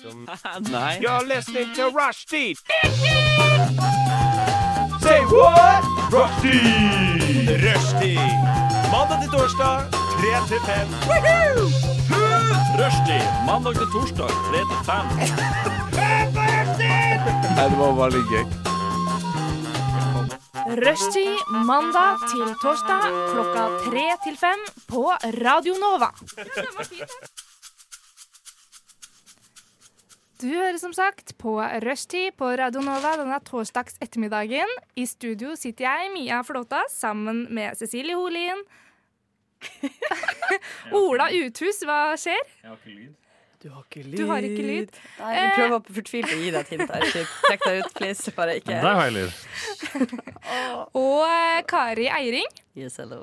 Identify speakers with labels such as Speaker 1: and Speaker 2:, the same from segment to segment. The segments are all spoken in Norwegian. Speaker 1: som Nei.
Speaker 2: You're listening to Rushdie. Say what? Rushdie. Rushdie. Mandag til torsdag, 3 til 5. Rushdie. Mandag til torsdag, 3 til 5.
Speaker 1: Nei, det var bare litt gøy.
Speaker 3: Rushtid mandag til torsdag klokka tre til fem på Radio Nova. Du hører som sagt på Rushtid på Radio Nova denne torsdags ettermiddagen. I studio sitter jeg, Mia Flåta, sammen med Cecilie Holin. Ola Uthus, hva skjer?
Speaker 4: Du har ikke lyd.
Speaker 3: Du har ikke lyd.
Speaker 4: Nei, vi prøver å fortvilt å gi deg et hint her. Typ. Trekk deg ut, please. Bare ikke
Speaker 5: Der har jeg lyd.
Speaker 3: Og eh, Kari Eiring.
Speaker 4: Yes, hello.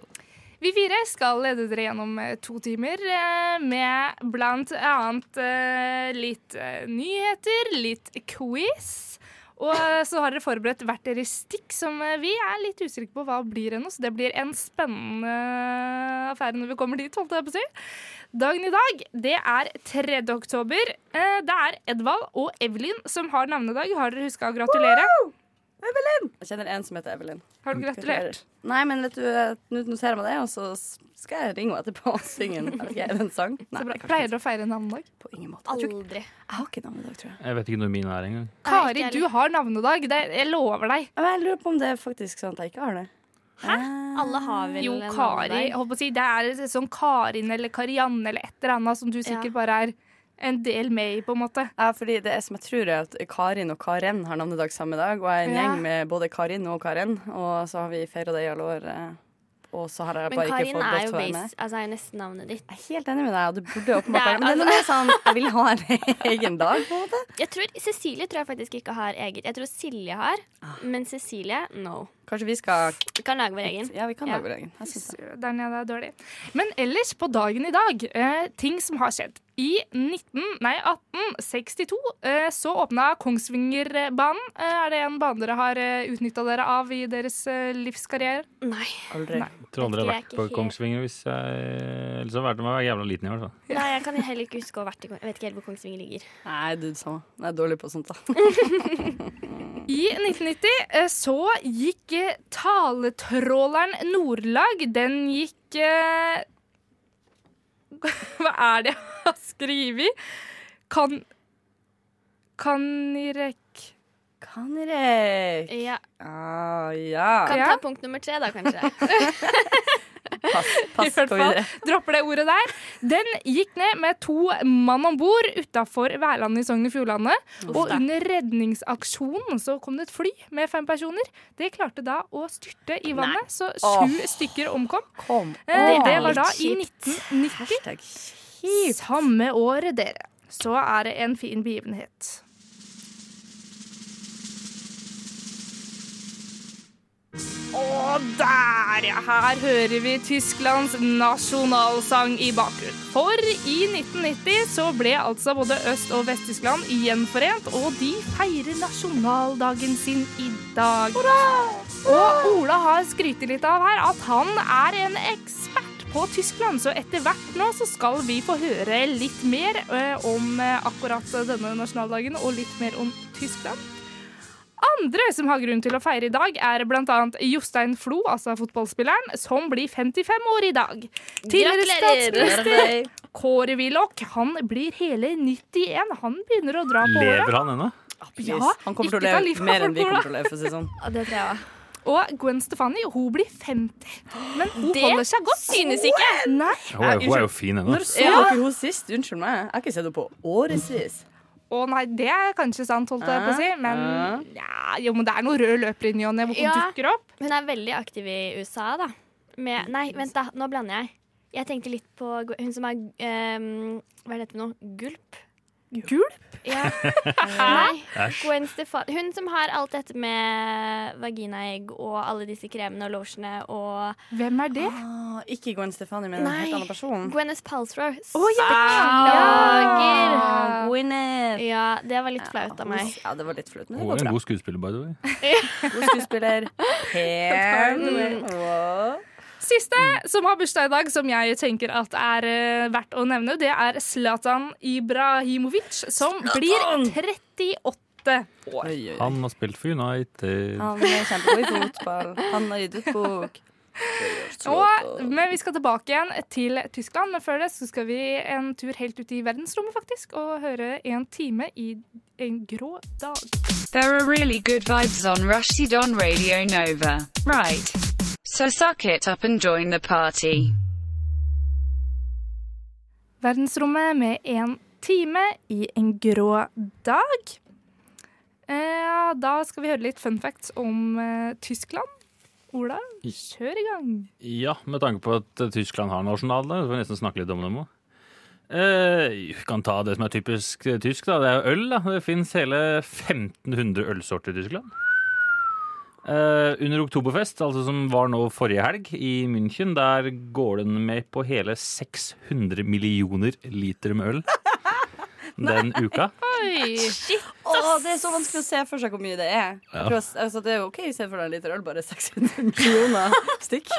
Speaker 3: Vi fire skal lede dere gjennom eh, to timer eh, med blant annet eh, litt eh, nyheter, litt quiz. Og eh, så har dere forberedt hvert deres stikk, som eh, vi er litt usikre på hva blir ennå. Så det blir en spennende eh, affære når vi kommer dit, holdt jeg på å si. Dagen i dag, det er 3. oktober. Eh, Det er Edvald og Evelyn som har navnedag. Har dere huska å gratulere?
Speaker 4: Jeg kjenner en som heter Evelyn.
Speaker 3: Har du gratulert?
Speaker 4: Nei, men vet du, eh, nå noterer jeg meg det, og så s- skal jeg ringe henne etterpå og synge en, jeg vet ikke, er det en sang. Nei,
Speaker 3: Så bra.
Speaker 4: kanskje
Speaker 3: Pleier
Speaker 4: ikke.
Speaker 3: dere å feire navnedag?
Speaker 4: På ingen måte. Jeg, tror ikke,
Speaker 6: Aldri.
Speaker 4: jeg har ikke navn i dag, tror jeg.
Speaker 5: Jeg vet ikke når min er engang.
Speaker 6: Nei,
Speaker 3: Kari,
Speaker 6: ikke
Speaker 3: du har navnedag. Det, jeg lover deg.
Speaker 4: Men jeg lurer på om det er faktisk sånn at jeg ikke har det. Ah. Hæ?
Speaker 6: Alle har vel
Speaker 3: Jo,
Speaker 6: en
Speaker 3: Kari.
Speaker 6: navnedag.
Speaker 3: Jeg holdt på å si, det er sånn Karin eller Karianne eller et eller annet som du sikkert
Speaker 6: Ja.
Speaker 3: bare er en del med i, på en måte.
Speaker 4: Ja, fordi det er som jeg tror er at Karin og Karen har navnedag samme dag, og jeg er en
Speaker 3: Ja.
Speaker 4: gjeng med både Karin og Karen, og så har vi feira det i alle år. eh, Og så har jeg
Speaker 6: Men
Speaker 4: bare ikke
Speaker 6: Karin
Speaker 4: fått
Speaker 6: er
Speaker 4: lov
Speaker 6: jo
Speaker 4: til å være med.
Speaker 6: base, altså er jo nesten navnet ditt.
Speaker 4: Jeg er helt enig med deg, og det burde åpenbart
Speaker 6: Det er-
Speaker 4: være Men det er noe mer sånn, jeg vil ha en egen dag, på en måte.
Speaker 6: Jeg tror, Cecilie tror jeg faktisk ikke har eget. Jeg tror Silje har,
Speaker 4: Ah.
Speaker 6: men Cecilie no.
Speaker 4: Kanskje vi skal
Speaker 6: Vi kan lage vår egen.
Speaker 4: Ja, vi kan
Speaker 6: Ja.
Speaker 4: lage vår egen. Jeg synes det.
Speaker 3: Der nede er dårlig. Men ellers, på dagen i dag, eh, ting som har skjedd. I 19, nei, 1862 eh, så åpna Kongsvingerbanen. Eh, er det en bane dere har eh, utnytta dere av i deres eh, livskarriere?
Speaker 6: Nei.
Speaker 4: Aldri.
Speaker 5: Jeg tror aldri jeg har
Speaker 6: Jeg er
Speaker 5: vært
Speaker 6: ikke
Speaker 5: på
Speaker 6: helt-
Speaker 5: Kongsvinger hvis jeg Ellers har jeg vært med å være jævla liten i hvert fall.
Speaker 6: Nei, jeg kan heller ikke huske å ha vært i Kongsvinger. Jeg vet ikke helt hvor Kongsvinger ligger.
Speaker 4: Nei, du, samme. Jeg er dårlig på sånt, da.
Speaker 3: I 1990 eh, så gikk eh, taletråleren Nordlag Den gikk eh, Hva er det jeg har skrevet? Kan Kanirek
Speaker 4: Kanrek.
Speaker 6: Ja.
Speaker 4: Ah, ja.
Speaker 6: Kan
Speaker 3: Ja.
Speaker 6: ta punkt nummer tre, da, kanskje.
Speaker 4: Pass,
Speaker 3: I
Speaker 4: pass,
Speaker 3: hvert
Speaker 4: gå
Speaker 3: fall.
Speaker 4: videre.
Speaker 3: Dropper det ordet der. Den gikk ned med to mann om bord utafor Værlandet i Sogn og Fjordane. Og under redningsaksjonen så kom det et fly med fem personer. Det klarte da å styrte i vannet, så sju stykker omkom.
Speaker 4: Kom.
Speaker 3: Eh,
Speaker 4: Åh,
Speaker 3: det var da
Speaker 4: litt
Speaker 3: i
Speaker 4: kjipt.
Speaker 3: 1990.
Speaker 4: Hashtag
Speaker 3: Samme året, dere, så er det en fin begivenhet. Og der, ja! Her hører vi Tysklands nasjonalsang i bakgrunnen. For i 1990 så ble altså både Øst- og Vest-Tyskland gjenforent, og de feirer nasjonaldagen sin i dag. Og Ola har skrytt litt av her at han er en ekspert på Tyskland, så etter hvert nå så skal vi få høre litt mer eh, om eh, akkurat denne nasjonaldagen, og litt mer om Tyskland. Andre som har grunn til å feire i dag, er bl.a. Jostein Flo, altså fotballspilleren, som blir 55 år i dag. Tidligere statsminister
Speaker 4: Gratulerer.
Speaker 3: Kåre Willoch, han blir hele 91. Han begynner å dra på åra.
Speaker 5: Lever han ennå?
Speaker 4: Please.
Speaker 3: Ja,
Speaker 4: Han kommer til
Speaker 3: ikke ta
Speaker 4: å
Speaker 3: livet
Speaker 4: leve
Speaker 3: av
Speaker 4: mer enn vi
Speaker 3: folk,
Speaker 4: kommer til å leve, for å si det sånn.
Speaker 6: Og det tror jeg òg.
Speaker 3: Og Gwen Stefani, hun blir 50. Men hun
Speaker 6: Det
Speaker 3: holder seg godt.
Speaker 6: Synes ikke.
Speaker 3: Nei.
Speaker 5: Hun er, hun er jo fin ennå.
Speaker 4: Når så
Speaker 3: Ja.
Speaker 4: dere henne sist? Unnskyld meg. Jeg har ikke sett henne på årevis.
Speaker 3: Å nei, det er kanskje sant, holdt jeg på å si. Men, ja, jo, men det er noen røde løpere i ny og ne hvor hun
Speaker 6: Ja.
Speaker 3: dukker opp.
Speaker 6: Hun er veldig aktiv i USA, da. Med Nei, vent, da. Nå blander jeg. Jeg tenkte litt på gu- hun som er ehm, Hva er dette for noe? Gulp?
Speaker 3: Gul?
Speaker 6: Ja. Nei.
Speaker 5: Æsj.
Speaker 6: Gwen Stefani. Hun som har alt dette med vaginaegg og alle disse kremene og lotione og
Speaker 3: Hvem er det?
Speaker 4: Ah, ikke Gwen Stefani, men en
Speaker 6: Nei.
Speaker 4: helt annen person.
Speaker 6: Gwyneth Paltrow.
Speaker 3: Ja.
Speaker 6: Beklager!
Speaker 4: Gwyneth.
Speaker 6: Ja, det var litt flaut av meg.
Speaker 4: Ah. Ja, det var litt flaut, men det
Speaker 5: Hun
Speaker 4: var
Speaker 5: er en
Speaker 4: bra.
Speaker 5: god skuespiller, by the way.
Speaker 4: God skuespiller. Pen. Og
Speaker 3: Siste som har bursdag i dag, som jeg tenker at er eh, verdt å nevne, det er Zlatan Ibrahimovic, som blir 38 år.
Speaker 4: Oi, oi.
Speaker 5: Han har spilt for United.
Speaker 4: Han er kjempegod i fotball. Han har gitt ut bok.
Speaker 3: Og, men vi skal tilbake igjen til Tyskland, men før det så skal vi en tur helt ut i verdensrommet faktisk, og høre en time i en grå dag.
Speaker 7: There are really good vibes on Rushdie Don Radio Nova. Right. So suck it up and join the party.
Speaker 3: Verdensrommet med en time i en grå dag. Eh, da skal vi høre litt fun facts om eh, Tyskland. Ola, kjør i gang.
Speaker 5: Ja, med tanke på at eh, Tyskland har nasjonaldag, så får vi nesten snakke litt om dem òg. Eh, vi kan ta det som er typisk eh, tysk, da. Det er øl. da. Det fins hele 1500 ølsorter i Tyskland. Eh, under oktoberfest, altså som var nå forrige helg i München, der går den med på hele 600 millioner liter med øl den uka.
Speaker 3: Oi.
Speaker 4: Å, det er så vanskelig å se for seg hvor mye det er. Jeg tror, altså, det er jo OK å se for deg en liter øl, bare 600 millioner stykk.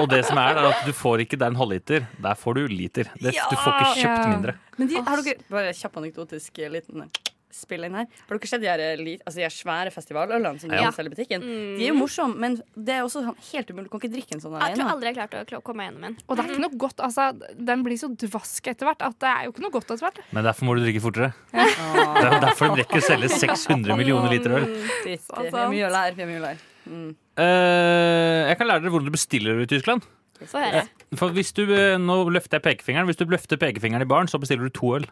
Speaker 5: Og det som er, det er at du får ikke der en halvliter. Der får du liter. Det, du får ikke kjøpt
Speaker 3: Ja.
Speaker 5: mindre.
Speaker 4: Men de, har dere Bare kjapp anekdotisk eh, liten spill inn her. Har dere sett de, her, eh, li- altså, de her svære festivalølene som de
Speaker 5: Ja.
Speaker 4: selger i butikken? De er jo morsomme, men det er også sånn helt umulig. Du kan ikke drikke en sånn
Speaker 6: Mm. Jeg tror
Speaker 4: alene.
Speaker 6: aldri jeg har klart å kl- komme meg gjennom en.
Speaker 3: Og det er ikke noe godt, altså, den blir så dvask etter hvert at det er jo ikke noe godt etter hvert.
Speaker 5: Men derfor må du drikke fortere. Det er jo derfor de rekker å selge 600 millioner liter øl.
Speaker 4: Dritt, Vi har mye å lære. Vi har mye å lære.
Speaker 5: Eh, jeg kan lære dere hvordan du bestiller øl i Tyskland.
Speaker 6: Få høre.
Speaker 5: For hvis du, eh, nå løfter jeg pekefingeren Hvis du løfter pekefingeren i baren, så bestiller du to øl.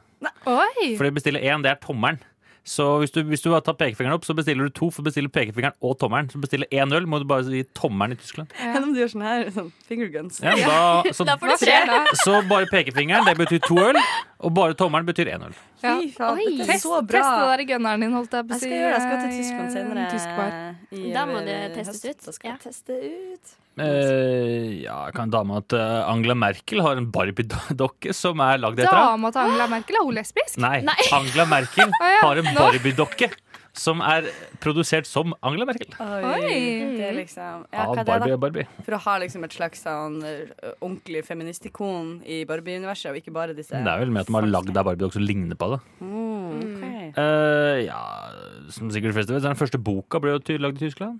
Speaker 3: Oi.
Speaker 5: For det bestiller én, det er tommelen. Så hvis du, hvis du har tatt pekefingeren opp, så bestiller du to. For bestiller pekefingeren og tommelen. Så bestiller én øl, må du bare si tommelen i Tyskland.
Speaker 4: Enn om du gjør sånn her, sånn finger guns.
Speaker 5: Ja, da, så,
Speaker 6: Da får
Speaker 3: Hva
Speaker 6: du tre.
Speaker 3: skjer da?
Speaker 5: så bare pekefingeren, det betyr to øl. Og bare tommelen betyr én øl.
Speaker 3: Ja.
Speaker 4: Fy faen,
Speaker 6: Oi.
Speaker 4: dette er
Speaker 3: Test, test
Speaker 4: så bra.
Speaker 3: det der i gunneren din, holdt jeg på å
Speaker 4: Jeg
Speaker 3: si.
Speaker 4: skal gjøre det. Jeg skal til
Speaker 3: eh,
Speaker 4: Tyskland senere.
Speaker 3: en Tysk bar.
Speaker 4: i-
Speaker 6: Da må det
Speaker 4: i
Speaker 6: testes
Speaker 4: høst.
Speaker 6: ut.
Speaker 4: Da skal jeg
Speaker 6: Ja.
Speaker 4: teste ut.
Speaker 5: Eh, ja, jeg kan dame at eh, Angela Merkel har en Barbie-dokke som er lagd etter ham.
Speaker 3: Dama til Angela Merkel, er hun lesbisk?
Speaker 5: Nei, Angela Merkel
Speaker 3: ja,
Speaker 5: har en
Speaker 3: nå.
Speaker 5: Barbie-dokke som er produsert som Angela Merkel.
Speaker 3: Oi.
Speaker 4: Det er liksom ja,
Speaker 5: Av
Speaker 4: hva er det
Speaker 5: Barbie
Speaker 4: da?
Speaker 5: og Barbie.
Speaker 4: For å ha liksom et slags sånn eh, ordentlig feministikon i Barbie-universet, og ikke bare disse
Speaker 5: Det er vel med at de har lagd ei Barbie-dokke som ligner på det.
Speaker 4: Mm, ok.
Speaker 5: Eh, ja, som sikkert de fleste vet, så er den første boka ble jo ty- lagd i Tyskland.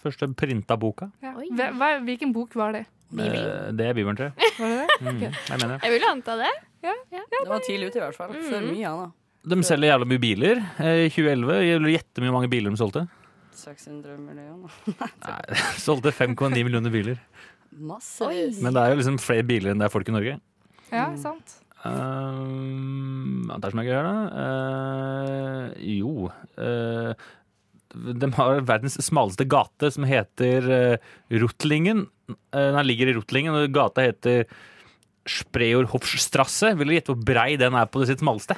Speaker 5: Første printa boka.
Speaker 3: Ja. Hva- hva- Hvilken bok var det?
Speaker 5: Eh, det er Bibelen 3.
Speaker 3: Var det det?
Speaker 5: Mm, jeg mener. det.
Speaker 6: Jeg vil anta det.
Speaker 4: Det var tidlig ute, i hvert fall. Så mye annet.
Speaker 5: De selger jævla mye biler. Eh, I 2011 jeg vil gjette hvor mange biler de solgte.
Speaker 4: 600 millioner.
Speaker 5: solgte 5,9 millioner biler.
Speaker 4: Massevis.
Speaker 5: Men det er jo liksom flere biler enn det er folk i Norge.
Speaker 4: Mm.
Speaker 3: Ja, sant.
Speaker 5: Um, det er som jeg greier det. Eh, jo eh, De har verdens smaleste gate, som heter uh, Rotlingen. Eh, den ligger i Rotlingen, og gata heter Spreorhofstrasse. Vil du gjette hvor brei den er på det sitt smaleste?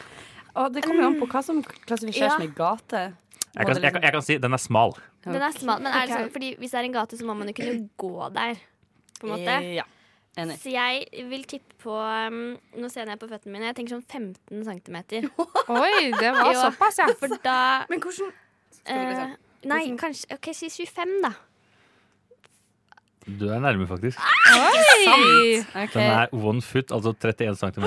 Speaker 4: Og det kommer jo an på hva som klassifiseres
Speaker 6: Ja.
Speaker 4: med gate.
Speaker 5: Jeg kan, jeg, kan- jeg kan si den er smal.
Speaker 6: Den er smal. Men er det
Speaker 3: Ok.
Speaker 6: sånn, fordi hvis det er en gate, så må man jo kunne gå der. På en måte.
Speaker 4: liksom- Ja. Eh, Enig.
Speaker 6: Så jeg vil tippe på um, Nå ser jeg ned på føttene mine. Jeg tenker sånn 15 cm.
Speaker 3: Oi, det var
Speaker 6: Ja.
Speaker 3: såpass, ja.
Speaker 6: For da
Speaker 4: Men hvordan
Speaker 6: eh, Nei, kanskje OK, si 25, da.
Speaker 5: Du er nærme, faktisk.
Speaker 3: Oi.
Speaker 4: OK.
Speaker 5: Den er one foot, altså 31 cm.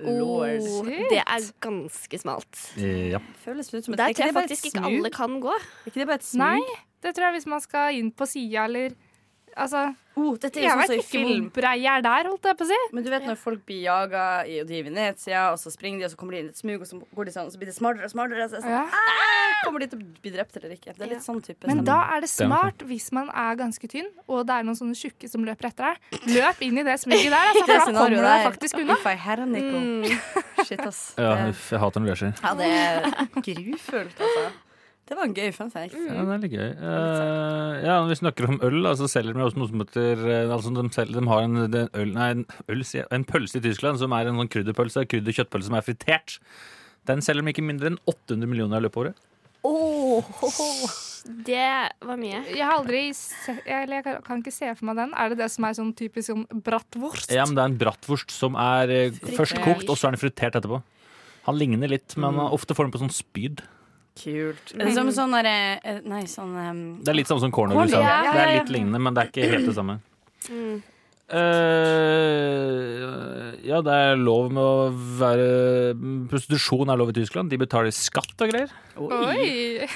Speaker 4: Lord.
Speaker 6: Oh, det er ganske smalt.
Speaker 5: Ja.
Speaker 4: Føles ut som et
Speaker 6: Der
Speaker 4: Er
Speaker 6: tror jeg
Speaker 4: det bare et
Speaker 6: faktisk ikke
Speaker 4: smug?
Speaker 6: alle kan gå.
Speaker 4: Er ikke det bare et smug?
Speaker 3: Nei, det tror jeg hvis man skal inn på sida, eller Altså,
Speaker 4: Oh, dette er
Speaker 3: jeg
Speaker 4: jo sånn
Speaker 3: vet
Speaker 4: som i
Speaker 3: ikke
Speaker 4: film.
Speaker 3: hvor brei jeg er der, holdt jeg på å si.
Speaker 4: Men du vet når folk blir jaga i, og de er i Venezia, og så springer de, og så kommer de inn i et smug, og så, går de sånn, og så blir det smartere og smartere. Og så er det sånn,
Speaker 3: Ja.
Speaker 4: Kommer de til å bli drept eller ikke? Det er litt sånn type
Speaker 3: Men
Speaker 4: stemning.
Speaker 3: da er det smart hvis man er ganske tynn, og det er noen sånne tjukke som løper etter deg. Løp inn i det smuget der, altså, for da
Speaker 4: Scenario
Speaker 3: kommer du deg
Speaker 4: sånn der.
Speaker 3: faktisk unna. Mm.
Speaker 4: If I had a nickel. Shit, ass.
Speaker 5: ja,
Speaker 4: Det,
Speaker 5: uff, jeg hater når det skjer.
Speaker 4: ja, det er grufullt, altså. Det var en gøy fun fact.
Speaker 3: Mm.
Speaker 5: Ja, det er litt gøy. Eh, ja, når vi snakker om øl, da, så selger de også noe som heter eh, altså de, selger, de har en, det er en øl, nei, en, øl, sier jeg, en pølse i Tyskland som er en sånn krydderpølse, krydderkjøttpølse som er fritert. Den selger de ikke mindre enn 800 millioner i løpet av året.
Speaker 6: Det var mye.
Speaker 3: Jeg har aldri se, Eller jeg kan- kan ikke se for meg den. Er det det som er sånn typisk sånn bratwurst?
Speaker 5: Ja, men det er en bratwurst som er eh, først kokt, og så er den fritert etterpå. Han ligner litt, men
Speaker 4: Mm.
Speaker 5: han ofte får den på sånn spyd.
Speaker 4: Kult. Er det som sånn derre Nei, sånn um,
Speaker 5: Det er litt samme som cornhole.
Speaker 4: Cornhole,
Speaker 5: Det
Speaker 4: ja, ja,
Speaker 5: er
Speaker 4: ja.
Speaker 5: litt lignende, men det er ikke helt det samme.
Speaker 6: Mm.
Speaker 5: Eh, ja, det er lov med å være Prostitusjon er lov i Tyskland. De betaler skatt og greier.
Speaker 3: Oi!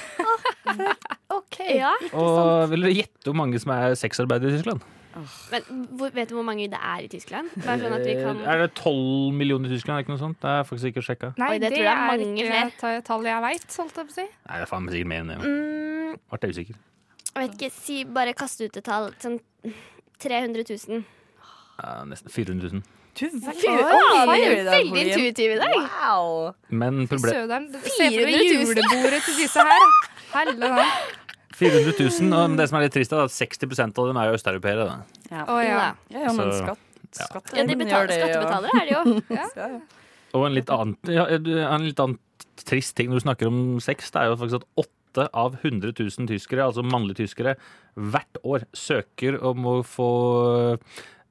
Speaker 4: OK.
Speaker 6: Ja,
Speaker 5: Og vil dere gjette hvor mange som er sexarbeidere i Tyskland?
Speaker 6: men hvor, Vet du hvor mange det er i Tyskland? Bare sånn at vi kan
Speaker 5: Eh, Er det tolv millioner i Tyskland? Er det ikke noe sånt? Det er faktisk ikke sjekka.
Speaker 3: Nei,
Speaker 6: Oi, det tror jeg er mange flere.
Speaker 3: ikke et tall jeg veit, holdt jeg på å si.
Speaker 5: Nei, det er faen meg sikkert mer enn det.
Speaker 6: mm,
Speaker 5: Ble jeg usikker.
Speaker 6: Jeg vet ikke, si, bare kaste ut et tall. Sånn 300 000.
Speaker 5: Ja, nesten 400 000.
Speaker 4: Du var
Speaker 6: veldig intuitiv i dag.
Speaker 4: Wow.
Speaker 5: Men proble-
Speaker 3: Søderen. Se for deg
Speaker 6: 400 000.
Speaker 3: julebordet til disse her. Helle, da.
Speaker 5: 400 000, og det som er litt trist, er at 60 av dem er jo østeuropeere. da.
Speaker 3: Å ja.
Speaker 4: Ja, ja, men
Speaker 5: Så-
Speaker 4: skatt,
Speaker 5: Ja.
Speaker 4: skatt
Speaker 6: Ja, de betaler, skattebetalere er det jo.
Speaker 4: Ja. Ja.
Speaker 5: Og en litt annen, ja, en litt annen trist ting når du snakker om sex, det er jo faktisk at 8 av 100 000 tyskere, altså mannlige tyskere, hvert år søker om å få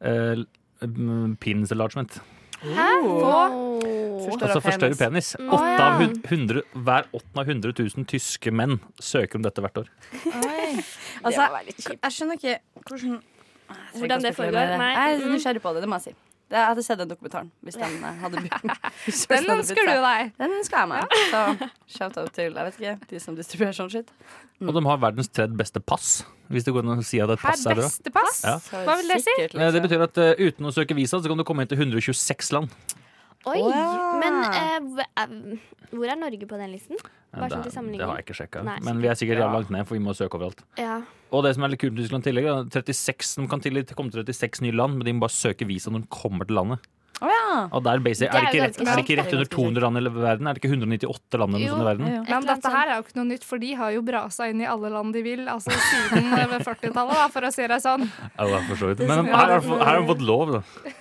Speaker 5: eh, mm, penis enlargement.
Speaker 6: Hæ?
Speaker 3: Få?
Speaker 5: Altså forstørre penis. Åtte av hun- 100, hver åttende av 100 000 tyske menn søker om dette hvert år.
Speaker 4: Altså, jeg, jeg skjønner ikke hvordan Jeg trenger
Speaker 6: Hvordan
Speaker 4: ikke å
Speaker 6: det
Speaker 4: spekulere
Speaker 6: foregår,
Speaker 4: mer.
Speaker 6: nei.
Speaker 4: Jeg er nysgjerrig på det, det må jeg si. Det- Jeg hadde sett den dokumentaren hvis den eh, hadde begynt. hvis
Speaker 3: Den
Speaker 4: hadde
Speaker 3: ønsker
Speaker 4: begynt
Speaker 3: du
Speaker 4: seg.
Speaker 3: deg.
Speaker 4: Den ønsker jeg meg. Så shout-out til jeg vet ikke, de som distribuerer sånn shit.
Speaker 5: Og de har verdens tredje beste pass, hvis det går an å si at et
Speaker 3: Her
Speaker 5: pass er bra.
Speaker 3: beste pass.
Speaker 5: Ja.
Speaker 4: Så
Speaker 3: Hva vil det si?
Speaker 4: sikkert,
Speaker 5: Eh, Det
Speaker 4: liksom.
Speaker 5: betyr at eh, uten å søke visa, så kan du komme inn til 126 land.
Speaker 6: Oi,
Speaker 4: Wow.
Speaker 6: men eh, hvor er- hvor er Norge på den listen?
Speaker 5: Eh,
Speaker 6: Bare sånn
Speaker 5: det,
Speaker 6: til
Speaker 5: er- det har
Speaker 6: sammenligning.
Speaker 5: jeg ikke sjekka.
Speaker 6: Nei,
Speaker 5: Men vi er sikkert jævla langt ned, for vi må søke overalt.
Speaker 6: Ja.
Speaker 5: Og det som er litt kult med Tyskland i tillegg, er at 36, de kan tillegg komme til 36 nye land, men de må bare søke visa når de kommer til landet.
Speaker 4: Å ja.
Speaker 5: Og der basically,
Speaker 6: Det er
Speaker 5: er, det
Speaker 6: jo
Speaker 5: ikke
Speaker 6: ganske
Speaker 5: rett, er det ikke
Speaker 6: sjukt, da.
Speaker 5: rett under 200 land i verden? Er det ikke 198 land eller noe
Speaker 6: Jo.
Speaker 5: sånt i verden?
Speaker 4: Ja, ja.
Speaker 6: Et
Speaker 3: Men
Speaker 6: eller annet
Speaker 3: dette her er jo ikke noe nytt, for de har jo brasa inn i alle land de vil, altså siden eh, 40-tallet, da, for å si det sånn.
Speaker 5: Ja, det er for så vidt. Men her har, her har de fått lov, da.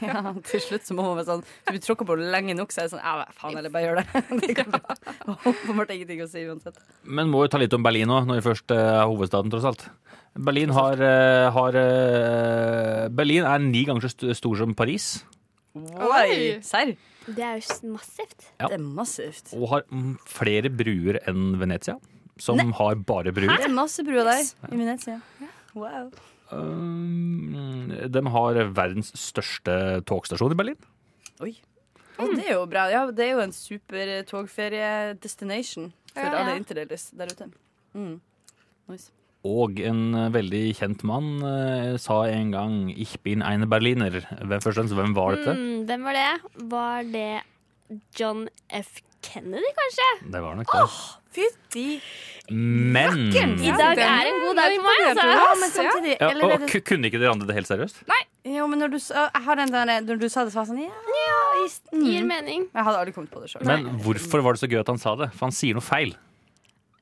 Speaker 4: Ja, til slutt så må man være sånn Du blir tråkka på lenge nok, så er det sånn Ja, faen heller, bare gjør det. det går bra. På en måte ingenting å si uansett.
Speaker 5: Men må jo ta litt om Berlin òg, når vi først eh, er hovedstaden, tross alt. Berlin, har, eh, har, eh, Berlin er ni ganger så st- stor som Paris,
Speaker 4: Oi! Serr?
Speaker 6: sånn- Det er jo s- massivt.
Speaker 5: Ja.
Speaker 4: Det er massivt.
Speaker 5: og har mm, flere bruer enn Venezia, som har bare bruer.
Speaker 4: Det er masse bruer der i Venezia. Wow.
Speaker 5: Um, de har verdens største togstasjon i Berlin.
Speaker 4: Og det er jo bra. Ja, det er jo en super eh, togferie-destination for
Speaker 3: Ja,
Speaker 4: alle
Speaker 6: ja.
Speaker 4: interdeles der ute. Mm. Nice.
Speaker 5: Og en eh, veldig kjent mann eh, sa en gang 'Ich bin eine Berliner'. Hvem, først og fremst, hvem var dette?
Speaker 6: Mm, hvem var det? Var det John F. Kennedy, kanskje?
Speaker 5: Det var nok det.
Speaker 4: Fytti
Speaker 5: Men
Speaker 6: I
Speaker 5: ja,
Speaker 6: dag
Speaker 3: den
Speaker 6: er en god dag for meg,
Speaker 3: imponerte
Speaker 6: altså.
Speaker 3: du.
Speaker 4: Ja, men samtidig eller
Speaker 5: og,
Speaker 4: er det,
Speaker 5: ku- Kunne ikke dere andre det helt seriøst?
Speaker 4: Jo, men når du, sa- jeg har den der, når du sa det, så var jeg sånn Ja, i s-
Speaker 6: Gir
Speaker 4: mm.
Speaker 6: mening.
Speaker 4: Jeg hadde aldri kommet på det sjøl.
Speaker 5: Men hvorfor var det så gøy at han sa det? For han sier noe feil.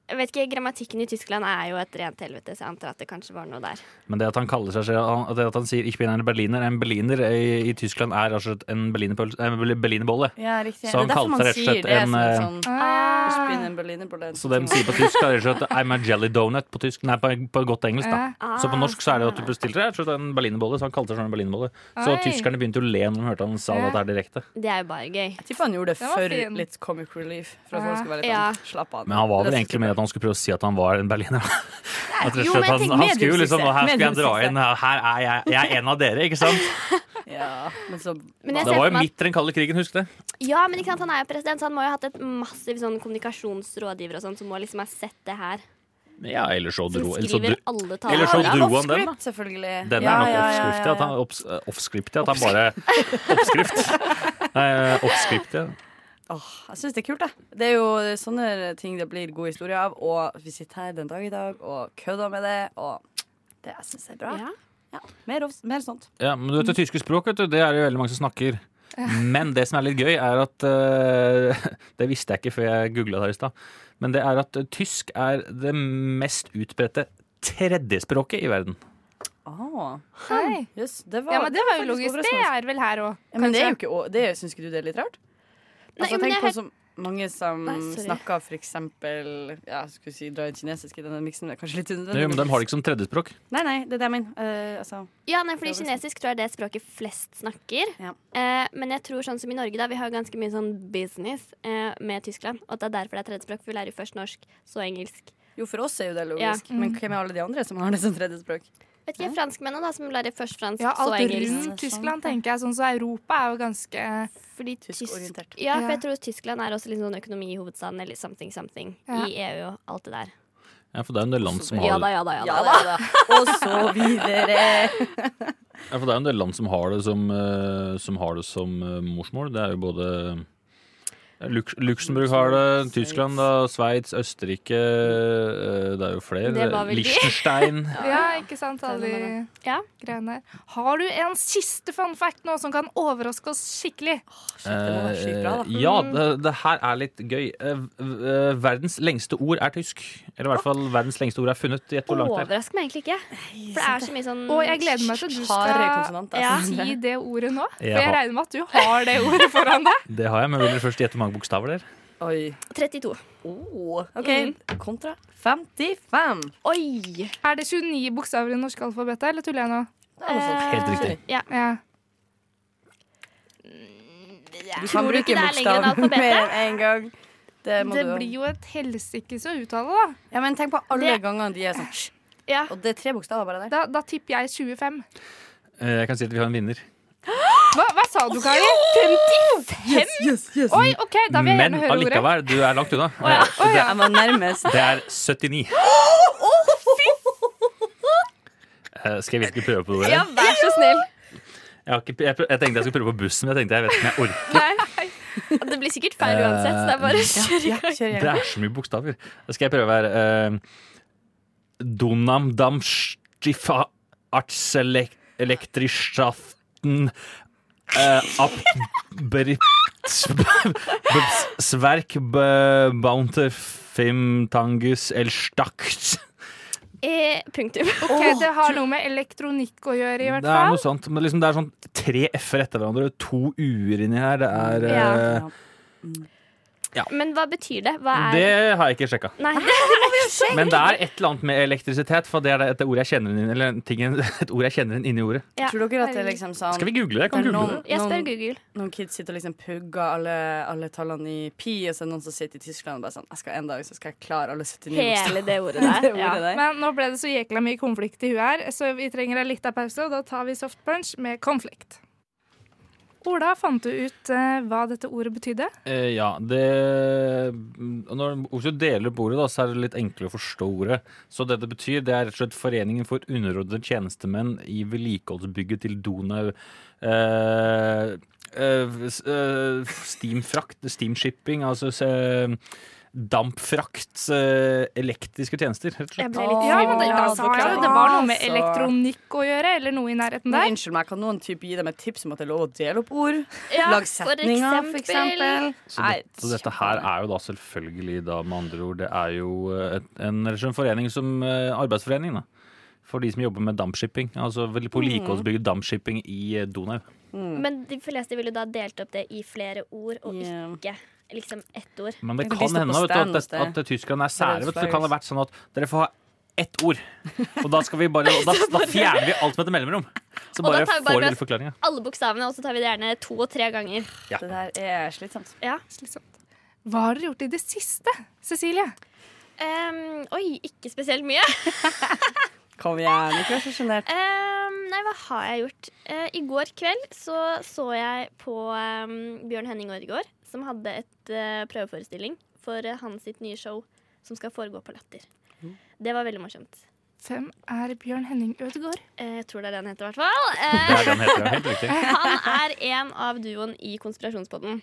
Speaker 6: Jeg vet ikke, Grammatikken i Tyskland er jo et rent helvete, så jeg antar at det kanskje var noe der.
Speaker 5: Men det at han kaller seg selv- det at han sier 'Ich bin eine Berliner' En berliner i, i Tyskland er altså en berlinerpølse- eh, bel- berlinerbolle.
Speaker 4: Ja, riktig.
Speaker 5: Så han
Speaker 4: det er derfor
Speaker 5: kalte
Speaker 4: man
Speaker 5: rett og
Speaker 4: sier
Speaker 5: slett
Speaker 4: det
Speaker 5: en,
Speaker 4: som en
Speaker 5: eh,
Speaker 4: sånn
Speaker 3: Ah.
Speaker 4: «Ich bin ein Berliner Berlin».
Speaker 5: Så de sier på tysk er rett og slett 'I'm a jelly donut' på, tysk, nei, på, på godt engelsk. da
Speaker 6: Ah,
Speaker 5: Så på norsk så er det at du bestiller rett og slett en berlinerbolle. Så han kalte seg selv en berlinerbolle. Så
Speaker 3: Oi.
Speaker 5: tyskerne begynte å le når de hørte han sa det at det er direkte.
Speaker 6: Det er jo bare gøy.
Speaker 4: Jeg tipper han gjorde det
Speaker 3: Den var
Speaker 4: for
Speaker 3: fin. Ah.
Speaker 4: litt comic relief. For at folk skulle være litt
Speaker 6: Ja.
Speaker 4: sånn, slapp av.
Speaker 5: Men han var
Speaker 4: Det
Speaker 5: vel
Speaker 4: er
Speaker 5: egentlig med at han skulle prøve å si at han var en berliner. At rett og
Speaker 6: jo,
Speaker 5: slett
Speaker 6: men jeg
Speaker 5: han,
Speaker 6: tenker
Speaker 5: han skulle jo
Speaker 4: mediumsukse.
Speaker 5: liksom, og her skulle jeg dra
Speaker 4: Mediumsukse.
Speaker 5: inn, her er jeg, jeg er en av dere, ikke sant?
Speaker 4: Ja, men så
Speaker 6: Men jeg
Speaker 5: Det
Speaker 6: ser
Speaker 5: var
Speaker 6: for
Speaker 5: jo
Speaker 6: meg
Speaker 5: midt i den kalde krigen, husk det.
Speaker 6: at, ja, men ikke sant, han er jo president, så han må jo ha hatt et massiv sånn kommunikasjonsrådgiver og sånn, som må liksom ha sett det her.
Speaker 5: Ja, eller så
Speaker 6: Som
Speaker 5: dro, eller så
Speaker 6: skriver
Speaker 5: dro
Speaker 6: alle
Speaker 5: Eller så
Speaker 6: taler.
Speaker 4: Ja,
Speaker 5: dro han
Speaker 4: offscript,
Speaker 5: den, da.
Speaker 4: selvfølgelig.
Speaker 5: Den
Speaker 4: Ja,
Speaker 5: er nok
Speaker 4: ja, ja,
Speaker 5: oppskrift, ja,
Speaker 4: ja,
Speaker 5: at han, opps, eh, oppskrift, ja, at han bare Oppskrift. Nei, eh, oppskrift, ja.
Speaker 4: Åh, jeg syns det er kult, jeg. Det er jo sånne ting det blir god historie av. Og vi sitter her den dag i dag og kødder med det, og det jeg syns er bra.
Speaker 6: Ja.
Speaker 4: Ja, mer, av- mer sånt.
Speaker 5: ja. Men du vet det tyske språk, vet du, det er det jo veldig mange som snakker. Men det som er litt gøy, er at eh, Det visste jeg ikke før jeg googla det her i stad. Men det er at eh, tysk er det mest utbredte tredjespråket i verden.
Speaker 4: Åh,
Speaker 3: Hei.
Speaker 4: jøss, Ah, det var
Speaker 3: Ja, men det var jo
Speaker 4: faktisk
Speaker 3: logisk. Det
Speaker 4: overraskende.
Speaker 3: er vel her òg.
Speaker 4: Ja, men det er jo ikke å- det Syns ikke du det er litt rart?
Speaker 6: Nei,
Speaker 4: Altså,
Speaker 6: men jeg
Speaker 4: tenk på
Speaker 6: hørte-
Speaker 4: så mange som
Speaker 6: Nei, sorry.
Speaker 4: snakker for eksempel Ja, skulle si dra inn kinesisk i denne miksen, det er kanskje litt unødvendig.
Speaker 5: Jo, men de har det ikke som tredjespråk.
Speaker 4: Nei, nei, det er det jeg mener. Eh, altså,
Speaker 6: Ja, nei, fordi
Speaker 4: Det var sånn.
Speaker 6: kinesisk tror jeg er det språket flest snakker.
Speaker 4: Ja.
Speaker 6: Eh, men jeg tror sånn som i Norge, da, vi har jo ganske mye sånn business eh, med Tyskland. Og at det er derfor det er tredjespråk, for vi lærer jo først norsk, så engelsk.
Speaker 4: jo, for oss er jo det logisk, men hvem er alle de andre som har det som tredjespråk?
Speaker 6: Vet ikke, franskmennene da, som lærer først fransk,
Speaker 3: Ja,
Speaker 6: så
Speaker 3: alt
Speaker 6: engelsk.
Speaker 4: Ja,
Speaker 3: rundt Tyskland, tenker jeg. Sånn så Europa er jo ganske
Speaker 6: Fordi tysk,
Speaker 4: Tyskorientert.
Speaker 6: ja, for
Speaker 3: Ja.
Speaker 6: jeg tror Tyskland er også litt sånn økonomi i hovedstaden eller something, something.
Speaker 3: Ja.
Speaker 6: I EU og alt det der.
Speaker 5: Ja, for det er jo en del land som
Speaker 6: Ja
Speaker 5: har
Speaker 6: da,
Speaker 5: det,
Speaker 6: ja da, ja da.
Speaker 4: Ja da, ja da. Og så videre.
Speaker 5: ja, for det, er jo en del land som, har det som, eh, som, har det som eh, morsmål. Det er jo både ja, Lux Luxembourg har det, Tyskland, da, Sveits, Østerrike eh, Det er jo
Speaker 6: Det var
Speaker 5: flere.
Speaker 6: vel de.
Speaker 5: Liechtenstein.
Speaker 3: Ja, ikke sant? Alle de
Speaker 6: Ja.
Speaker 3: greiene der. Har du en siste fun fact nå som kan overraske oss skikkelig?
Speaker 4: Shit, det må være sykt bra, da.
Speaker 5: Eh, ja, det, det her er litt gøy. Eh, v- eh, verdens lengste ord er tysk. Eller i hvert fall verdens lengste ord er funnet. Gjett hvor langt det er.
Speaker 6: Overrasker meg egentlig ikke. For det er så mye sånn
Speaker 3: Og jeg gleder meg til du
Speaker 4: Harde
Speaker 3: skal
Speaker 4: konsonanter.
Speaker 6: Ja.
Speaker 3: si det ordet nå. For
Speaker 5: Jaha.
Speaker 3: jeg regner med at du har det ordet foran deg.
Speaker 5: Det har jeg, men vil dere først gjette hvor mange bokstaver det er?
Speaker 4: Oi.
Speaker 6: 32.
Speaker 4: Oh. OK,
Speaker 6: Mhm.
Speaker 4: kontra 55.
Speaker 6: Oi!
Speaker 3: Er det 29 bokstaver i norske alfabetet, eller tuller jeg nå?
Speaker 6: Eh,
Speaker 5: Helt riktig.
Speaker 3: Ja.
Speaker 4: Du
Speaker 6: Tror
Speaker 4: kan
Speaker 6: du
Speaker 4: bruke
Speaker 6: ikke det er lenger enn
Speaker 4: bokstav
Speaker 6: alfabetet?
Speaker 4: mer enn én gang. Det må
Speaker 3: Det
Speaker 4: du
Speaker 3: blir jo et helsikes å uttale, da.
Speaker 4: Ja, men tenk på alle
Speaker 6: Det-
Speaker 4: gangene de er sånn «Hysj»,
Speaker 6: Ja.
Speaker 4: Og det er tre bokstaver bare der.
Speaker 3: Da, da tipper jeg 25.
Speaker 5: Eh, Jeg kan si at vi har en vinner.
Speaker 3: Hva, hva sa du, Kari? 55? Oi, OK, da vil jeg
Speaker 5: Men
Speaker 3: gjerne høre ordet.
Speaker 5: allikevel, du er langt unna. Eh,
Speaker 3: Å, ja.
Speaker 4: Jeg var nærmest.
Speaker 5: Det er 79. Eh, Skal jeg virkelig prøve på ordet?
Speaker 3: Vær så snill.
Speaker 5: Jeg, har ikke, jeg, prøv- jeg tenkte jeg skulle prøve på bussen, men jeg tenkte jeg vet ikke om jeg orker.
Speaker 6: Det blir sikkert feil uansett, så det er bare å kjøre i gang.
Speaker 4: Kjør
Speaker 5: Det
Speaker 4: igjen.
Speaker 5: er så mye bokstaver. Da skal jeg prøve her. Eh, Donam dam stifa arts elek- elektrischaften eh, Sverk baunter fim tangus el stakt.
Speaker 6: Eh, punktum.
Speaker 3: OK, det har noe med elektronikk å gjøre, i
Speaker 5: Det er
Speaker 3: hvert fall.
Speaker 5: noe sånt. Men liksom, det er sånn tre f-er etter hverandre, to u-er inni her. Det er eh,
Speaker 6: Men hva betyr det? Hva er
Speaker 5: Det har jeg ikke sjekka.
Speaker 6: Nei,
Speaker 5: Men det er et eller annet med elektrisitet, for det er det- et ord jeg kjenner inn, eller en ting, et ord jeg kjenner inn inni ordet.
Speaker 6: Ja.
Speaker 4: Tror dere at det er liksom sånn
Speaker 5: Skal vi google det? Jeg kan
Speaker 4: det er
Speaker 5: google det.
Speaker 4: noen,
Speaker 6: jeg spør
Speaker 4: noen,
Speaker 6: Google.
Speaker 4: noen kids sitter og liksom pugger alle, alle tallene i pi, og så er det noen som sitter i Tyskland og bare sånn Jeg skal en dag så skal jeg klare alle 79 bokstaver.
Speaker 6: Hele det ordet der.
Speaker 4: Det
Speaker 6: Ja.
Speaker 4: ordet der.
Speaker 3: Men nå ble det så jækla mye konflikt i huet her, så vi trenger en liten pause, og da tar vi soft punch med konflikt. Ola, fant du ut eh, hva dette ordet betydde?
Speaker 5: Eh, ja, det og Når Oslo deler på ordet, da, så er det litt enklere å forstå ordet. Så det det betyr, det er rett og slett Foreningen for underordnede tjenestemenn i vedlikeholdsbygget til Donau. Eh, eh, s- eh, steamfrakt, steamshipping, altså eh, dampfrakt, eh, elektriske tjenester, rett og slett.
Speaker 6: Jeg ble litt
Speaker 3: Ja, men det, da
Speaker 4: ja,
Speaker 3: sa jeg jo
Speaker 4: beklager.
Speaker 3: det var noe med
Speaker 4: Altså. Mm.
Speaker 3: elektronikk å gjøre, eller noe i nærheten
Speaker 4: Men
Speaker 3: der.
Speaker 4: Unnskyld meg, kan noen typ gi dem et tips om at det er lov å dele opp ord?
Speaker 6: Ja,
Speaker 4: Lag
Speaker 6: for
Speaker 4: setninger, for eksempel.
Speaker 6: eksempel.
Speaker 5: Så, det, så dette her er jo da selvfølgelig, da, med andre ord, det er jo eh, et, en, rett og slett en forening som eh, arbeidsforening, da. For de som jobber med dampshipping. Altså vel på vedlikeholdsbygget dampshipping i eh, Donau.
Speaker 4: Mm.
Speaker 6: Men de fleste ville da delt opp det i flere ord, og
Speaker 4: Ja.
Speaker 6: ikke liksom ett ord.
Speaker 5: Men det
Speaker 4: Men de står
Speaker 5: kan
Speaker 4: på
Speaker 5: hende vet du,
Speaker 4: stand
Speaker 5: at,
Speaker 4: hos
Speaker 5: det, at eh,
Speaker 4: deg.
Speaker 5: tyskerne er sære. Vet du, så
Speaker 4: flags.
Speaker 5: kan det ha vært sånn at dere får ha ett ord. Og da, skal vi bare, da, da fjerner vi alt som heter mellomrom. Så
Speaker 6: Og da
Speaker 5: bare
Speaker 6: tar vi
Speaker 5: får
Speaker 6: bare
Speaker 5: dere forklaringa.
Speaker 6: Alle bokstavene, og så tar vi det gjerne to og tre ganger.
Speaker 4: Det der er slitsomt.
Speaker 6: Ja.
Speaker 3: Slitsomt. Hva har dere gjort i det siste, Cecilie?
Speaker 6: Ehm, oi, ikke spesielt mye.
Speaker 4: Kom igjen, ikke vær så sjenert.
Speaker 6: Ehm, nei, hva har jeg gjort? Eh, I går kveld så, så jeg på ehm, Bjørn Henning Ødegaard, som hadde et eh, prøveforestilling for eh, hans sitt nye show som skal foregå på Latter.
Speaker 4: Mm.
Speaker 6: Det var veldig morsomt.
Speaker 3: Hvem er Bjørn Henning Ødegaard?
Speaker 6: Eh, jeg tror det er det han heter, i hvert fall.
Speaker 5: Det
Speaker 6: Eh,
Speaker 5: er det han heter. ja. Helt riktig.
Speaker 6: han er en av duoen i Konspirasjonspodden.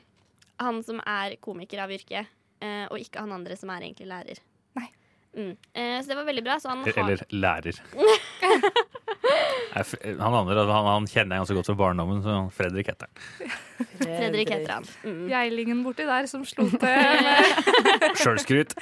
Speaker 6: Han som er komiker av yrke, eh, og ikke han andre som er egentlig lærer.
Speaker 3: Nei.
Speaker 6: Mm. Eh, så det var veldig bra. Så han har,
Speaker 5: Eller lærer. Nei, f- Han andre han, han kjenner jeg ganske godt fra barndommen, så Fredrik heter han.
Speaker 6: Fredrik heter han. Mm.
Speaker 3: Geilingen borti der som slo til med
Speaker 5: Sjølskryt.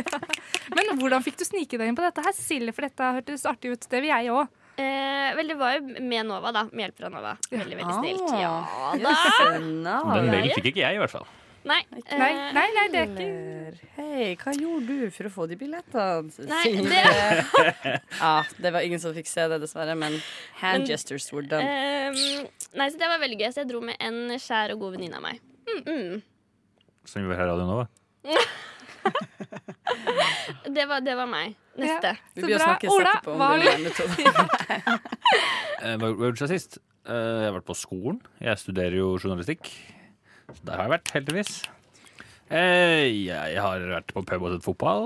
Speaker 3: Men hvordan fikk du snike deg inn på dette her, Cecilie? For dette hørtes artig ut. Det vil jeg òg.
Speaker 6: Eh, vel, det var jo med Nova, da. Med hjelp fra Nova. Veldig, veldig snilt. Ja.
Speaker 5: Den
Speaker 4: da.
Speaker 5: mailen fikk ikke jeg, i hvert fall.
Speaker 6: Nei.
Speaker 3: Nei,
Speaker 6: eh,
Speaker 3: nei, nei, det er ikke
Speaker 4: Hei, hva gjorde du for å få de billettene?
Speaker 6: Nei,
Speaker 4: Signe? ja, det var ingen som fikk se det, dessverre, men hand
Speaker 6: Men-
Speaker 4: gestures were
Speaker 3: eh,
Speaker 4: done.
Speaker 6: ehm, nei, så det var veldig gøy. Så jeg dro med en skjær og god venninne av meg. Mm,
Speaker 5: Som gjør her i Radio Nova.
Speaker 6: Det var, det var meg. Neste.
Speaker 4: Vi
Speaker 3: Så
Speaker 4: blir å
Speaker 3: bra.
Speaker 4: snakke
Speaker 3: Ola,
Speaker 4: etterpå om
Speaker 3: hva har
Speaker 4: din metode.
Speaker 5: Eh, Hva hva gjorde jeg sist? Eh, Jeg har vært på skolen. Jeg studerer jo journalistikk. Så der har jeg vært, heldigvis. Eh, Jeg har vært på pub og sett fotball.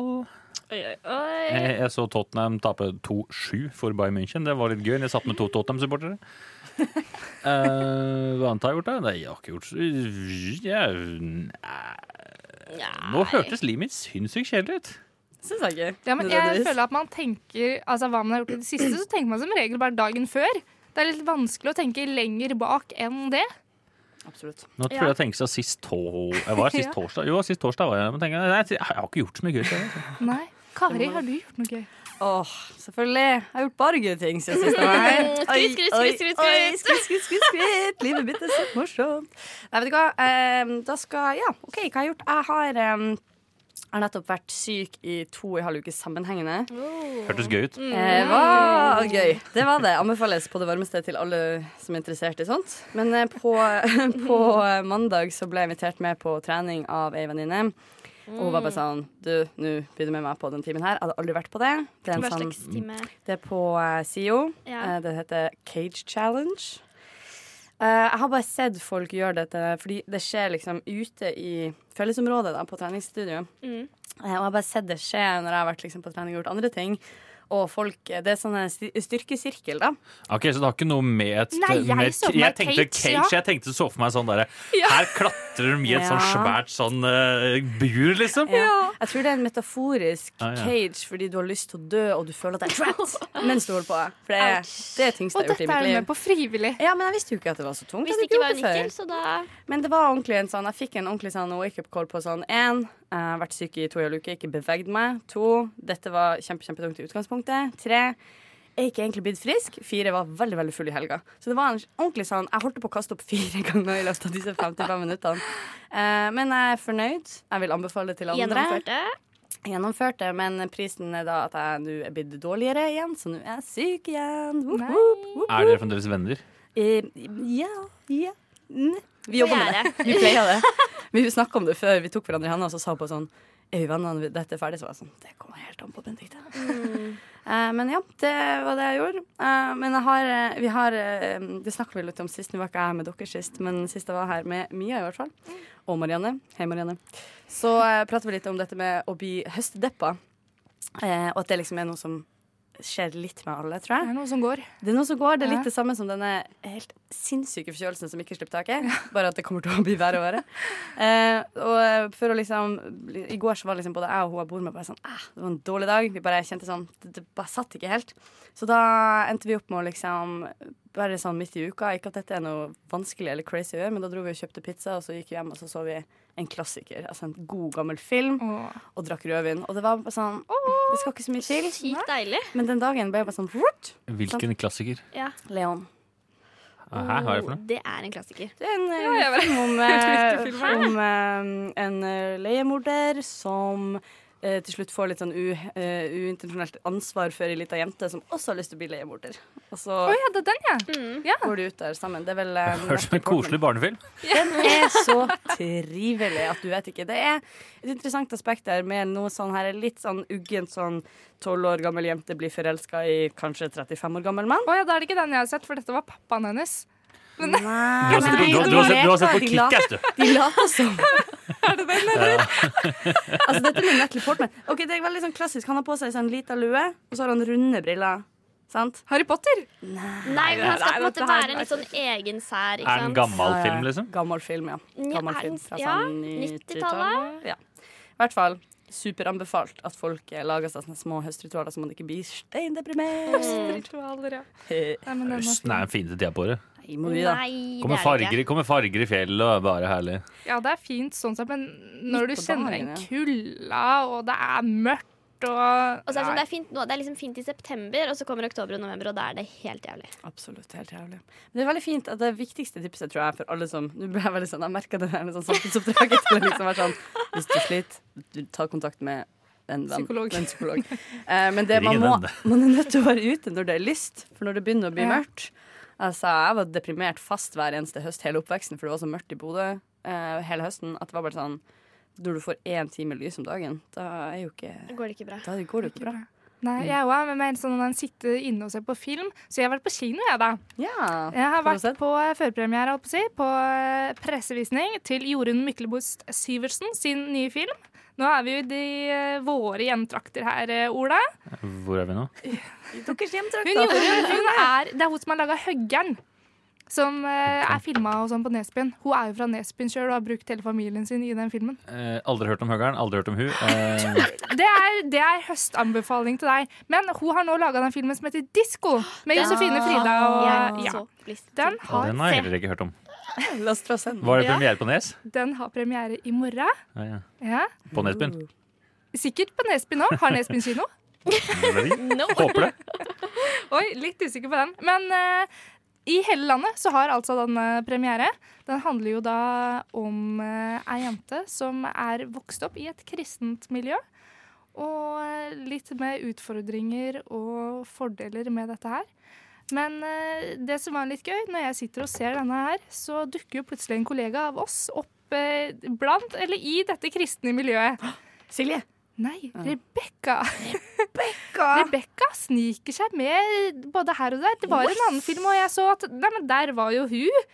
Speaker 6: Oi, oi, oi.
Speaker 5: Eh, Jeg så Tottenham tape 2-7 for Bayern München. Det var litt gøy. Jeg satt med to Tottenham-supportere. Eh, hva annet har jeg gjort, da? Nei, jeg har ikke gjort så jeg, nei. Nå hørtes livet mitt sinnssykt kjedelig ut.
Speaker 4: Syns jeg ikke.
Speaker 3: Ja, men jeg føler at man tenker Altså hva man har gjort i det siste, så tenker man som regel bare dagen før. Det er litt vanskelig å tenke lenger bak enn det.
Speaker 4: Absolutt.
Speaker 5: Nå tror jeg jeg tenker seg sist, to... jeg var sist
Speaker 3: Ja.
Speaker 5: torsdag. Jo, sist torsdag var jeg men tenker, jeg, nei, jeg har ikke gjort så mye gøy. siden.
Speaker 3: Nei. Kari, har du gjort noe gøy?
Speaker 4: Åh, selvfølgelig. Jeg har gjort bare gøye ting siden sist.
Speaker 6: Mm, skryt, skryt, skryt, skryt, skryt.
Speaker 4: skryt, skryt, skryt, skryt. Livet mitt er så morsomt. Nei, vet du hva. Ehm, Da skal Ja, OK, hva har jeg gjort? Jeg har, ehm, har nettopp vært syk i to og en halv uke sammenhengende.
Speaker 6: Mm.
Speaker 4: Eh,
Speaker 5: Hørtes gøy ut.
Speaker 4: Det var gøy. Det var det. Anbefales på det varmeste til alle som er interessert i sånt. Men eh, på, på mandag så ble jeg invitert med på trening av ei venninne. Og hun var
Speaker 6: Mm.
Speaker 4: bare sånn Du, nå blir du med meg på den timen her. Jeg hadde aldri vært på det. Det er,
Speaker 6: Hva
Speaker 4: en sånn,
Speaker 6: slags time?
Speaker 4: det er på eh, SIO.
Speaker 6: Ja.
Speaker 4: Eh, Det heter Cage Challenge. Eh, jeg har bare sett folk gjøre dette, fordi det skjer liksom ute i fellesområdet da, på treningsstudio.
Speaker 6: Mm.
Speaker 4: Eh, Og jeg har bare sett det skje når jeg har vært liksom, på trening og gjort andre ting. Og folk, Det er sånn styrkesirkel, da.
Speaker 5: Ok, Så det har ikke noe med et
Speaker 3: Nei, jeg
Speaker 5: med,
Speaker 3: så for
Speaker 5: jeg
Speaker 3: meg
Speaker 5: tenkte
Speaker 3: cage,
Speaker 5: cage,
Speaker 3: ja.
Speaker 5: jeg tenkte så for meg sånn derre Her klatrer de i et sånn
Speaker 4: Ja.
Speaker 5: svært sånn eh, bur, liksom.
Speaker 4: Jeg tror det er en metaforisk
Speaker 5: Ah, ja.
Speaker 4: cage fordi du har lyst til å dø, og du føler at det er trapped mens du holder på. For det er det er tyngste
Speaker 3: Og
Speaker 4: jeg har gjort
Speaker 3: dette er
Speaker 4: i mitt
Speaker 3: du med
Speaker 4: liv.
Speaker 3: på frivillig.
Speaker 4: Ja, men Jeg visste jo ikke at det var så tungt. Jeg hadde
Speaker 6: Hvis det ikke
Speaker 4: gjort
Speaker 6: var
Speaker 4: det før.
Speaker 6: nikkel, så da
Speaker 4: Men det var ordentlig en sånn Jeg fikk en ordentlig sånn wake-up call på sånn én, jeg har vært syk i to og en halv uke, ikke bevegd meg. To, dette var kjempe, kjempetungt i utgangspunktet. Tre, jeg er ikke egentlig blitt frisk. Fire, jeg var veldig veldig full i helga. Så det var en ordentlig sånn Jeg holdt på å kaste opp fire ganger i løpet av disse 55 minuttene. Eh, men jeg er fornøyd. Jeg vil anbefale det til andre.
Speaker 6: gjennomførte.
Speaker 4: Gjennomførte, men prisen er da at jeg nå er blitt dårligere igjen, så nå er jeg syk igjen. Woop, woop, woop.
Speaker 5: Er dere fremdeles venner?
Speaker 4: Eh, Ja, ja. Mm. Vi jobber med det.
Speaker 6: Gjerde.
Speaker 4: Vi pleier det. Vi snakka om det før. Vi tok hverandre i handa og så sa på sånn Er vi venner når dette er ferdig? Så var jeg sånn Det kommer helt an på Benedicte. Eh, men ja, det var det jeg gjorde. Eh, men jeg har, eh, vi har eh, Det snakka vi litt om sist. Nå var ikke jeg her med dere sist, men sist jeg var her med Mia, i hvert fall. Og Marianne. Hei, Marianne. Så eh, prater vi litt om dette med å bli høstdeppa. Eh, og at det liksom er noe som skjer litt med alle,
Speaker 3: Det
Speaker 4: tror jeg.
Speaker 3: er noe som går.
Speaker 4: Det er noe som går, det er
Speaker 3: Ja.
Speaker 4: litt det samme som denne helt sinnssyke forkjølelsen som ikke slipper taket. Bare at det kommer til å bli verre og verre. Eh, og eh, for å liksom bli- I går så var liksom både jeg og hun jeg bor med, bare sånn ah, Det var en dårlig dag. Vi bare kjente sånn Det, det bare satt ikke helt. Så da endte vi opp med å liksom Bare sånn midt i uka. Ikke at dette er noe vanskelig eller crazy å gjøre, men da dro vi og kjøpte pizza, og så gikk vi hjem, og så så vi en klassiker. Altså en god, gammel film,
Speaker 3: Åh.
Speaker 4: og drakk rødvin. Og det var bare sånn Det skal ikke så mye til.
Speaker 6: Sykt deilig.
Speaker 4: Men den dagen ble jeg bare sånn «Wurt!»
Speaker 3: Sånn.
Speaker 5: Hvilken klassiker?
Speaker 6: Ja.
Speaker 4: Leon.
Speaker 5: Hæ, hva er det for noe?
Speaker 6: Det er en klassiker.
Speaker 4: Det er en eh,
Speaker 3: jeg bare-
Speaker 4: film om, eh, om eh, en eh, leiemorder som eh, til slutt får litt sånn u, eh, uintensjonelt ansvar for ei lita jente som også har lyst til å bli leiemorder. Og så
Speaker 3: Å ja, det er den, ja.
Speaker 4: går de ut der sammen. Det er vel eh,
Speaker 5: Hørt som en koselig barnefilm.
Speaker 4: Den er så trivelig at du vet ikke. Det er et interessant aspekt der med noe sånn her litt sånn uggent sånn tolv år gammel jente blir forelska i kanskje 35 år gammel mann.
Speaker 3: Å ja, da er det ikke den jeg har sett, for dette var pappaen hennes.
Speaker 4: Nei,
Speaker 5: Du har sett på, du, har- du har sett, du har sett på
Speaker 4: de later-
Speaker 5: Kickass, du.
Speaker 4: De later som. altså, dette er min Natalie Portman. Ok, Det er veldig sånn klassisk. Han har på seg sånn lita lue, og så har han runde briller. Sant?
Speaker 3: Harry Potter.
Speaker 6: Nei, men han skal på en
Speaker 4: nei,
Speaker 6: måte
Speaker 4: dette her-
Speaker 6: være en litt sånn egen sær,
Speaker 5: Er
Speaker 6: ikke
Speaker 5: det
Speaker 6: sant?
Speaker 5: en gammel film, liksom?
Speaker 4: Gammel film, ja.
Speaker 6: Ja,
Speaker 4: Gammel
Speaker 6: er
Speaker 4: film
Speaker 6: den-
Speaker 4: fra
Speaker 6: ja,
Speaker 4: sånn
Speaker 6: 90-tallet.
Speaker 4: Ja. I hvert fall superanbefalt at folk eh, lager seg sånne små høstritualer, så man ikke blir steindeprimert.
Speaker 3: Mm. Ritualer, ja.
Speaker 4: Nei,
Speaker 3: Nei, men den
Speaker 5: Østen
Speaker 3: var
Speaker 5: er den fineste tida på året.
Speaker 4: må vi da.
Speaker 6: Nei, det
Speaker 5: Kommer
Speaker 6: er det
Speaker 5: farger, i- kommer farger i fjellet og er bare herlig.
Speaker 3: Ja, det er fint sånn sett, men når du
Speaker 4: Midt på
Speaker 3: kjenner
Speaker 4: dagen,
Speaker 3: en
Speaker 4: ja.
Speaker 3: kulda, og det er mørkt og
Speaker 6: Og så er det, sånn, det, er fint, nå, det er liksom fint i september, og så kommer oktober og november, og da er det helt jævlig.
Speaker 4: Absolutt. Helt jævlig. Men det er veldig fint at det viktigste tipset tror jeg for alle som Nå ble jeg veldig sånn, jeg merker det der med sånn samfunnsoppdraget. til å liksom være sånn, Hvis du sliter, du ta kontakt med en venn.
Speaker 3: Psykolog.
Speaker 4: En psykolog. Eh, men det,
Speaker 5: Ring
Speaker 4: man,
Speaker 5: en
Speaker 4: må,
Speaker 5: venn.
Speaker 4: man er nødt til å være ute når det er lyst, for når det begynner å bli
Speaker 3: Ja.
Speaker 4: mørkt. Altså, jeg var deprimert fast hver eneste høst hele oppveksten, for det var så mørkt i Bodø eh, hele høsten at det var bare sånn Når du får én time lys om dagen, da er jo ikke
Speaker 6: Det går ikke bra.
Speaker 4: Da går det jo ikke bra.
Speaker 3: Nei, jeg er også mer sånn når en sitter inne og ser på film. Så jeg har vært på kino, jeg, da.
Speaker 4: Ja.
Speaker 3: Jeg har
Speaker 4: Har du
Speaker 3: vært
Speaker 4: sett?
Speaker 3: på eh, førpremiere, holdt på å si, på eh, pressevisning til Jorunn Myklebust Syversen sin nye film. Nå er vi jo i de eh, våre hjemtrakter her, eh, Ola.
Speaker 5: Hvor er vi nå?
Speaker 3: Hun gjorde hun er, Det er hun som har laga Høggern. Som eh, er filma og sånn på Nesbyen. Hun er jo fra Nesbyen sjøl og har brukt hele familien sin i den filmen.
Speaker 5: Eh, aldri hørt om Høgern, aldri hørt om hun. Eh,
Speaker 3: Det er, det er høstanbefaling til deg. Men hun har nå laga den filmen som heter Disko. Med Josefine Frida og
Speaker 6: Jeg
Speaker 3: ja.
Speaker 6: så lyst til
Speaker 3: Den
Speaker 5: og
Speaker 3: har,
Speaker 5: den har jeg heller ikke hørt om.
Speaker 4: La oss dra send.
Speaker 5: Var det
Speaker 6: Ja.
Speaker 5: premiere på Nes?
Speaker 3: den har premiere i morgen.
Speaker 5: Ja, ja.
Speaker 3: Ja.
Speaker 5: På Nesbyen.
Speaker 6: Mm.
Speaker 3: Sikkert på Nesbyen òg. Har Nesbyen kino?
Speaker 6: No.
Speaker 5: Håper det.
Speaker 3: Oi, litt usikker på den. Men eh, i hele landet så har altså den eh, premiere. Den handler jo da om eh, ei jente som er vokst opp i et kristent miljø. Og eh, litt med utfordringer og fordeler med dette her. Men eh, det som var litt gøy, når jeg sitter og ser denne her, så dukker jo plutselig en kollega av oss opp eh, blant, eller i dette kristne miljøet.
Speaker 4: Silje.
Speaker 3: Nei, Rebekka. Rebekka sniker seg med både her og der. Det var en annen film, og jeg så at Nei, men der var jo hun.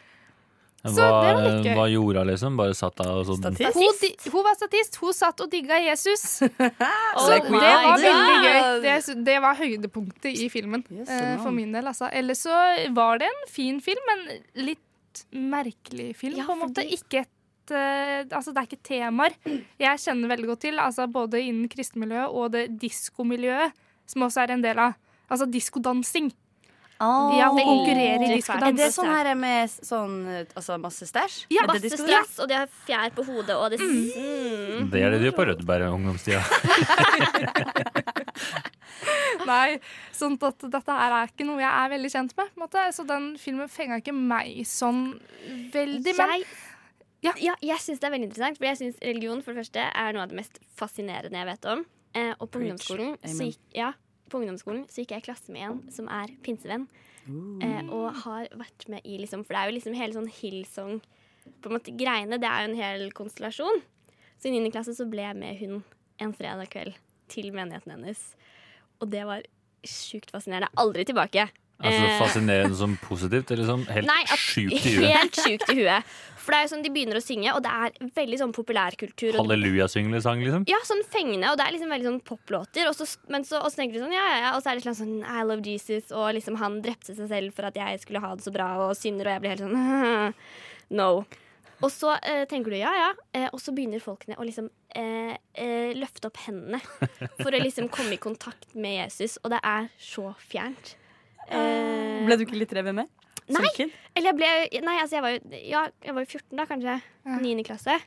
Speaker 3: Så
Speaker 5: Hva,
Speaker 3: det var litt gøy.
Speaker 5: hva gjorde hun, liksom? Bare satt der og sånn
Speaker 4: Statist.
Speaker 3: Hun, di hun var statist. Hun satt og digga Jesus.
Speaker 6: Oh
Speaker 3: Så det var
Speaker 6: my
Speaker 3: veldig
Speaker 6: God.
Speaker 3: gøy. Det, det var høydepunktet i filmen
Speaker 4: Yes,
Speaker 3: eh,
Speaker 4: man.
Speaker 3: for min del, altså. Ellers så var det en fin film, men litt merkelig film,
Speaker 6: Ja,
Speaker 3: på en måte.
Speaker 6: fordi-
Speaker 3: Ikke et eh, altså Det er ikke temaer jeg kjenner veldig godt til, altså både innen kristenmiljøet og det diskomiljøet, som også er en del av. Altså diskodansing. Ja, hun konkurrerer i
Speaker 6: veldig
Speaker 4: Er
Speaker 3: diskodans.
Speaker 4: det sånn her med s- sånn eh, altså masse stæsj?
Speaker 3: Ja,
Speaker 4: Er det
Speaker 6: Masse
Speaker 4: disco-
Speaker 6: stress, og de har fjær på hodet, og det mm.
Speaker 5: Det er det de gjør på Rødberg ungdomstida.
Speaker 3: Nei, sånn at dette her er ikke noe jeg er veldig kjent med. På en måte. Så den filmen fenga ikke meg sånn veldig. Men
Speaker 6: Jeg,
Speaker 3: Ja.
Speaker 6: ja. jeg syns det er veldig interessant, for jeg syns religion for det første er noe av det mest fascinerende jeg vet om. Eh, og på
Speaker 4: Preach.
Speaker 6: ungdomsskolen, så
Speaker 4: Amen.
Speaker 6: gikk, ja, på ungdomsskolen så gikk jeg i klasse med en som er pinsevenn. Eh, og har vært med i liksom For det er jo liksom hele sånn Hillsong på en måte, greiene. Det er jo en hel konstellasjon. Så i 9. klasse så ble jeg med hun en fredag kveld til menigheten hennes. Og det var sjukt fascinerende. Aldri tilbake.
Speaker 5: Altså
Speaker 6: Eh.
Speaker 5: Fascinerende som positivt, eller som helt
Speaker 6: Nei, at,
Speaker 5: sjukt i huet.
Speaker 6: Helt sjukt i huet. For det er jo sånn de begynner å synge, og det er veldig sånn populærkultur. og-
Speaker 5: Hallelujasyngende sang, liksom.
Speaker 6: Ja, sånn fengende, og det er liksom veldig sånn poplåter. Og så, men så, og så tenker du sånn, ja, ja, ja. Og så er det litt sånn I love Jesus, og liksom han drepte seg selv for at jeg skulle ha det så bra, og synder, og jeg blir helt sånn No. Og så eh, tenker du ja, ja, eh, og så begynner folkene å liksom eh, eh, løfte opp hendene for å liksom komme i kontakt med Jesus, og det er så fjernt. Eh,
Speaker 4: Ble du ikke litt revet med?
Speaker 6: Nei.
Speaker 4: Som kid?
Speaker 6: eller jeg ble Nei, altså jeg var jo Ja, jeg var jo 14 da, kanskje. 9. klasse.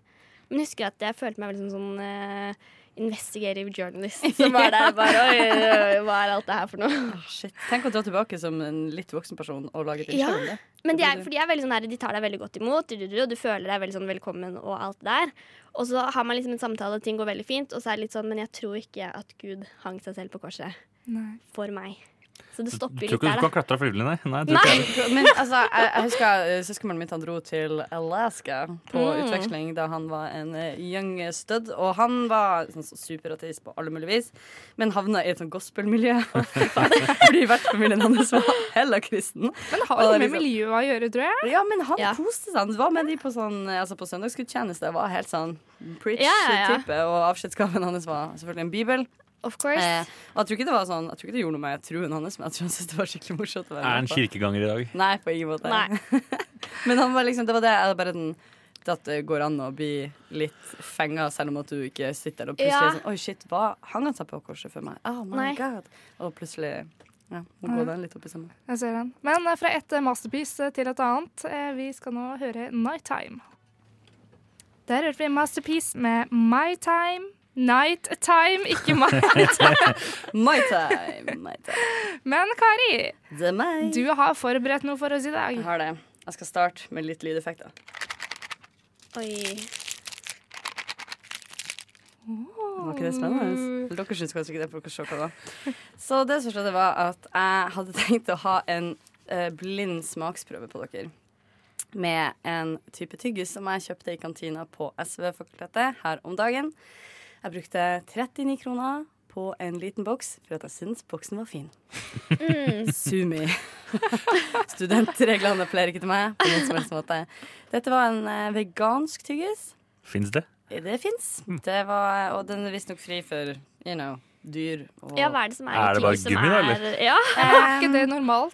Speaker 6: Men jeg husker at jeg følte meg veldig som sånn eh, investigative journalist. Som var der bare Oi, oi, hva er alt det her for noe?
Speaker 4: Shit. Tenk å dra tilbake som en litt voksen person og lage til
Speaker 6: Ja.
Speaker 4: selv om det.
Speaker 6: Men de, er, for de, er veldig sånn der, de tar deg veldig godt imot, du- du- du, og du føler deg veldig sånn velkommen og alt det der. Og så har man liksom en samtale, og ting går veldig fint, og så er det litt sånn Men jeg tror ikke at Gud hang seg selv på korset
Speaker 3: Nei.
Speaker 6: for meg. Så det
Speaker 5: Du tror
Speaker 6: stopper
Speaker 5: ikke
Speaker 6: litt
Speaker 5: du
Speaker 6: der, da.
Speaker 5: kan klatre av fuglen, nei? nei, jeg tror
Speaker 6: Nei!
Speaker 5: ikke det.
Speaker 4: Men altså, jeg, jeg husker eh, søskenbarnet mitt han dro til Alaska på
Speaker 6: Mm.
Speaker 4: utveksling da han var en eh, young stud. Og han var sånn, så superateist på alle mulige vis, men havna i et sånn gospelmiljø. Fordi vertsfamilien hans var heller kristen.
Speaker 3: Men har
Speaker 4: Og
Speaker 3: jo
Speaker 4: det er
Speaker 3: med
Speaker 4: liksom-
Speaker 3: miljøet å gjøre, tror jeg.
Speaker 4: Ja, men han
Speaker 6: Ja.
Speaker 4: koste seg. Han var med de på, sånn, eh, altså på søndagsgudstjeneste. Var helt sånn
Speaker 6: Ja, ja, ja.
Speaker 4: preach-type. Og avskjedsgaven hans var selvfølgelig en bibel.
Speaker 6: Of course.
Speaker 4: Eh, og jeg tror ikke det var sånn Jeg tror ikke det gjorde noe med troen hans, men jeg tror han syntes det var skikkelig morsomt. å være
Speaker 5: Er han
Speaker 4: med på.
Speaker 5: kirkeganger i dag?
Speaker 4: Nei, på ingen måte.
Speaker 6: Nei.
Speaker 4: Men han var liksom, det var det jeg bare den det at det går an å bli litt fenga, selv om at du ikke sitter der og plutselig
Speaker 6: Ja.
Speaker 4: er sånn Oi, shit, hva hang han seg på korset for meg? Oh my
Speaker 6: Nei.
Speaker 4: god. Og plutselig ja, nå går den litt opp i sammen.
Speaker 3: jeg ser den. Men eh, fra et eh, masterpiece eh, til et annet. Eh, Vi skal nå høre Nighttime. Der hørte vi Masterpiece med My Time. Night time, ikke my time.
Speaker 4: My time, my time.
Speaker 3: Men Kari,
Speaker 4: Det er meg.
Speaker 3: du har forberedt noe for oss i dag.
Speaker 4: Jeg har det. Jeg skal starte med litt lydeffekter.
Speaker 6: Oi.
Speaker 4: Var ikke det spennende? Eller Dere syns kanskje ikke det, for dere så hva det var. Mm. Så det som skjedde, var at jeg hadde tenkt å ha en eh, blind smaksprøve på dere. Med en type tyggis som jeg kjøpte i kantina på SV-fakultetet her om dagen. Jeg brukte 39 kroner på en liten boks for at jeg syntes boksen var fin.
Speaker 6: Mm.
Speaker 4: Sumi. Studentreglene appellerer ikke til meg på noen som helst måte. Dette var en eh, vegansk tyggis.
Speaker 5: Fins det?
Speaker 4: Det fins. Det var- Og den er visstnok fri for, you know, dyr og Eh,
Speaker 6: Ja, hva er det som er,
Speaker 5: Er
Speaker 6: i
Speaker 5: det
Speaker 6: ting
Speaker 5: bare
Speaker 6: som
Speaker 5: gummi, da,
Speaker 6: er-
Speaker 5: eller?
Speaker 6: Ja.
Speaker 3: Er ikke det normalt?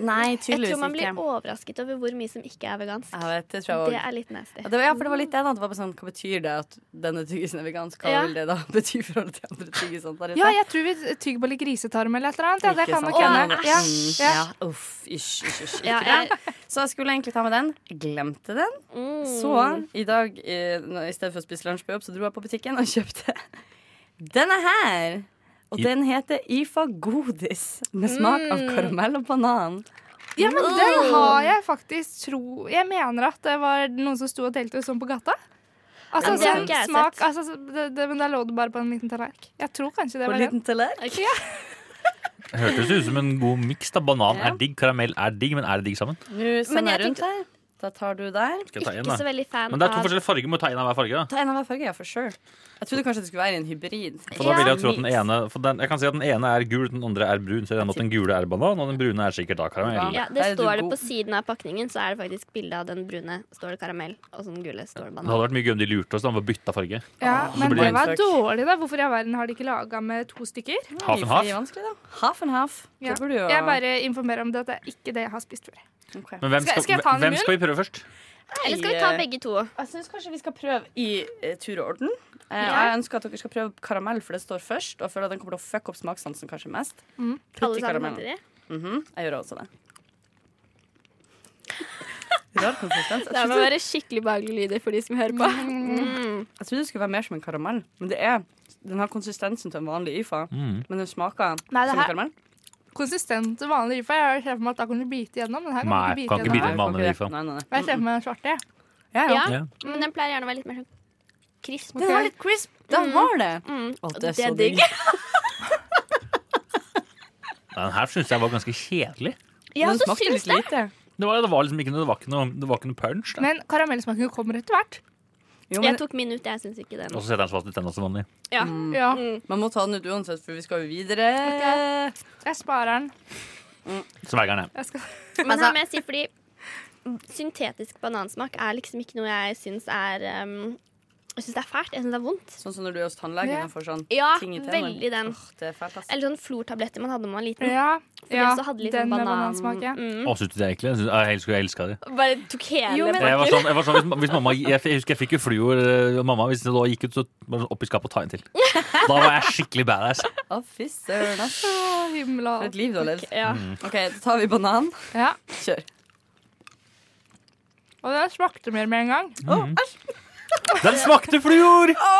Speaker 4: Nei,
Speaker 6: Jeg
Speaker 4: tydeligvis
Speaker 6: tror man blir
Speaker 4: ikke.
Speaker 6: overrasket over hvor mye som ikke er vegansk.
Speaker 4: Jeg vet, det tror jeg også.
Speaker 6: Det er litt nasty.
Speaker 4: Ja, det var, ja, for det var litt det, da. Det var bare sånn, hva betyr det at denne tyggisen er vegansk? Hva
Speaker 6: Ja.
Speaker 4: vil det da bety i forhold til andre tyggisene der ute?
Speaker 3: Ja, jeg tror vi tygger på litt grisetarm eller et eller annet. Ja, det
Speaker 4: Ikke
Speaker 3: kan
Speaker 4: sant?
Speaker 3: nok hende.
Speaker 4: Å,
Speaker 3: Ja,
Speaker 4: æsj.
Speaker 3: ja.
Speaker 4: ja. Uff, ish, ish, ish. Ikke
Speaker 6: Ja, jeg-
Speaker 4: det. Så jeg skulle egentlig ta med den. Jeg Glemte den.
Speaker 6: Mm.
Speaker 4: Så i dag, eh, nå- i stedet for å spise lunsj på jobb, så dro jeg på butikken og kjøpte denne her. Og
Speaker 5: I-
Speaker 4: den heter IFA Godis med smak av karamell og banan.
Speaker 3: ja, men den har jeg faktisk tro Jeg mener at det var noen som sto og delte sånn på gata. Altså,
Speaker 6: Men det har
Speaker 3: sånn
Speaker 6: ikke jeg
Speaker 3: smak
Speaker 6: sett.
Speaker 3: altså, så- det, det, Men der lå det bare på en liten tallerken. Jeg tror kanskje det
Speaker 4: På
Speaker 3: var
Speaker 4: en
Speaker 3: den.
Speaker 4: liten tallerken.
Speaker 5: Hørtes ut som en god miks. da Banan er digg, karamell er digg, men er det digg sammen?
Speaker 4: Nå sender
Speaker 6: jeg
Speaker 4: jeg rundt her. Da tar du der.
Speaker 5: Skal jeg ta en,
Speaker 6: Ikke så
Speaker 5: da?
Speaker 6: veldig fan
Speaker 5: Men det er to
Speaker 6: av
Speaker 5: forskjellige farger. Må ta en av hver farge. da
Speaker 4: Ta en av hver farge, ja, for sure. Jeg trodde kanskje det skulle være en hybrid.
Speaker 5: For da vil jeg
Speaker 4: Ja.
Speaker 5: tro at den ene for den, Jeg kan si at den ene er gul, den andre er brun. Så jeg regner med at den gule er banan, og den brune er sikkert da karamell.
Speaker 6: ja,
Speaker 4: Der
Speaker 6: Det
Speaker 4: er du
Speaker 6: står det
Speaker 4: god.
Speaker 6: på siden av pakningen, så er det faktisk bilde av den brune. Står det karamell, og så den gule står det
Speaker 5: Det hadde
Speaker 6: banan.
Speaker 5: vært mye gøy om de lurte oss da og bytta farge.
Speaker 3: Ja, men det
Speaker 5: blir det
Speaker 3: var
Speaker 4: inntrykk.
Speaker 3: dårlig, da. Hvorfor i all verden har de ikke laga med to stykker?
Speaker 5: Half and half.
Speaker 4: Half and half.
Speaker 3: Ja.
Speaker 4: Det burde jo
Speaker 3: Jeg bare informerer om det at det er ikke det jeg har spist før.
Speaker 4: Ok.
Speaker 5: Men hvem
Speaker 3: Skal-
Speaker 5: skal,
Speaker 3: skal jeg ta den i
Speaker 5: hvem skal vi prøve først?
Speaker 6: Eller skal vi ta begge to?
Speaker 4: Jeg syns kanskje vi skal prøve i eh, tur og orden. Eh,
Speaker 6: Ja.
Speaker 4: og Jeg ønsker at dere skal prøve karamell, for det står først. Og jeg føler at den kommer til å fucke opp smakssansen kanskje mest. Putt i
Speaker 6: Alle sammen
Speaker 4: karamellen.
Speaker 6: samtidig?
Speaker 4: Mhm, Jeg gjør også det. Rar konsistens. Jeg
Speaker 6: Det må
Speaker 4: trodde,
Speaker 6: være skikkelig behagelige lyder for de som hører på.
Speaker 4: jeg trodde det skulle være mer som en karamell, men det er den har konsistensen til en vanlig IFA,
Speaker 5: Mm.
Speaker 4: men den smaker
Speaker 3: Nei, det
Speaker 4: som
Speaker 3: her-
Speaker 4: en karamell.
Speaker 3: Konsistent og vanlig rifa. Jeg ser for meg at da kan du bite gjennom. Den her kan
Speaker 5: Nei,
Speaker 3: du ikke
Speaker 5: kan
Speaker 3: bite
Speaker 5: ikke
Speaker 3: gjennom.
Speaker 5: bite. vanlig
Speaker 4: Nei,
Speaker 5: IFA.
Speaker 4: Nei, nei, nei.
Speaker 3: Jeg ser for meg den svarte. jeg.
Speaker 4: Ja, ja.
Speaker 6: Ja,
Speaker 5: Ja.
Speaker 6: men den pleier gjerne å være litt mer sånn crisp.
Speaker 4: Den var litt crisp. Den var det. Å, det er så digg.
Speaker 5: Den her syns jeg var ganske kjedelig.
Speaker 6: Ja,
Speaker 4: Den
Speaker 6: så
Speaker 4: smakte
Speaker 6: syns
Speaker 4: litt
Speaker 6: det.
Speaker 4: lite.
Speaker 5: Det var, det var liksom ikke noe, det var ikke noe, det var ikke noe punch. da
Speaker 3: Men karamellsmaken kommer etter hvert.
Speaker 4: Jo, men
Speaker 6: Jeg tok min ut, jeg syns ikke den.
Speaker 5: Og så setter han fast i tenna som vanlig.
Speaker 6: Ja.
Speaker 3: Ja,
Speaker 4: man må ta den ut uansett, for vi skal jo videre.
Speaker 3: jeg sparer den.
Speaker 5: Sveiger'n, jeg.
Speaker 3: Jeg skal...
Speaker 6: Men
Speaker 3: Altså-
Speaker 6: her må jeg si, fordi syntetisk banansmak er liksom ikke noe jeg syns er um, Jeg syns det er fælt. Jeg syns det er vondt.
Speaker 4: Sånn som når du er hos tannlegen
Speaker 3: Ja.
Speaker 4: og får sånn
Speaker 6: Ja,
Speaker 4: ting i tennene.
Speaker 6: veldig den.
Speaker 4: Åh, det er fælt, ass.
Speaker 6: Eller sånn flortabletter man hadde da man var liten.
Speaker 3: Ja, ja
Speaker 6: også hadde litt
Speaker 3: den med
Speaker 6: banan-
Speaker 3: banansmak. Ja.
Speaker 5: Å, syns du det egentlig? Jeg synes- Jeg elsker, jeg elsker det.
Speaker 6: Bare tok hele
Speaker 3: Jo, men-
Speaker 6: pakken.
Speaker 5: Jeg, var sånn, jeg, var sånn, hvis, hvis mamma, jeg, jeg husker jeg fikk jo fluor eh, av mamma. Hvis det da gikk ut, så bare sånn opp i skapet og ta en til. Da var jeg skikkelig badass.
Speaker 4: Å, fy søren, ass.
Speaker 3: Å, himmel og
Speaker 4: For et liv du har levd.
Speaker 6: Ja.
Speaker 5: Mm.
Speaker 4: OK, da tar vi banan.
Speaker 3: Ja.
Speaker 4: Kjør.
Speaker 3: Og den smakte mer med en gang.
Speaker 5: Mm. Den smakte fluor!
Speaker 4: Å,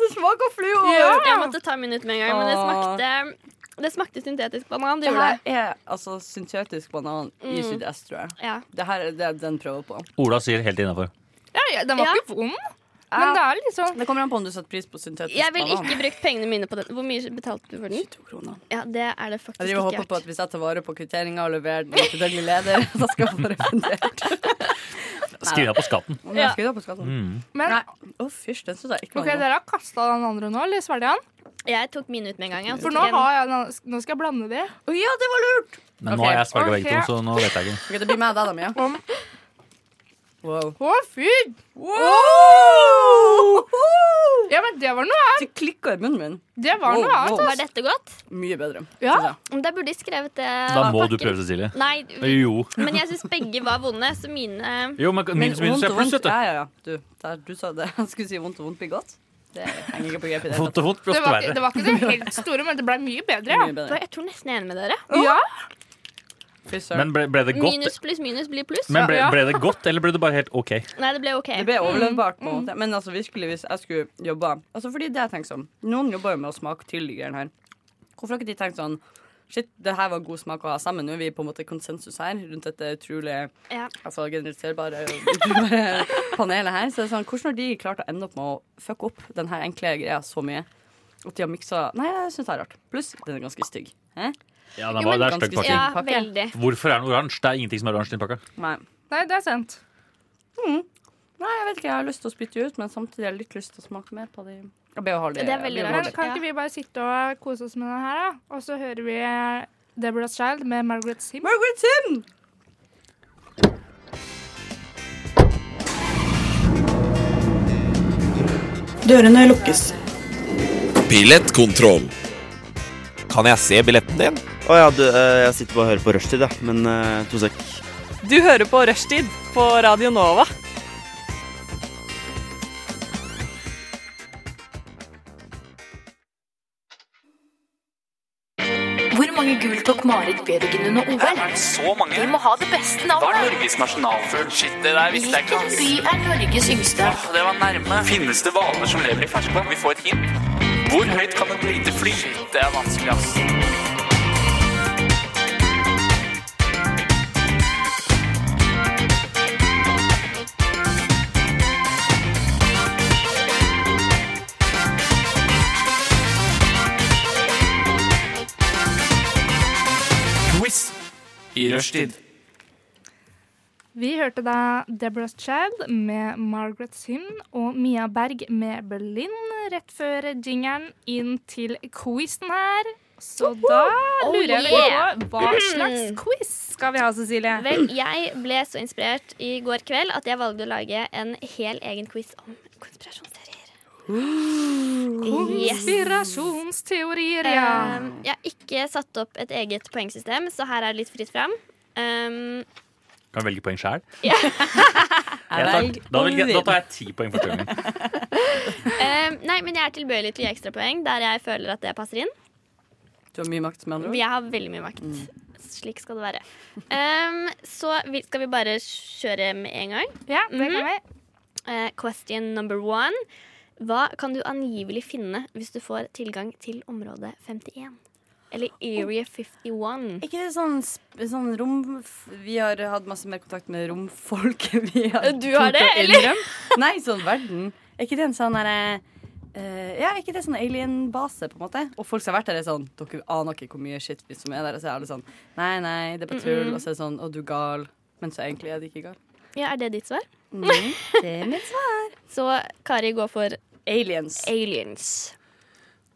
Speaker 4: det smaker fluor!
Speaker 6: Jeg måtte ta min ut med en gang, men det smakte Det smakte syntetisk banan. Det
Speaker 4: Det
Speaker 6: gjorde
Speaker 4: her
Speaker 6: det.
Speaker 4: er altså syntetisk banan i
Speaker 6: Mm.
Speaker 4: sydøst, tror jeg.
Speaker 6: Ja.
Speaker 4: Det her er det den prøver på.
Speaker 5: Ola sier helt innafor.
Speaker 3: Ja, ja, den var
Speaker 6: Ja.
Speaker 3: ikke vond, men det er litt sånn
Speaker 4: Det kommer an på om du setter pris på syntetisk
Speaker 6: Jeg ville
Speaker 4: banan.
Speaker 6: ikke brukt pengene mine på den. Hvor mye betalte du for den?
Speaker 4: 22 kroner.
Speaker 6: Ja, det er det faktisk
Speaker 4: Jeg driver og
Speaker 6: ikke
Speaker 4: håper på at
Speaker 6: verdt.
Speaker 4: hvis jeg tar vare på kvitteringa og leverer den til daglig leder, da skal jeg få refundert.
Speaker 5: Skriv deg på skatten.
Speaker 4: Men jeg skal jo da på skatten.
Speaker 3: Men
Speaker 4: Nei, å fysj, den syns jeg ikke
Speaker 3: OK,
Speaker 4: var noe.
Speaker 3: dere har kasta den andre nå, eller svelget den?
Speaker 6: Jeg tok min ut med en gang. Jeg, og så
Speaker 3: For nå,
Speaker 6: tok jeg den.
Speaker 3: har jeg, den- nå skal jeg blande de.
Speaker 4: Å ja, det var lurt!
Speaker 5: Men nå
Speaker 4: Ok.
Speaker 5: har jeg svelga begge to,
Speaker 3: Ok.
Speaker 5: så nå vet jeg ikke.
Speaker 4: Ok, det blir meg og deg, da, Mia.
Speaker 3: Om.
Speaker 4: Wow.
Speaker 3: Å, fy! Ja, men det var noe annet.
Speaker 4: Det klikka i munnen min.
Speaker 3: Det var
Speaker 4: Wow,
Speaker 3: noe annet.
Speaker 4: wow.
Speaker 6: Var dette godt?
Speaker 4: Mye bedre.
Speaker 3: Ja.
Speaker 4: synes jeg.
Speaker 6: Men Da burde de skrevet det.
Speaker 5: Da
Speaker 6: på
Speaker 5: må du
Speaker 6: pakken.
Speaker 5: prøve, Cecilie.
Speaker 6: Nei,
Speaker 5: Jo.
Speaker 6: men jeg syns begge var vonde, så mine
Speaker 5: Jo, men minus minus er pluss, vet du.
Speaker 4: Ja, ja, ja. Du, der, du sa det. Jeg skulle si vondt og vondt blir godt. Det henger ikke på grep i det. hele tatt.
Speaker 5: Vondt og vondt blir
Speaker 3: Det
Speaker 5: ofte
Speaker 3: var, ikke, det
Speaker 5: verre.
Speaker 3: var ikke det helt store, men det ble mye bedre. Ja.
Speaker 4: Mye
Speaker 6: Vet du hva,
Speaker 4: bedre.
Speaker 6: Jeg tror nesten jeg er enig med dere.
Speaker 3: Ja,
Speaker 4: Fy søren.
Speaker 5: Men ble, ble det godt?
Speaker 6: Minus pluss minus blir pluss.
Speaker 5: Men ble,
Speaker 3: Ja.
Speaker 5: ble det godt, eller ble det bare helt OK?
Speaker 6: Nei, det ble OK.
Speaker 4: det ble overlevbart, på en måte. Men altså, virkelig, hvis jeg skulle jobba altså, Fordi det jeg tenker sånn Noen jobber jo med å smake til de greiene her. Hvorfor har ikke de tenkt sånn Shit, det her var god smak å ha sammen. Nå er vi på en måte konsensus her rundt dette utrolig
Speaker 6: Ja.
Speaker 4: altså, generaliserbare utrolig panelet her. Så det er sånn, hvordan har de klart å ende opp med å fucke opp denne enkle greia så mye? At de har miksa Nei, jeg syns det er rart. Pluss, den er ganske stygg. Hæ?
Speaker 5: Ja, den var, det er
Speaker 4: ganske
Speaker 5: stygg pakking.
Speaker 6: Ja,
Speaker 4: Pakke.
Speaker 6: veldig.
Speaker 5: Hvorfor er den oransje? Det er ingenting som er oransje i den pakka.
Speaker 4: Nei.
Speaker 3: Nei, det er sant.
Speaker 4: Nei, jeg vet ikke, jeg har lyst til å spytte ut, men samtidig har jeg litt lyst til å smake mer på de. Jeg beholder de.
Speaker 6: Det er veldig
Speaker 4: jeg
Speaker 3: Men
Speaker 4: beholder
Speaker 6: rart.
Speaker 3: kan ikke vi bare sitte og kose oss med den her, da? Og så hører vi Deborah's Child med Margaret Sim.
Speaker 4: Margaret Sim!
Speaker 8: Dørene lukkes.
Speaker 9: Billettkontroll.
Speaker 2: Kan jeg se billetten din?
Speaker 10: Å ja, du, eh, jeg sitter bare og hører på rushtid, jeg. Men eh, to sek.
Speaker 8: Du hører på Rushtid på Radio Nova.
Speaker 11: Hvor mange gull tok Marit Bjørgen under OL?
Speaker 9: Så mange?
Speaker 11: Vi må ha det beste
Speaker 9: Hva er
Speaker 11: navnet.
Speaker 9: Norges nasjonalfugl? Shit, det der visste jeg ikke.
Speaker 11: Hvilken by er Norges yngste?
Speaker 9: ass. Det var nærme. Finnes det hvaler som lever i ferskvann? Vi får et hint. Hvor høyt kan et lite fly? Shit, det er vanskelig, ass. Quiz i rushtid.
Speaker 3: Vi hørte da Deborah's Child med Margaret Sim og Mia Berg med Berlin rett før jingeren inn til quizen her. Så da
Speaker 6: Oh,
Speaker 3: lurer
Speaker 6: yeah.
Speaker 3: jeg på hva slags quiz skal vi ha, Cecilie?
Speaker 6: Vel, jeg ble så inspirert i går kveld at jeg valgte å lage en hel egen quiz om konspirasjonsteorier. Yes.
Speaker 3: Konspirasjonsteorier, ja.
Speaker 6: Um, jeg har ikke satt opp et eget poengsystem, så her er det litt fritt fram. Um,
Speaker 5: Kan velge poeng sjæl.
Speaker 4: Jeg velger
Speaker 5: Da, velger jeg- da
Speaker 4: Olvin.
Speaker 5: tar jeg ti poeng for gangen.
Speaker 6: um, nei, men jeg er tilbøyelig til å gi ekstrapoeng der jeg føler at det passer inn.
Speaker 4: Du har mye makt, med andre ord.
Speaker 6: Jeg har veldig mye makt.
Speaker 4: Mm.
Speaker 6: Slik skal det være. Um, så vi, skal vi bare kjøre med en gang.
Speaker 3: Ja, det
Speaker 6: mhm.
Speaker 3: kan vi.
Speaker 6: Eh, question number one. Hva kan du angivelig finne hvis du får tilgang til område 51? Eller Area 51.
Speaker 4: Ikke det sånn, sp- sånn rom... f- Vi har hatt masse mer kontakt med romfolket vi har
Speaker 6: Du har
Speaker 4: tort å
Speaker 6: det, eller?
Speaker 4: innrømme. Nei, sånn verden. Er ikke det en sånn derre eh, ja, er ikke det sånn alien-base, på en måte? Og folk som har vært der, er sånn Dere aner ikke hvor mye shit vi som er der. Og så er alle sånn Nei, nei, det er bare tull. Og så er det sånn Å, du er gal. Men så egentlig er de ikke gal.
Speaker 6: Ja, Er det ditt svar? Mm,
Speaker 4: det er mitt svar.
Speaker 6: Så Kari går for
Speaker 4: Aliens.
Speaker 6: aliens.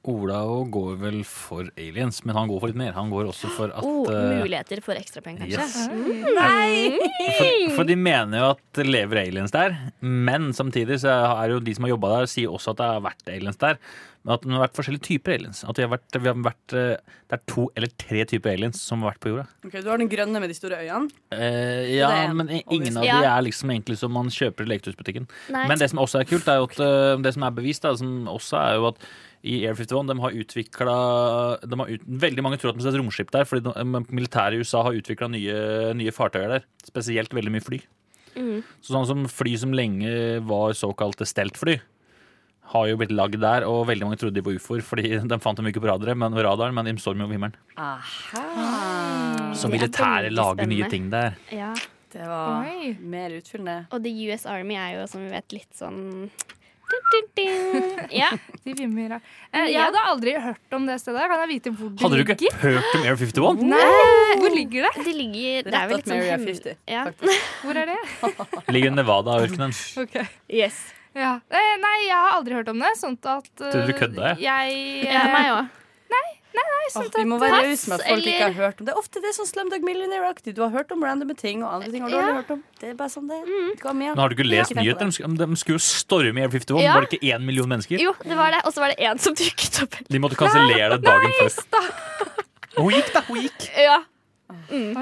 Speaker 5: Ola og går vel for aliens, men han går for litt mer. Han går også for at
Speaker 6: Oh,
Speaker 5: eh,
Speaker 6: muligheter for ekstrapenger, kanskje.
Speaker 5: yes.
Speaker 4: Mm.
Speaker 5: For, for de mener jo at det lever aliens der, men samtidig så er det jo de som har jobba der, sier også at det har vært aliens der. Men at det har vært forskjellige typer aliens. At det har vært, vi har vært, eh, det er to eller tre typer aliens som har vært på jorda.
Speaker 4: Ok, Du har den grønne med de store øynene.
Speaker 5: Eh, ja,
Speaker 4: Det er en,
Speaker 5: men i- ingen av
Speaker 6: obviously.
Speaker 5: de
Speaker 6: Ja.
Speaker 5: er liksom egentlig som man kjøper i leketøysbutikken.
Speaker 6: Nei.
Speaker 5: Men det som også er kult, er jo at eh, det som er bevist, da, som også er jo at i Air 51 de har utvikla ut, Veldig mange tror at de ser et romskip der, fordi de- men militæret i USA har utvikla nye, nye fartøyer der. Spesielt veldig mye fly.
Speaker 6: mm.
Speaker 5: Så sånn som fly som lenge var såkalte steltfly, har jo blitt lagd der, og veldig mange trodde de var ufoer, fordi de fant dem ikke på radaren, men, radaren, men de så dem jo på himmelen. Så
Speaker 6: Det er
Speaker 5: militæret
Speaker 6: veldig
Speaker 5: lager nye
Speaker 6: spennende.
Speaker 5: ting der.
Speaker 6: Ja.
Speaker 4: Det var
Speaker 3: Oi.
Speaker 4: mer utfyllende.
Speaker 6: Og The US Army er jo, som vi vet, litt sånn Dun, dun, dun. Ja.
Speaker 3: De vimmer av. Eh, jeg hadde aldri hørt om det stedet. Kan jeg vite hvor det
Speaker 5: Hadde du ikke
Speaker 3: ligger?
Speaker 5: hørt om Air 51?
Speaker 3: Nei, Hvor ligger det?
Speaker 6: Det ligger Det er
Speaker 4: Rett
Speaker 6: vel
Speaker 4: at
Speaker 6: litt sånn
Speaker 4: Mary er
Speaker 6: hemmel-
Speaker 4: 50.
Speaker 6: Ja.
Speaker 3: Hvor er det?
Speaker 5: Ligger i Nevada-ørkenen.
Speaker 6: Yes.
Speaker 3: Ja. Eh, nei, jeg har aldri hørt om det. Sånn at eh,
Speaker 5: Tror du du kødda,
Speaker 3: Jeg
Speaker 6: Ja,
Speaker 3: eh,
Speaker 6: meg òg.
Speaker 4: Åh, vi må være rause
Speaker 6: Pass,
Speaker 4: med Sånn at folk ikke har
Speaker 6: eller-
Speaker 4: hørt om det. Ofte det er sånn Slumdog Millionaire-aktig. Du har hørt om randome ting, og andre ting har du aldri hørt om. Det er bare sånn det er. Kom igjen.
Speaker 5: Men har du ikke lest
Speaker 4: Ikke tenk på
Speaker 5: nyheter? De sk- De skulle jo storme i Air 51.
Speaker 6: Ja.
Speaker 5: Var det ikke én million mennesker?
Speaker 6: Jo, det var det. Og så var det én som dukket opp.
Speaker 5: De måtte kansellere det dagen før. Hun gikk, da. Hun gikk.
Speaker 6: Ja.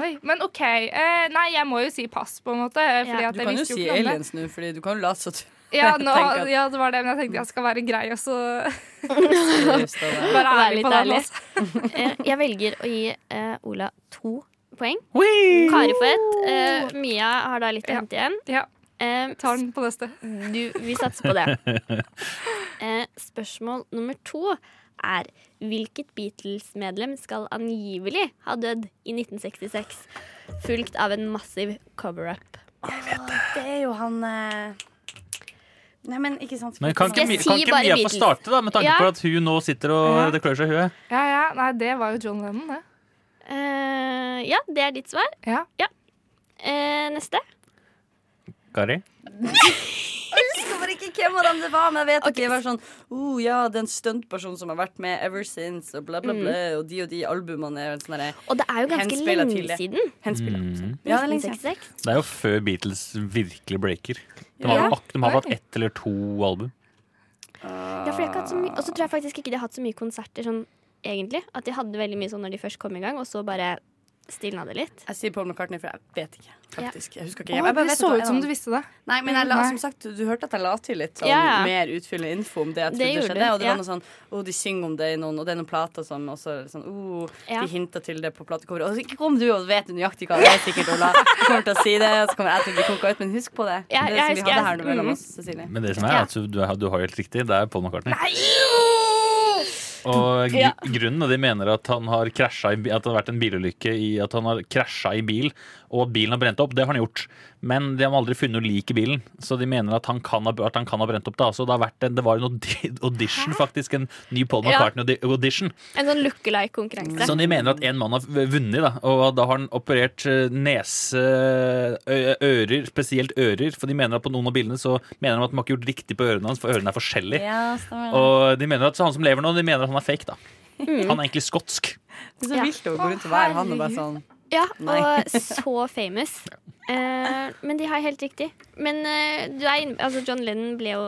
Speaker 3: Oi, men OK. Eh, nei, jeg må jo si pass, på en måte. eh, Fordi
Speaker 6: Ja.
Speaker 3: at
Speaker 4: Du
Speaker 3: jeg
Speaker 4: kan jo
Speaker 3: visste
Speaker 4: si
Speaker 3: ikke om det.
Speaker 4: aliens nå, Fordi du kan jo late som du
Speaker 3: Ja, nå,
Speaker 4: Tenk at-
Speaker 3: ja, det var det, men jeg tenkte jeg skal være grei og så
Speaker 4: er
Speaker 3: være
Speaker 6: Være
Speaker 3: ærlig
Speaker 6: litt
Speaker 3: på den.
Speaker 6: ærlig.
Speaker 3: også.
Speaker 6: Eh, Jeg velger å gi eh, Ola to poeng. Kari får ett. Eh, Mia har da litt å
Speaker 3: Ja.
Speaker 6: hente igjen.
Speaker 3: Ja,
Speaker 6: Eh,
Speaker 3: tar den på neste.
Speaker 6: du, vi satser på det. Eh, Spørsmål nummer to er hvilket Beatles-medlem skal angivelig ha dødd i 1966, fulgt av en massiv cover-up?
Speaker 4: Det er jo han eh, Nei, men ikke sant.
Speaker 5: Men kan ikke,
Speaker 6: Skal
Speaker 5: Mi-
Speaker 6: jeg
Speaker 5: kan
Speaker 6: si
Speaker 5: ikke
Speaker 6: bare
Speaker 5: Mia få
Speaker 6: Beatles?
Speaker 5: starte, da, med tanke
Speaker 6: Ja.
Speaker 5: på at hun nå sitter
Speaker 3: Ja.
Speaker 5: og det klør seg i huet?
Speaker 3: Ja, ja. Nei, det var jo John Lennon, det.
Speaker 6: Eh, ja, det er ditt svar.
Speaker 3: Ja.
Speaker 6: Eh, neste.
Speaker 5: Kari?
Speaker 4: Jeg husker bare ikke hvem av dem det var, men jeg vet ikke. Jeg var sånn oh, ja, det er en stuntperson som har vært med ever since, og bla, bla, bla. Og de og de albumene er sånn derre
Speaker 6: Og det er jo ganske
Speaker 4: henspillet
Speaker 6: lenge
Speaker 4: til det.
Speaker 6: siden.
Speaker 4: Henspillet.
Speaker 5: Mm.
Speaker 4: Ja, det er lenge siden.
Speaker 6: 1966.
Speaker 5: Det er jo før Beatles virkelig breaker. De har,
Speaker 6: Ja.
Speaker 5: jo ak- de har hatt ett eller to album.
Speaker 6: Ja, for de har ikke hatt så mye Og så tror jeg faktisk ikke de har hatt så mye konserter sånn egentlig. At de hadde veldig mye sånn når de først kom i gang, og så bare stilna det litt.
Speaker 4: Jeg sier Paul McCartney, for jeg vet ikke, faktisk. Jeg husker
Speaker 3: Å,
Speaker 4: ikke. Jeg bare
Speaker 3: det
Speaker 4: vet
Speaker 3: så
Speaker 4: at
Speaker 3: ut som
Speaker 4: en
Speaker 3: du
Speaker 4: av-
Speaker 3: visste det.
Speaker 4: Nei, men jeg la,
Speaker 3: Nei.
Speaker 4: som sagt, du hørte at jeg la til litt sånn
Speaker 3: Ja, ja.
Speaker 4: mer utfyllende info om det jeg
Speaker 3: Det
Speaker 4: trodde
Speaker 3: gjorde
Speaker 4: skjedde.
Speaker 3: du,
Speaker 4: Og det
Speaker 3: ja.
Speaker 4: var noe sånn oh, de synger om det i noen, og det er noen plater som også er sånn oh,
Speaker 3: Ja.
Speaker 4: De hinta til det på platecoveret. Og så ikke kom du og vet nøyaktig hva det er, sikkert, Ola. Du kommer til å si det, og så kommer jeg til å bli konka ut, men husk på det.
Speaker 3: Ja,
Speaker 4: det
Speaker 3: jeg
Speaker 4: som
Speaker 3: husker-
Speaker 4: vi hadde
Speaker 3: jeg-
Speaker 4: her mellom
Speaker 3: mm.
Speaker 4: oss, Cecilie.
Speaker 5: Men det som er, er at du, er- du har helt riktig, det er Paul McCartney. Og gr
Speaker 3: Ja.
Speaker 5: grunnen, og de mener at han har krasja i, bi- at det har vært en bilulykke i at han har krasja i bil, og at bilen har brent opp. Det har han gjort. Men de har aldri funnet noe lik i bilen, så de mener at han kan ha, at han kan ha brent opp. da. Så det, har vært en, det var en audi- audition, faktisk. En ny Paul
Speaker 6: Ja.
Speaker 5: McCartney-audition.
Speaker 6: En sånn lookalike-konkurranse.
Speaker 3: Sånn-
Speaker 5: Som de mener at en mann har vunnet, da. Og da har han operert eh, nese, ø- ører, spesielt ører. For de mener at på noen av bildene så mener de at de har ikke gjort riktig på ørene hans, for ørene er forskjellige.
Speaker 4: Ja, stemmer.
Speaker 5: Og de mener at så han som lever nå, de mener at han er fake, da.
Speaker 6: Mm.
Speaker 5: Han er egentlig skotsk.
Speaker 4: Det er så vilt å gå rundt og være han og bare sånn
Speaker 6: Ja,
Speaker 4: Nei.
Speaker 6: og så famous. Eh, men de har helt riktig. Men eh, du er inne Altså, John Lennon ble jo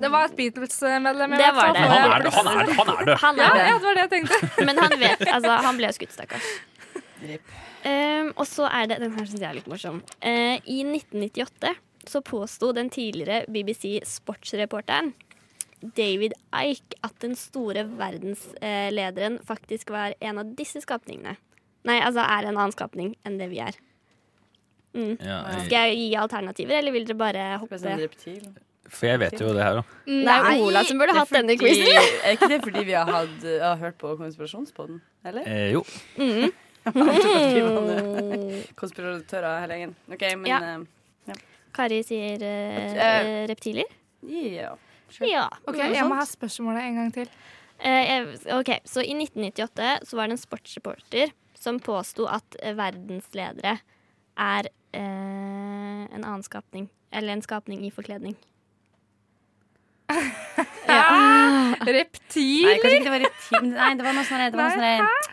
Speaker 3: Det var et Beatles-medlem. i
Speaker 6: Det
Speaker 3: hvert fall,
Speaker 6: var det.
Speaker 3: for
Speaker 6: Han
Speaker 3: jeg-
Speaker 6: er det, han er det, han er det. Han er
Speaker 3: Ja,
Speaker 6: det.
Speaker 3: ja, det var det jeg tenkte.
Speaker 6: Men han vet Altså, han ble jo skutt, stakkars. Ehm, og så er det Den her syns jeg er litt morsom. Eh, I 1998 så påsto den tidligere BBC-sportsreporteren David Ike at den store verdenslederen faktisk var en av disse skapningene. Nei, altså er en annen skapning enn det vi er. Mm.
Speaker 5: Ja, jeg-
Speaker 6: Skal jeg gi alternativer, eller vil dere bare hoppe Mm,
Speaker 5: For jeg vet jo det her òg.
Speaker 6: Nei,
Speaker 4: Nei,
Speaker 6: Ola som burde
Speaker 4: det er
Speaker 6: hatt denne
Speaker 4: fordi-
Speaker 6: quizen.
Speaker 4: Er ikke det fordi vi har, hatt, har hørt på Konspirasjonspodden, eller?
Speaker 5: Eh, jo.
Speaker 6: Mm.
Speaker 4: Konspiratører hele gjengen. OK, men
Speaker 6: Ja.
Speaker 4: eh,
Speaker 6: Kari sier eh,
Speaker 4: Eh,
Speaker 6: reptiler.
Speaker 4: Ja.
Speaker 6: ja.
Speaker 3: Ok, Jeg må ha spørsmålet en gang til.
Speaker 6: Eh, ok, så I 1998 så var det en sportsreporter som påsto at eh, verdensledere er eh, en annen skapning. Eller en skapning i forkledning.
Speaker 3: Ah, Reptiler?
Speaker 4: Nei, kanskje ikke det var reptil Nei, det var noe sånn det var noe
Speaker 3: Nei,
Speaker 4: sånn der-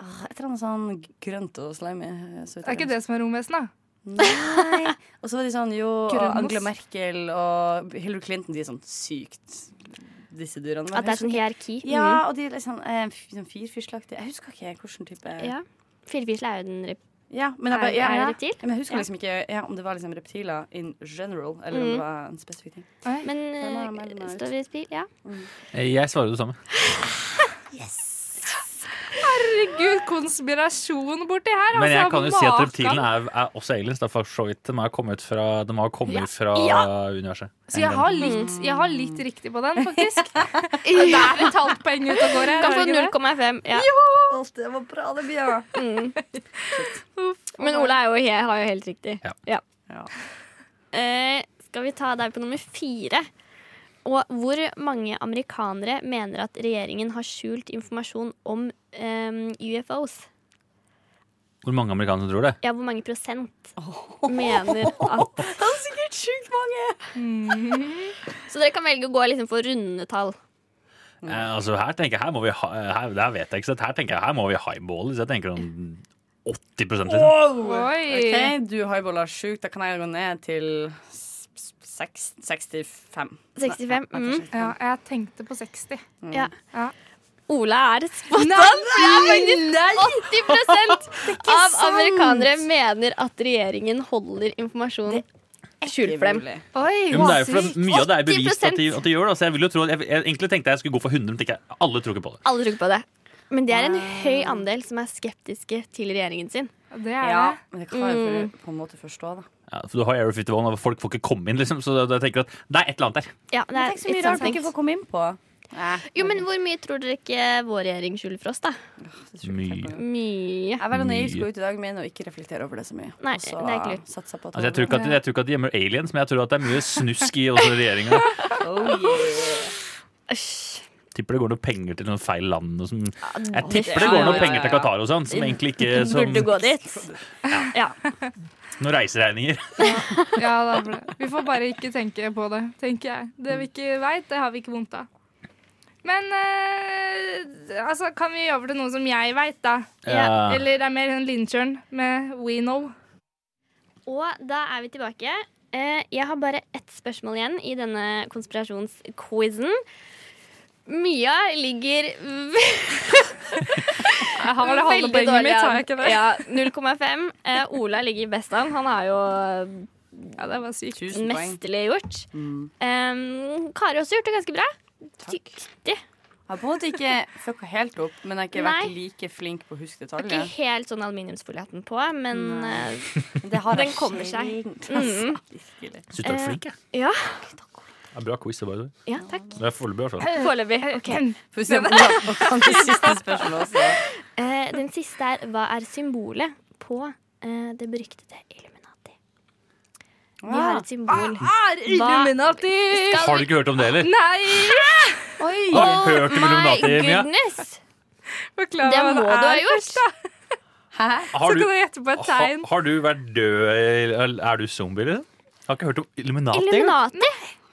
Speaker 4: Åh, Et eller annet sånn grønt og slimy. eh, så vidt jeg
Speaker 3: Er ikke
Speaker 4: husker.
Speaker 3: det som er romvesen, da?
Speaker 4: Nei. Og så var de sånn jo, og
Speaker 3: Grønn, ass.
Speaker 4: Angela Merkel og Hillary Clinton, de er sånn sykt disse dyrene. Men jeg
Speaker 6: At det er
Speaker 4: husker
Speaker 6: sånn hierarki.
Speaker 4: ikke- Ja, og de er litt sånn, eh, f- sånn firfisleaktige. Jeg husker ikke hvilken type
Speaker 6: Ja. Firfisle er jo den rep...
Speaker 4: Ja, men jeg, bare,
Speaker 6: Er-
Speaker 4: ja,
Speaker 6: er det
Speaker 4: ja.
Speaker 6: reptil?
Speaker 4: Ja, men jeg husker
Speaker 6: Ja.
Speaker 4: liksom ikke ja, om det var liksom reptiler in general, eller om
Speaker 6: Mm.
Speaker 4: det var en spesifikk ting.
Speaker 6: Men
Speaker 4: Den har jeg meldt
Speaker 6: eh,
Speaker 4: meg ut.
Speaker 6: står vi i spill? Ja.
Speaker 5: Eh, Jeg svarer det samme.
Speaker 3: Herregud, konspirasjon borti her.
Speaker 5: Men jeg
Speaker 3: altså,
Speaker 5: kan jo si at
Speaker 3: maken.
Speaker 5: reptilene er, er også aliens. Da, for så vidt. De har kommet fra, de har kommet fra universet.
Speaker 3: Så jeg har, litt, jeg har litt riktig på den, faktisk. Det er et halvt poeng ut og går her.
Speaker 6: Kan
Speaker 3: er
Speaker 6: få
Speaker 3: det ikke det?
Speaker 6: 0,5. Ja.
Speaker 4: Alt det var bra, det blir jeg.
Speaker 6: Mm. Men Ola er jo, he- har jo helt riktig.
Speaker 5: Ja.
Speaker 6: Eh, skal vi ta deg på nummer fire? Og hvor mange amerikanere mener at regjeringen har skjult informasjon om ehm, em, UFOs?
Speaker 5: Hvor mange amerikanere tror det?
Speaker 6: Ja, hvor mange prosent mener at
Speaker 4: Det er sikkert sjukt mange!
Speaker 6: Så dere kan velge å gå liksom for runde tall.
Speaker 5: Eh, altså, her tenker jeg, her må vi ha, eh, her, det her vet jeg ikke, så her tenker jeg, her må vi highballe. Så jeg tenker om 80 liksom.
Speaker 3: Oi.
Speaker 4: OK, du highballer sjukt. Da kan jeg gå ned til s- s- seks- 65.
Speaker 6: 65,
Speaker 4: Nei, nei, kanskje
Speaker 6: mm.
Speaker 3: Ja,
Speaker 4: 65.
Speaker 3: jeg tenkte på 60.
Speaker 4: Mm.
Speaker 6: Ja.
Speaker 3: Ja.
Speaker 6: Ola er spot
Speaker 3: Nei,
Speaker 6: on! Det er
Speaker 4: nei.
Speaker 6: faktisk 80 av
Speaker 4: sant.
Speaker 6: amerikanere mener at regjeringen holder informasjon skjult for dem.
Speaker 4: Mulig.
Speaker 3: Oi,
Speaker 5: Jo, men det er jo for at Mye av det er
Speaker 6: 80%
Speaker 5: bevist at de, at de gjør det. Så jeg vil jo tro, jeg, jeg, egentlig tenkte jeg skulle gå for 100, men tenker jeg, alle tror ikke på det.
Speaker 6: Alle tror ikke på det. Men det er en høy andel som er skeptiske til regjeringen sin.
Speaker 3: Det er
Speaker 4: Ja,
Speaker 3: det.
Speaker 4: men det kan jeg jo
Speaker 6: Mm.
Speaker 4: for- på en måte forstå, da.
Speaker 5: Ja, for du har Area 51, og folk får ikke komme inn, liksom. Så da- da tenker jeg at det er et eller annet der.
Speaker 6: Ja, det er
Speaker 4: Tenk så mye
Speaker 6: litt
Speaker 4: rart vi
Speaker 6: sånn
Speaker 4: ikke får
Speaker 6: sant.
Speaker 4: komme inn på.
Speaker 6: Jo, men Hvor mye tror dere ikke vår regjering skylder for oss, da?
Speaker 5: Mye.
Speaker 6: Mye.
Speaker 4: Jeg er veldig naiv,
Speaker 5: Mye.
Speaker 4: skal ut i dag med og ikke reflektere over det så mye.
Speaker 6: Nei,
Speaker 4: og så
Speaker 6: det er ikke lurt.
Speaker 4: satser på at
Speaker 5: Altså, jeg, tror ikke at, jeg tror ikke at de gjemmer aliens, men jeg tror at det er mye snusk i også regjeringa.
Speaker 4: Oh, yeah.
Speaker 6: Æsj.
Speaker 5: tipper det går noe penger til noen feil land. Og som, jeg
Speaker 6: det-
Speaker 5: tipper det går
Speaker 6: ja,
Speaker 5: noe
Speaker 6: ja,
Speaker 5: penger til
Speaker 6: ja.
Speaker 5: Qatar og sånn, som egentlig ikke som,
Speaker 6: Burde gå dit. Ja.
Speaker 5: Noen reiseregninger.
Speaker 3: Ja, da ble. Vi får bare ikke tenke på det, tenker jeg. Det vi ikke veit, det har vi ikke vondt av. Men eh, altså, kan vi over til noe som jeg veit, da?
Speaker 6: Ja.
Speaker 3: Eller det er mer en lynkjørn med We Know.
Speaker 6: Og da er vi tilbake. Eh, Jeg har bare ett spørsmål igjen i denne konspirasjonsquizen. Mia ligger Jeg
Speaker 3: har det halve poenget mitt, har jeg ikke det?
Speaker 6: Ja, 0,5. Eh, Ola ligger best an. Han har jo
Speaker 3: Ja, det var sykt.
Speaker 4: Tusen poeng.
Speaker 6: mesterlig gjort.
Speaker 4: Mm.
Speaker 6: Um, Kari har også gjort det ganske bra. Dyktig.
Speaker 4: Jeg har på en måte ikke fucka helt opp, men jeg har ikke vært
Speaker 6: Nei.
Speaker 4: like flink på å huske
Speaker 6: Det er ikke
Speaker 4: detaljer.
Speaker 6: helt sånn aluminiumsfoliaten på, men
Speaker 4: Nei.
Speaker 6: eh,
Speaker 4: Det har jeg
Speaker 6: den kommer seg.
Speaker 4: sjelden,
Speaker 6: Mm.
Speaker 4: altså, virkelig.
Speaker 5: Synes du er flink, jeg.
Speaker 6: Eh, Ja.
Speaker 5: Bra quiz. Det var
Speaker 6: ja, takk.
Speaker 5: Det er foreløpig, i hvert
Speaker 3: Eh,
Speaker 5: fall.
Speaker 6: Foreløpig. OK.
Speaker 4: Får vi se om Ola kan det siste spørsmålet også.
Speaker 6: Eh, Den siste er hva er symbolet på eh, det beryktede Illuminati? Vi har et symbol.
Speaker 3: Hva er Ah, Illuminati?
Speaker 5: Har du ikke hørt om det, eller?
Speaker 3: Nei!
Speaker 4: Ah.
Speaker 6: Oi!
Speaker 5: Har du hørt om Illuminati, Mia?
Speaker 6: goodness!
Speaker 3: Forklar
Speaker 6: Det
Speaker 3: meg
Speaker 6: må
Speaker 3: hva
Speaker 6: du ha
Speaker 3: det er.
Speaker 6: gjort.
Speaker 4: Hæ?
Speaker 5: Har
Speaker 3: Så
Speaker 5: du,
Speaker 3: kan du gjette på et tegn.
Speaker 5: ha, har du vært død, eller er du zombie, eller? Jeg har ikke hørt om Illuminati.
Speaker 6: Illuminati.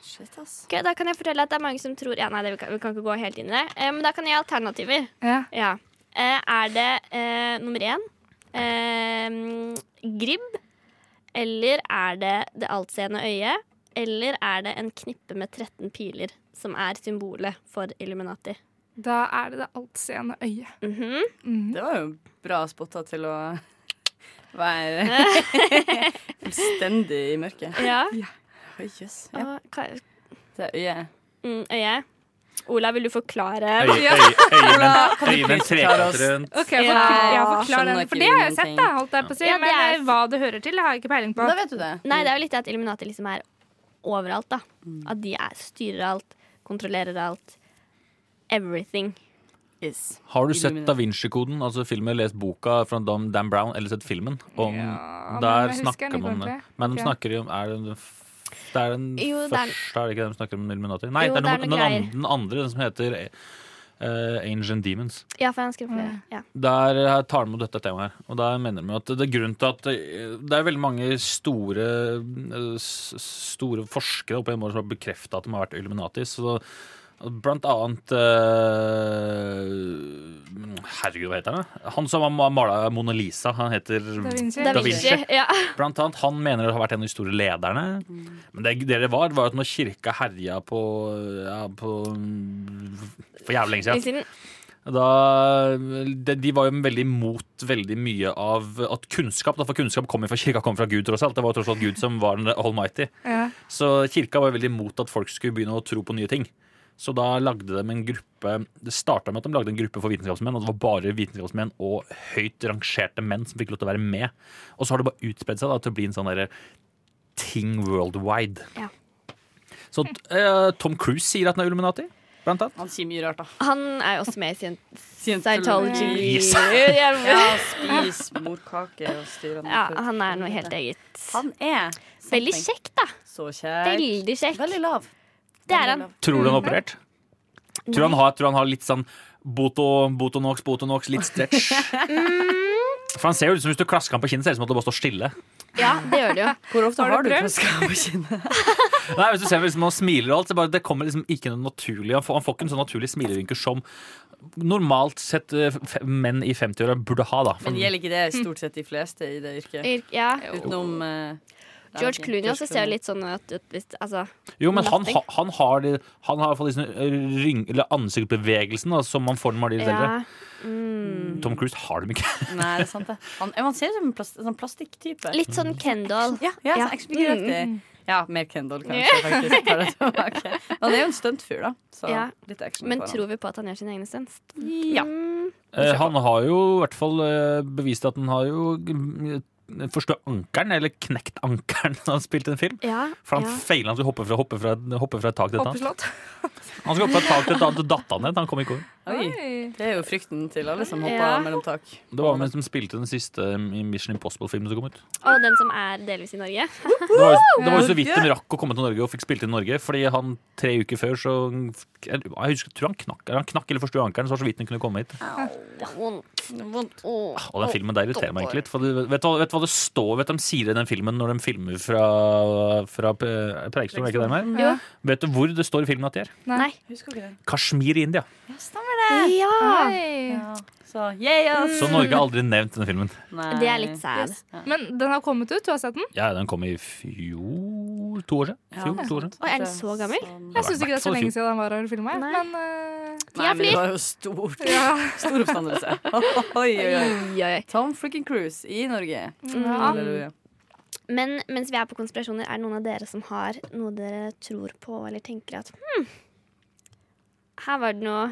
Speaker 4: Shit, ass.
Speaker 6: Ok, da kan jeg fortelle at det er mange som tror Ja, nei, det, vi, kan, vi kan ikke gå helt inn i det. Eh, men da kan jeg gi alternativer.
Speaker 3: Ja.
Speaker 6: Eh, er det eh, nummer én eh, gribb? Eller er det det altseende øyet? Eller er det en knippe med 13 piler, som er symbolet for Illuminati?
Speaker 3: Da er det det altseende øyet.
Speaker 6: Mhm.
Speaker 4: Det var jo bra spotta til å være fullstendig i mørket.
Speaker 6: Ja.
Speaker 4: Oi, jøss. Ja.
Speaker 6: Og hva-
Speaker 4: Det er øyet.
Speaker 6: Mm, øyet. Ola, vil du forklare?
Speaker 5: Øy, øy, øy, men, øy, men trekant rundt.
Speaker 3: Ok,
Speaker 6: Ja.
Speaker 3: forklar, ja, forklar
Speaker 4: Skjønner
Speaker 3: den. For
Speaker 4: ikke
Speaker 3: det har jeg
Speaker 4: noen
Speaker 3: sett,
Speaker 4: ting.
Speaker 3: da. Holdt jeg på å si.
Speaker 6: Ja, det
Speaker 3: Men
Speaker 6: er-
Speaker 3: eh, hva det hører til, har jeg ikke peiling på.
Speaker 4: Da vet du det.
Speaker 6: Nei, det er jo litt det at Illuminati liksom er overalt, da. At de er, styrer alt, kontrollerer alt. Everything.
Speaker 4: Yes.
Speaker 5: Har du sett Da Vinci-koden, altså filmen, lest boka fra Dan, Dan Brown, eller sett filmen? Om,
Speaker 3: Ja, men
Speaker 5: der
Speaker 3: jeg husker
Speaker 5: snakker
Speaker 3: den ikke
Speaker 5: man om det.
Speaker 3: ordentlig.
Speaker 5: Men de
Speaker 3: Ok.
Speaker 5: snakker jo om Er det den f- det er den
Speaker 6: Jo, det er-
Speaker 5: første, er det ikke det de snakker om Illuminati? Nei,
Speaker 6: Jo,
Speaker 5: det er,
Speaker 6: det er noen
Speaker 5: noen, den, andre, den andre, den som heter eh, Ancient Demons.
Speaker 6: Ja, for han skrev flere. Ja.
Speaker 5: Der eh, tar de med dette temaet her. Og der mener de jo at det er grunn til at eh, det er veldig mange store, eh, s- store forskere oppe i Morgen som har bekrefta at de har vært Illuminati. Så blant annet eh, Herregud, hva heter han? da? Han som har mala Mona Lisa. Han heter
Speaker 3: Da Vinci.
Speaker 6: Da Vinci. Ja.
Speaker 5: Blant annet, Han mener det har vært en av de store lederne. Men det det det var, var at når kirka herja på, ja, på For jævlig lenge siden.
Speaker 6: Siden-
Speaker 5: Da, de, de var jo veldig imot veldig mye av at kunnskap da, For kunnskap kommer fra kirka, kommer fra Gud, tross alt. Det var jo tross alt Gud som var den allmighty.
Speaker 3: Ja.
Speaker 5: Så kirka var jo veldig imot at folk skulle begynne å tro på nye ting. Så da lagde de en gruppe Det starta med at de lagde en gruppe for vitenskapsmenn, og det var bare vitenskapsmenn og høyt rangerte menn som fikk lov til å være med. Og så har det bare utspedd seg da, til å bli en sånn derre ting worldwide.
Speaker 6: Ja.
Speaker 5: Så eh, Tom Cruise sier at han er Illuminati, blant annet.
Speaker 4: Han sier mye rart, da.
Speaker 6: Han er jo også med i Scient-
Speaker 4: Scientology.
Speaker 6: Scientology.
Speaker 5: Yes.
Speaker 6: Ja,
Speaker 4: Ja, spis morkake og styr
Speaker 6: ja, han er noe helt eget.
Speaker 4: Han er
Speaker 6: Veldig kjekk, da.
Speaker 4: Så kjekk.
Speaker 6: Veldig kjekk.
Speaker 4: Veldig lav.
Speaker 6: Det er han.
Speaker 5: Tror du han har operert? Tror du han har, tror han har litt sånn boto, Botonox, Botonox, litt stretch? For han ser jo ut som Hvis du klasker ham på kinnet, ser det ut som at det bare står stille.
Speaker 6: Ja, det gjør det jo.
Speaker 4: Hvor ofte har du
Speaker 3: prøvd?
Speaker 4: plaska på kinnet?
Speaker 5: Nei, hvis du ser liksom, Han smiler og alt, så bare, det kommer liksom ikke noe naturlig. Han får, han får ikke en sånn naturlig smilerynker som normalt sett eh, f- menn i 50-åra burde ha. da
Speaker 4: Men
Speaker 5: For-
Speaker 4: gjelder ikke det stort sett de fleste i det yrket?
Speaker 6: Irk- Ja.
Speaker 4: Utenom eh, ja,
Speaker 6: George
Speaker 4: ok,
Speaker 6: Clooney også ser jo
Speaker 4: Clooney.
Speaker 6: litt sånn ut. ut hvis, altså,
Speaker 5: Jo, men han,
Speaker 6: Nothing.
Speaker 5: ha- han har de- Han har i hvert fall liksom ryng, eller ansiktsbevegelsen da, som man får når man blir litt eldre.
Speaker 6: ja. Mm.
Speaker 5: Tom Cruise har dem ikke.
Speaker 4: Nei, det er sant, det. Han, ja, han ser ut som en plast, sånn plastikktype.
Speaker 6: Litt sånn Kendal.
Speaker 4: Ja, ja,
Speaker 6: Ja. Mm.
Speaker 4: sånn ekspedientaktig. Ja, mer Kendall, kanskje. faktisk tar det tilbake. Men han er jo en stuntfyr, da. Så
Speaker 6: Ja.
Speaker 4: litt action.
Speaker 6: Men
Speaker 4: på han.
Speaker 6: tror vi på at han gjør sine egne stunts?
Speaker 4: Ja.
Speaker 6: Mm.
Speaker 5: Eh, han har jo i hvert fall eh, bevist at han har jo mm, forstå ankeren, eller knekt ankeren da han spilte en film.
Speaker 6: Ja,
Speaker 5: For han
Speaker 6: ja.
Speaker 5: feilet, han skulle hoppe fra, hoppe fra, hoppe fra et tak til et annet.
Speaker 4: Hoppeslott.
Speaker 5: Han skulle hoppe fra et tak til et annet, og datt han ned. Han kom ikke over.
Speaker 4: Oi. Det er jo frykten til alle som hopper
Speaker 6: Ja.
Speaker 4: mellom tak.
Speaker 5: Det var mens de spilte den siste mm, i Mission Impossible-filmen som kom ut.
Speaker 6: Og den som er delvis i Norge.
Speaker 5: Det var, jo- det var jo så vidt de rakk å komme til Norge og fikk spilt inn i Norge. Fordi han tre uker før så Jeg, husker, tror han knakk, eller han knakk eller forsto ankeren, så var det så vidt han kunne komme hit. Ah,
Speaker 6: Det er vondt. Det er vondt. Åh,
Speaker 5: Og den filmen der irriterer meg egentlig litt. For du, vet, du hva, vet du hva det står vet du hva de sier i den filmen når de filmer fra, fra P- Preikestolen? Er ikke det mer?
Speaker 6: Jo.
Speaker 5: Vet du hvor det står i filmen at de er?
Speaker 6: Nei.
Speaker 5: Kashmir i India.
Speaker 4: Stemmer det.
Speaker 6: Ja.
Speaker 4: Så yeah, ass.
Speaker 5: Så Norge har aldri nevnt denne filmen.
Speaker 4: Nei.
Speaker 6: Mm. Det er litt sad.
Speaker 3: Men den har kommet ut, du har sett den?
Speaker 5: Ja, Den kom i fjor to år siden. Fjor, to år siden.
Speaker 6: Og er den
Speaker 4: Sånn-
Speaker 6: så gammel?
Speaker 3: Jeg syns ikke det er så
Speaker 5: Hvertfall i
Speaker 3: lenge
Speaker 5: fjor.
Speaker 3: siden den var her og filma.
Speaker 6: Nei.
Speaker 3: Men eh,
Speaker 4: Nei,
Speaker 6: Tida
Speaker 4: men det
Speaker 6: flyr.
Speaker 4: var jo stort.
Speaker 3: Ja.
Speaker 4: Stor oppstandelse. Oi, oi, oi.
Speaker 6: Oi, oi, oi.
Speaker 4: Tom freaking Cruise i Norge.
Speaker 6: Mm.
Speaker 3: ja.
Speaker 4: Halleluja.
Speaker 6: Men mens vi er på konspirasjoner, er det noen av dere som har noe dere tror på eller tenker at hm, her var det noe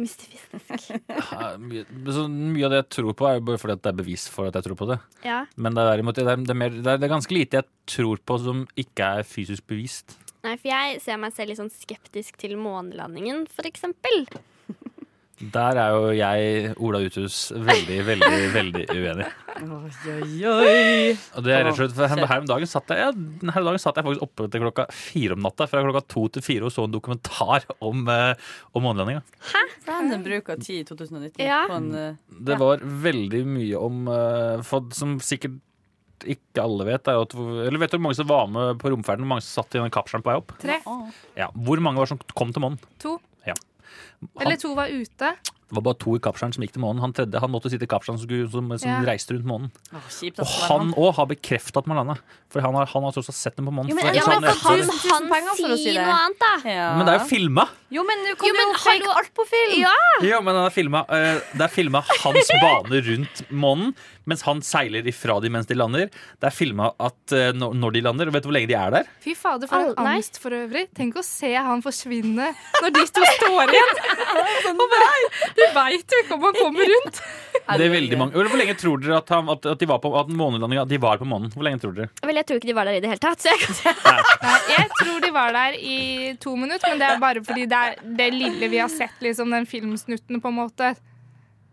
Speaker 6: mystifistisk.
Speaker 5: Ja, mye, så mye av det jeg tror på, er jo bare fordi at det er bevis for at jeg tror på det.
Speaker 6: Ja.
Speaker 5: Men det er, derimot, det, er, det, er mer, det, er, det er ganske lite jeg tror på som ikke er fysisk bevist.
Speaker 6: Nei, for jeg ser meg selv litt sånn skeptisk til månelandingen, for eksempel.
Speaker 5: Der er jo jeg, Ola Uthus, veldig, veldig veldig uenig.
Speaker 4: Oi, oi, oi.
Speaker 5: Og det er rett og slett, for Her om dagen satt jeg, ja, her om dagen satt jeg faktisk oppe til klokka fire om natta. Fra klokka to til fire og så en dokumentar om, eh, om månelandinga.
Speaker 4: Random bruk av tid i 2019
Speaker 6: Ja.
Speaker 4: på en eh,
Speaker 5: Det var veldig mye om eh, for, Som sikkert ikke alle vet, er jo at Eller vet du hvor mange som var med på romferden? Hvor mange som satt i den kapselen på vei opp?
Speaker 3: tre.
Speaker 5: Ja, Hvor mange var det som kom til månen?
Speaker 3: To.
Speaker 5: Ja.
Speaker 3: Eller to var ute.
Speaker 5: Det var bare to i kapselen som gikk til månen. Han tredje han måtte sitte i kapselen som, skulle- som, som
Speaker 3: Ja.
Speaker 5: reiste rundt månen.
Speaker 4: å, Kjipt
Speaker 5: Og
Speaker 4: at det var
Speaker 5: han òg har bekrefta at man landa. For han har, han har tross alt sett den på månen.
Speaker 4: Jo, men-
Speaker 5: for
Speaker 4: ja,
Speaker 5: ellers
Speaker 4: men
Speaker 5: hadde han
Speaker 6: Kan
Speaker 5: nektet det.
Speaker 4: tusen
Speaker 6: han
Speaker 4: penger
Speaker 6: si
Speaker 4: for å si det.
Speaker 6: noe annet, da?
Speaker 4: Ja.
Speaker 5: men det er jo filma!
Speaker 4: Jo, men du kan
Speaker 6: Jo,
Speaker 4: jo
Speaker 6: men
Speaker 4: fake
Speaker 6: hallo.
Speaker 4: alt på film!
Speaker 6: Ja.
Speaker 5: Ja, men han har filmet, eh, Det er filma hans bane rundt månen mens han seiler ifra de mens de lander. Det er filma at eh, når når de lander. Og vet du hvor lenge de er der?
Speaker 3: Fy fader, for en
Speaker 6: Al- nei.
Speaker 3: angst for øvrig. Tenk å se han forsvinne når de to står igjen. Og bare, du veit jo ikke om han kommer rundt.
Speaker 5: Det er veldig mange Eller Hvor lenge tror dere at, han, at, at de var på At månelandinga de var på månen? Hvor lenge tror dere?
Speaker 6: Vel, jeg tror ikke de var der i det hele tatt. Så jeg kan si.
Speaker 3: Nei, jeg tror de var der i to minutter, men det er bare fordi det er det lille vi har sett, liksom den filmsnutten, på en måte.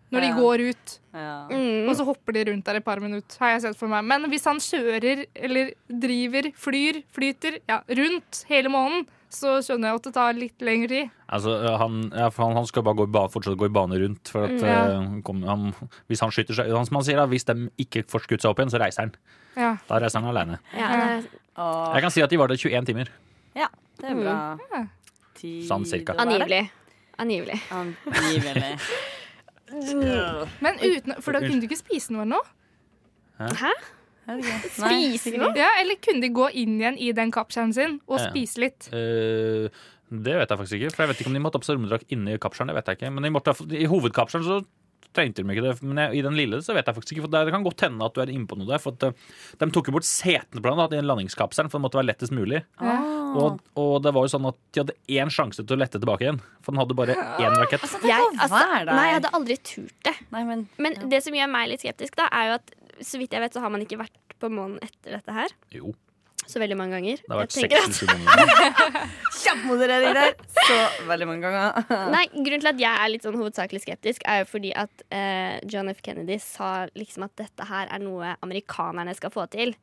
Speaker 3: Når de
Speaker 4: Ja.
Speaker 3: går ut,
Speaker 4: Ja.
Speaker 6: Mm.
Speaker 3: og så hopper de rundt der et par minutter. Har jeg sett for meg. Men hvis han kjører eller driver, flyr, flyter ja, rundt hele måneden, så skjønner jeg at det tar litt lengre tid.
Speaker 5: Altså, eh, han, ja, for han, han skal bare gå i bane, fortsatt gå i bane rundt. For at,
Speaker 3: Mm, ja.
Speaker 5: eh, han kom, han, hvis han skyter seg han, som han sier, da, hvis de ikke får skutt seg opp igjen, så reiser han.
Speaker 3: Ja.
Speaker 5: Da reiser han alene.
Speaker 6: Ja, det er
Speaker 5: Jeg kan si at de var der 21 timer.
Speaker 4: ja, det er bra.
Speaker 3: Ja.
Speaker 4: Tid
Speaker 5: Sånn cirka.
Speaker 4: å være.
Speaker 6: angivelig. Angivelig.
Speaker 4: Angivelig.
Speaker 3: Men uten, for da kunne de ikke spise noe nå?
Speaker 6: Hæ? Spise noe?
Speaker 3: Ja, eller kunne de gå inn igjen i den kappskjermen sin og
Speaker 5: Ja.
Speaker 3: spise litt?
Speaker 5: Eh, det vet jeg faktisk ikke. For jeg vet ikke om de måtte ha på seg romdrakt inni kapselen. Det vet jeg ikke. Men de måtte, ha- i hovedkapselen så trengte de ikke det. Men jeg, i den lille så vet jeg faktisk ikke. For det, det kan godt hende at du er inne på noe der. For at, eh, de tok jo bort setene blant annet i den landingskapselen, for det måtte være lettest mulig. Og, og det var jo sånn at de hadde én sjanse til å lette tilbake igjen. For den hadde bare én rakett.
Speaker 6: Jeg,
Speaker 4: Hva
Speaker 6: altså,
Speaker 4: var det?
Speaker 6: nei, jeg hadde aldri turt det.
Speaker 4: Nei, men
Speaker 6: Men det som gjør meg litt skeptisk, da, er jo at så vidt jeg vet, så har man ikke vært på månen etter dette her.
Speaker 5: Jo,
Speaker 6: Så veldig mange ganger.
Speaker 5: det har vært
Speaker 6: Jeg tenker at-
Speaker 5: 67 måneder.
Speaker 4: kjappmoderering der så veldig mange ganger.
Speaker 6: Nei, Grunnen til at jeg er litt sånn hovedsakelig skeptisk, er jo fordi at eh, John F. Kennedy sa liksom at dette her er noe amerikanerne skal få til.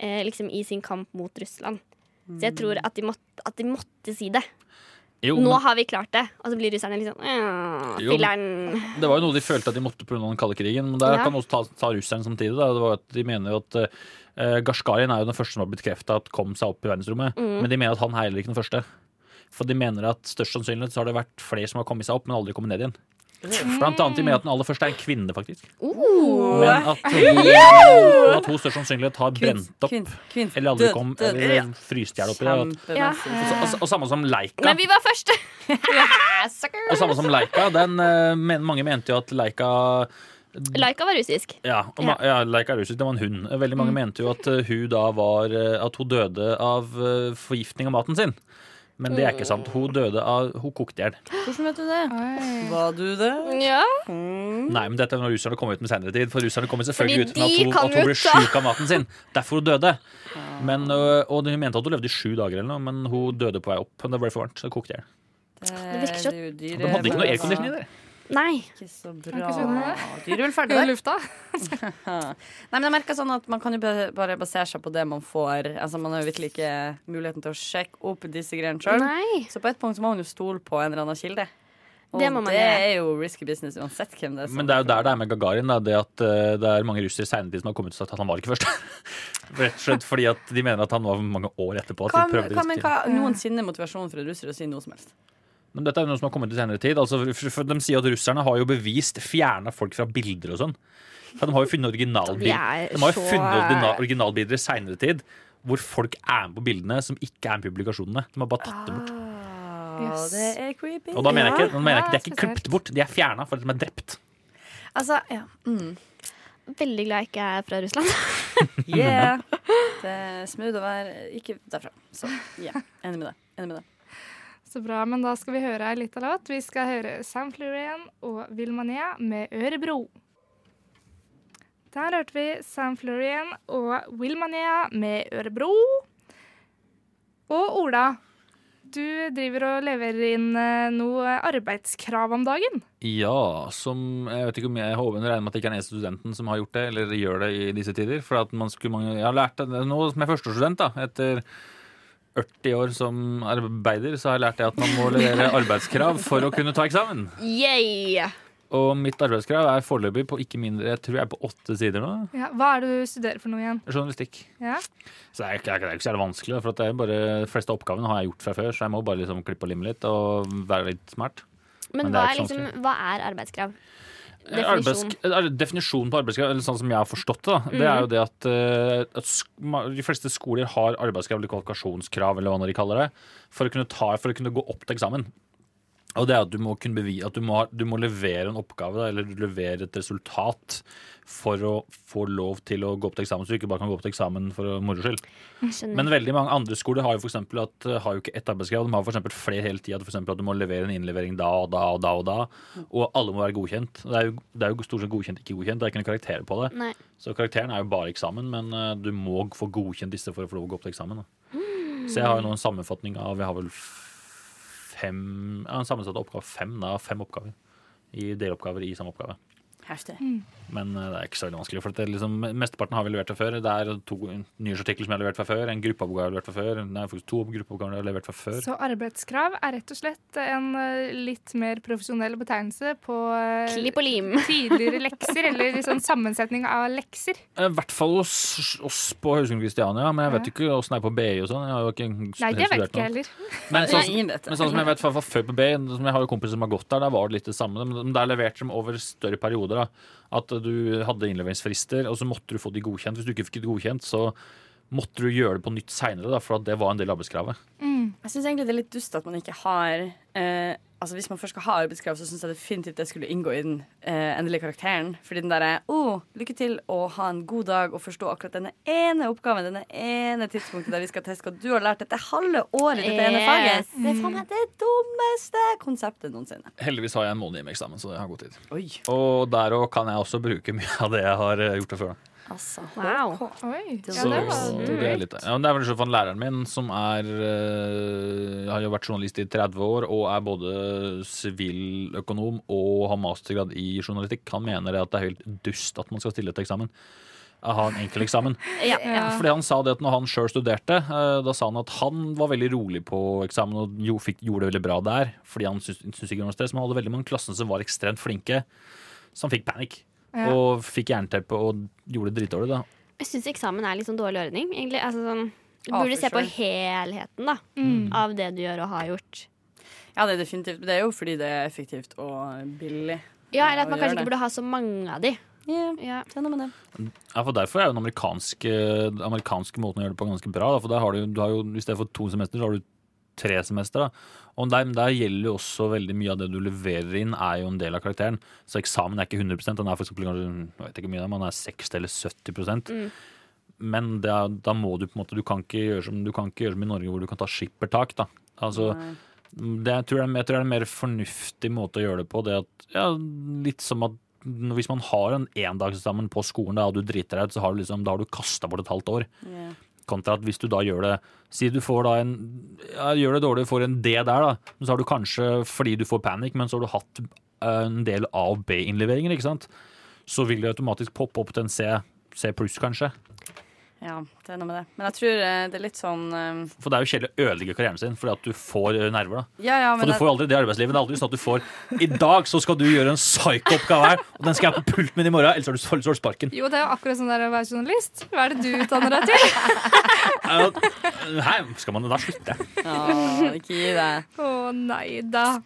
Speaker 6: Eh, liksom i sin kamp mot Russland. Så jeg tror at de måtte, at de måtte si det.
Speaker 5: Jo,
Speaker 6: Nå
Speaker 5: men
Speaker 6: har vi klart det. Og så blir russerne liksom «Åh,
Speaker 5: Jo, men-
Speaker 6: Filler'n.
Speaker 5: det var jo noe de følte at de måtte pga. den kalde krigen. Men der
Speaker 6: Ja.
Speaker 5: kan man også ta, ta russeren samtidig. Da. Det var at de mener jo at eh, Gashkarin er jo den første som har bekrefta at kom seg opp i verdensrommet.
Speaker 6: Mm.
Speaker 5: Men de mener at han er heller ikke den første. For de mener at størst sannsynlig så har det vært flere som har kommet seg opp, men aldri kommet ned igjen. Blant annet de mener at den aller første er en kvinne, faktisk. Men at hun, at hun størst sannsynlig har brent opp.
Speaker 4: Kvinn.
Speaker 5: Eller aldri kom, eller fryste i hjel oppi det. og at-
Speaker 6: Ja.
Speaker 5: Og, og, og samme som Leica.
Speaker 6: Men vi var første!
Speaker 5: Og samme som Leica. Den, eh, men, mange mente jo at Leica
Speaker 6: Laika var russisk.
Speaker 5: ja, og ma- ja, Leica Rusic, det var en hund.
Speaker 6: Mm.
Speaker 5: Veldig mange mente jo at eh, hun da var eh, At hun døde av eh, forgiftning av maten sin.
Speaker 12: Men det er ikke sant. Hun døde av Hun kokte i hjel.
Speaker 4: Hvordan vet du det?
Speaker 12: Var du det?
Speaker 6: Ja.
Speaker 12: Nei, men dette er når russerne kom ut med senere tid. For russerne kom jo selvfølgelig
Speaker 6: Mm. Fordi
Speaker 12: ut med
Speaker 6: de
Speaker 12: at hun,
Speaker 6: kan
Speaker 12: at hun
Speaker 6: jo
Speaker 12: ble
Speaker 6: ta-
Speaker 12: sjuk av maten sin. Derfor hun døde. Men, ø, og hun mente at hun levde i sju dager, eller noe, men hun døde på vei opp. Men Det ble for varmt, så det kokte i hjel.
Speaker 4: Eh,
Speaker 6: Det virker så
Speaker 12: Og De hadde ikke noe aircondition i det.
Speaker 6: Nei.
Speaker 4: Ikke så
Speaker 6: Det
Speaker 4: bra.
Speaker 6: er ikke så bra.
Speaker 4: Dyrevelferd
Speaker 6: I
Speaker 4: der. Nei, men jeg merker sånn at man kan jo ba- bare basere seg på det man får. Altså, Man har jo virkelig ikke muligheten til å sjekke opp disse greiene sjøl.
Speaker 6: Nei.
Speaker 4: Så på et punkt så må man jo stole på en eller annen kilde. Og
Speaker 6: Det må man
Speaker 4: er
Speaker 6: gjøre.
Speaker 4: jo risky business uansett hvem det er. som-
Speaker 12: Men det er jo der det er med Gagarin. Da, det at eh, det er mange russere i senere tid som har kommet ut og sagt at han var ikke først. Rett og slett fordi at de mener at han var mange år etterpå. At
Speaker 4: Hva,
Speaker 12: de prøvde å
Speaker 4: hva, men,
Speaker 12: diskutere.
Speaker 4: hva noensinne motivasjon for en russer å si noe som helst?
Speaker 12: Men dette er noe som har kommet i senere tid. Altså, for, for de sier at russerne har jo bevist fjerna folk fra bilder og sånn. For de har jo funnet
Speaker 6: De
Speaker 12: originalbilder
Speaker 6: er
Speaker 12: De har jo
Speaker 6: så-
Speaker 12: funnet origina- originalbilder i senere tid hvor folk er med på bildene som ikke er med i publikasjonene. De har bare tatt dem bort.
Speaker 4: Å, Det er creepy.
Speaker 12: Og da mener jeg ikke,
Speaker 4: Ah, Ja.
Speaker 12: da mener jeg ikke de er
Speaker 4: Ja,
Speaker 12: ikke
Speaker 4: spesielt.
Speaker 12: klippet bort, de er fjerna for at de er drept.
Speaker 4: Altså, ja.
Speaker 6: Veldig glad jeg ikke er fra Russland.
Speaker 4: Yeah. Det er smooth å være ikke derfra. Så ja, enig med deg. Enig med deg.
Speaker 3: Så bra, men da skal vi høre ei lita låt. Vi skal høre Sam Florian og Vilmania med Ørebro. Der hørte vi Sam Florian og Vilmania med Ørebro. Og Ola, du driver og leverer inn eh, noe arbeidskrav om dagen.
Speaker 5: Ja, som Jeg vet ikke om jeg håper, jeg regner med at det ikke er den eneste studenten som har gjort det, eller gjør det i disse tider. For at man skulle, mange- jeg har lært det nå som jeg er førsteårsstudent, da, etter 40 år som arbeider, så har jeg lært det at man må levere arbeidskrav for å kunne ta eksamen.
Speaker 6: Yeah!
Speaker 5: Og mitt arbeidskrav er foreløpig på ikke mindre, jeg tror jeg er på åtte sider nå.
Speaker 3: Ja, hva er det du studerer for noe igjen?
Speaker 5: Journalistikk.
Speaker 3: Ja.
Speaker 5: Så det er, ikke- det er ikke så jævlig vanskelig, da, for at det er bare, de fleste oppgavene har jeg gjort fra før, så jeg må bare liksom klippe og lime litt og være litt smart.
Speaker 6: Men
Speaker 5: det
Speaker 6: hva
Speaker 5: ikke
Speaker 6: er, Eh,
Speaker 5: så
Speaker 6: liksom,
Speaker 5: vanskelig.
Speaker 6: hva er arbeidskrav? Definisjon.
Speaker 5: Eh, Arbeids, er- definisjonen på arbeidskrav, eller sånn som jeg har forstått det, da, det
Speaker 6: Mm.
Speaker 5: er jo det at, eh, at sk- ma- de fleste skoler har arbeidskrav eller kvalifikasjonskrav eller hva de kaller det, for å kunne, ta, for å kunne gå opp til eksamen. Og det er at du må kunne bevi, at du må, ha- du må levere en oppgave da, eller du leverer et resultat for å få lov til å gå opp til eksamen, så du ikke bare kan gå opp til eksamen for å moro skyld.
Speaker 6: Skjønner.
Speaker 5: Men veldig mange andre skoler har jo, for eksempel at, eh, har jo ikke ett arbeidskrav. De har for eksempel flere hele tida. For eksempel at du må levere en innlevering da og da og da. Og da Og alle må være godkjent. Det er jo, det er jo stort sett godkjent, ikke godkjent. Det er ikke noen karakterer på det.
Speaker 6: Nei.
Speaker 5: Så karakteren er jo bare eksamen, men eh, du må få godkjent disse for å få lov å gå opp til eksamen. Da. Så jeg har jo nå en sammenfatning av Jeg har vel f- fem ja, En sammensatt oppgave fem, da. Fem oppgaver. I deloppgaver i samme oppgave.
Speaker 4: Heftig.
Speaker 12: Sånn
Speaker 5: Men eh, det er ikke så veldig vanskelig. For det er liksom, Mesteparten har vi levert fra før. Det er to nyhetsartikler som jeg har levert fra før. En gruppeoppgave jeg har levert fra før. Det er faktisk to gruppeoppgaver jeg har levert fra før.
Speaker 3: Så arbeidskrav er rett og slett en eh, litt mer profesjonell betegnelse på eh,
Speaker 6: Klipp og lim.
Speaker 3: tidligere lekser, eller liksom sammensetning av lekser.
Speaker 5: Eh, I hvert fall hos oss på Høgskolen Kristiania, men jeg vet ikke åssen det er på BI og sånn. Jeg har jo ikke
Speaker 3: Nei, det vet
Speaker 5: studert
Speaker 3: ikke jeg
Speaker 5: noe.
Speaker 3: heller.
Speaker 5: Men
Speaker 3: Nei,
Speaker 5: sånn,
Speaker 3: ingen vet det.
Speaker 5: men sånn som jeg vet fra, fra før på B, som jeg har jo kompiser som har gått der, der var det litt det samme. Men der leverte de over større perioder. Da. At du hadde innleveringsfrister, og så måtte du få de godkjent. Hvis du ikke fikk det godkjent, så måtte du gjøre det på nytt seinere, for at det var en del av arbeidskravet.
Speaker 3: Mm.
Speaker 4: Jeg syns egentlig det er litt dust at man ikke har eh, Altså Hvis man først skal ha arbeidskrav, så syns jeg definitivt det skulle inngå i den eh, endelige karakteren. Fordi den derre oh, 'lykke til og ha en god dag' og forstå akkurat denne ene oppgaven, denne ene tidspunktet der vi skal teste hva du har lært dette halve året i dette ene faget.
Speaker 6: Yes.
Speaker 4: Det er faen meg det dummeste konseptet noensinne.
Speaker 5: Heldigvis har jeg en måned igjen med eksamen, så jeg har god tid.
Speaker 4: Oi.
Speaker 5: Og der òg kan jeg også bruke mye av det jeg har eh, gjort det før. Da.
Speaker 4: Altså,
Speaker 6: Wow.
Speaker 3: Oi.
Speaker 5: Så
Speaker 3: Mm.
Speaker 5: det er litt ja, men Det er vel sånn at læreren min, som er eh, har jo vært journalist i 30 år og er både siviløkonom og har mastergrad i journalistikk, han mener det at det er helt dust at man skal stille til eksamen. Å Ha en enkel eksamen.
Speaker 6: Ja. Ja.
Speaker 5: Fordi han sa det at når han sjøl studerte, eh, da sa han at han var veldig rolig på eksamen og jo, fikk, gjorde det veldig bra der. Fordi han syntes syntes ikke det var noe stress, men han hadde veldig mange i klassen som var ekstremt flinke, som fikk panikk.
Speaker 6: Ja.
Speaker 5: Og fikk jernteppe og gjorde det dritdårlig, da.
Speaker 6: Jeg syns eksamen er litt sånn dårlig ordning. egentlig. Altså, sånn, du
Speaker 4: Ja,
Speaker 6: burde
Speaker 4: for
Speaker 6: se på
Speaker 4: sure.
Speaker 6: helheten da,
Speaker 4: Mm.
Speaker 6: av det du gjør og har gjort.
Speaker 4: Ja, det er definitivt. Det er jo fordi det er effektivt og billig.
Speaker 6: Ja, Eller
Speaker 4: å
Speaker 6: at man
Speaker 4: gjøre
Speaker 6: kanskje ikke
Speaker 4: det.
Speaker 6: burde ha så mange av de.
Speaker 4: Ja, det er noe med det.
Speaker 5: Ja, for Derfor er jo den amerikanske, den amerikanske måten å gjøre det på ganske bra. Da. For der har du, du har jo, I stedet for to semester, så har du tre semester. Da. Og der, der gjelder jo også veldig mye av det du leverer inn, er jo en del av karakteren. Så eksamen er ikke 100 Den er for eksempel kanskje jeg vet ikke hvor mye det er, men den er 60 eller 70
Speaker 6: Mm.
Speaker 5: Men det er, da må du på en måte Du kan ikke gjøre som, du kan ikke gjøre som i Norge, hvor du kan ta skippertak. da Altså, det, jeg, tror det er, jeg tror det er en mer fornuftig måte å gjøre det på. Det at, ja, litt som at hvis man har en endagssammen på skolen da, og du driter deg ut, så har du, liksom, da har du kasta bort et halvt år. Kontra at hvis du da gjør det Si du får da en ja, Gjør det dårlig, får en D der, da. Men så har du kanskje, fordi du får panikk, men så har du hatt eh, en del A- og B-innleveringer, ikke sant. Så vil det automatisk poppe opp til en C, C pluss, kanskje.
Speaker 4: Ja, det er noe med det. Men jeg tror eh, det er litt sånn eh,
Speaker 5: For det er jo kjedelig å ødelegge karrieren sin fordi at du får eh, nerver, da.
Speaker 4: Ja, ja, men
Speaker 5: For du
Speaker 4: jeg-
Speaker 5: får jo aldri det i arbeidslivet. Det er aldri sånn at du får I dag så skal du gjøre en psyko-oppgave her, og den skal jeg på pult med i morgen, ellers har du, ellers har du sparken.
Speaker 3: Jo, det er jo akkurat sånn det er å være journalist. Hva er det du utdanner deg til?
Speaker 5: Her skal man da slutte.
Speaker 4: Ja, ikke gi deg.
Speaker 3: Å nei da.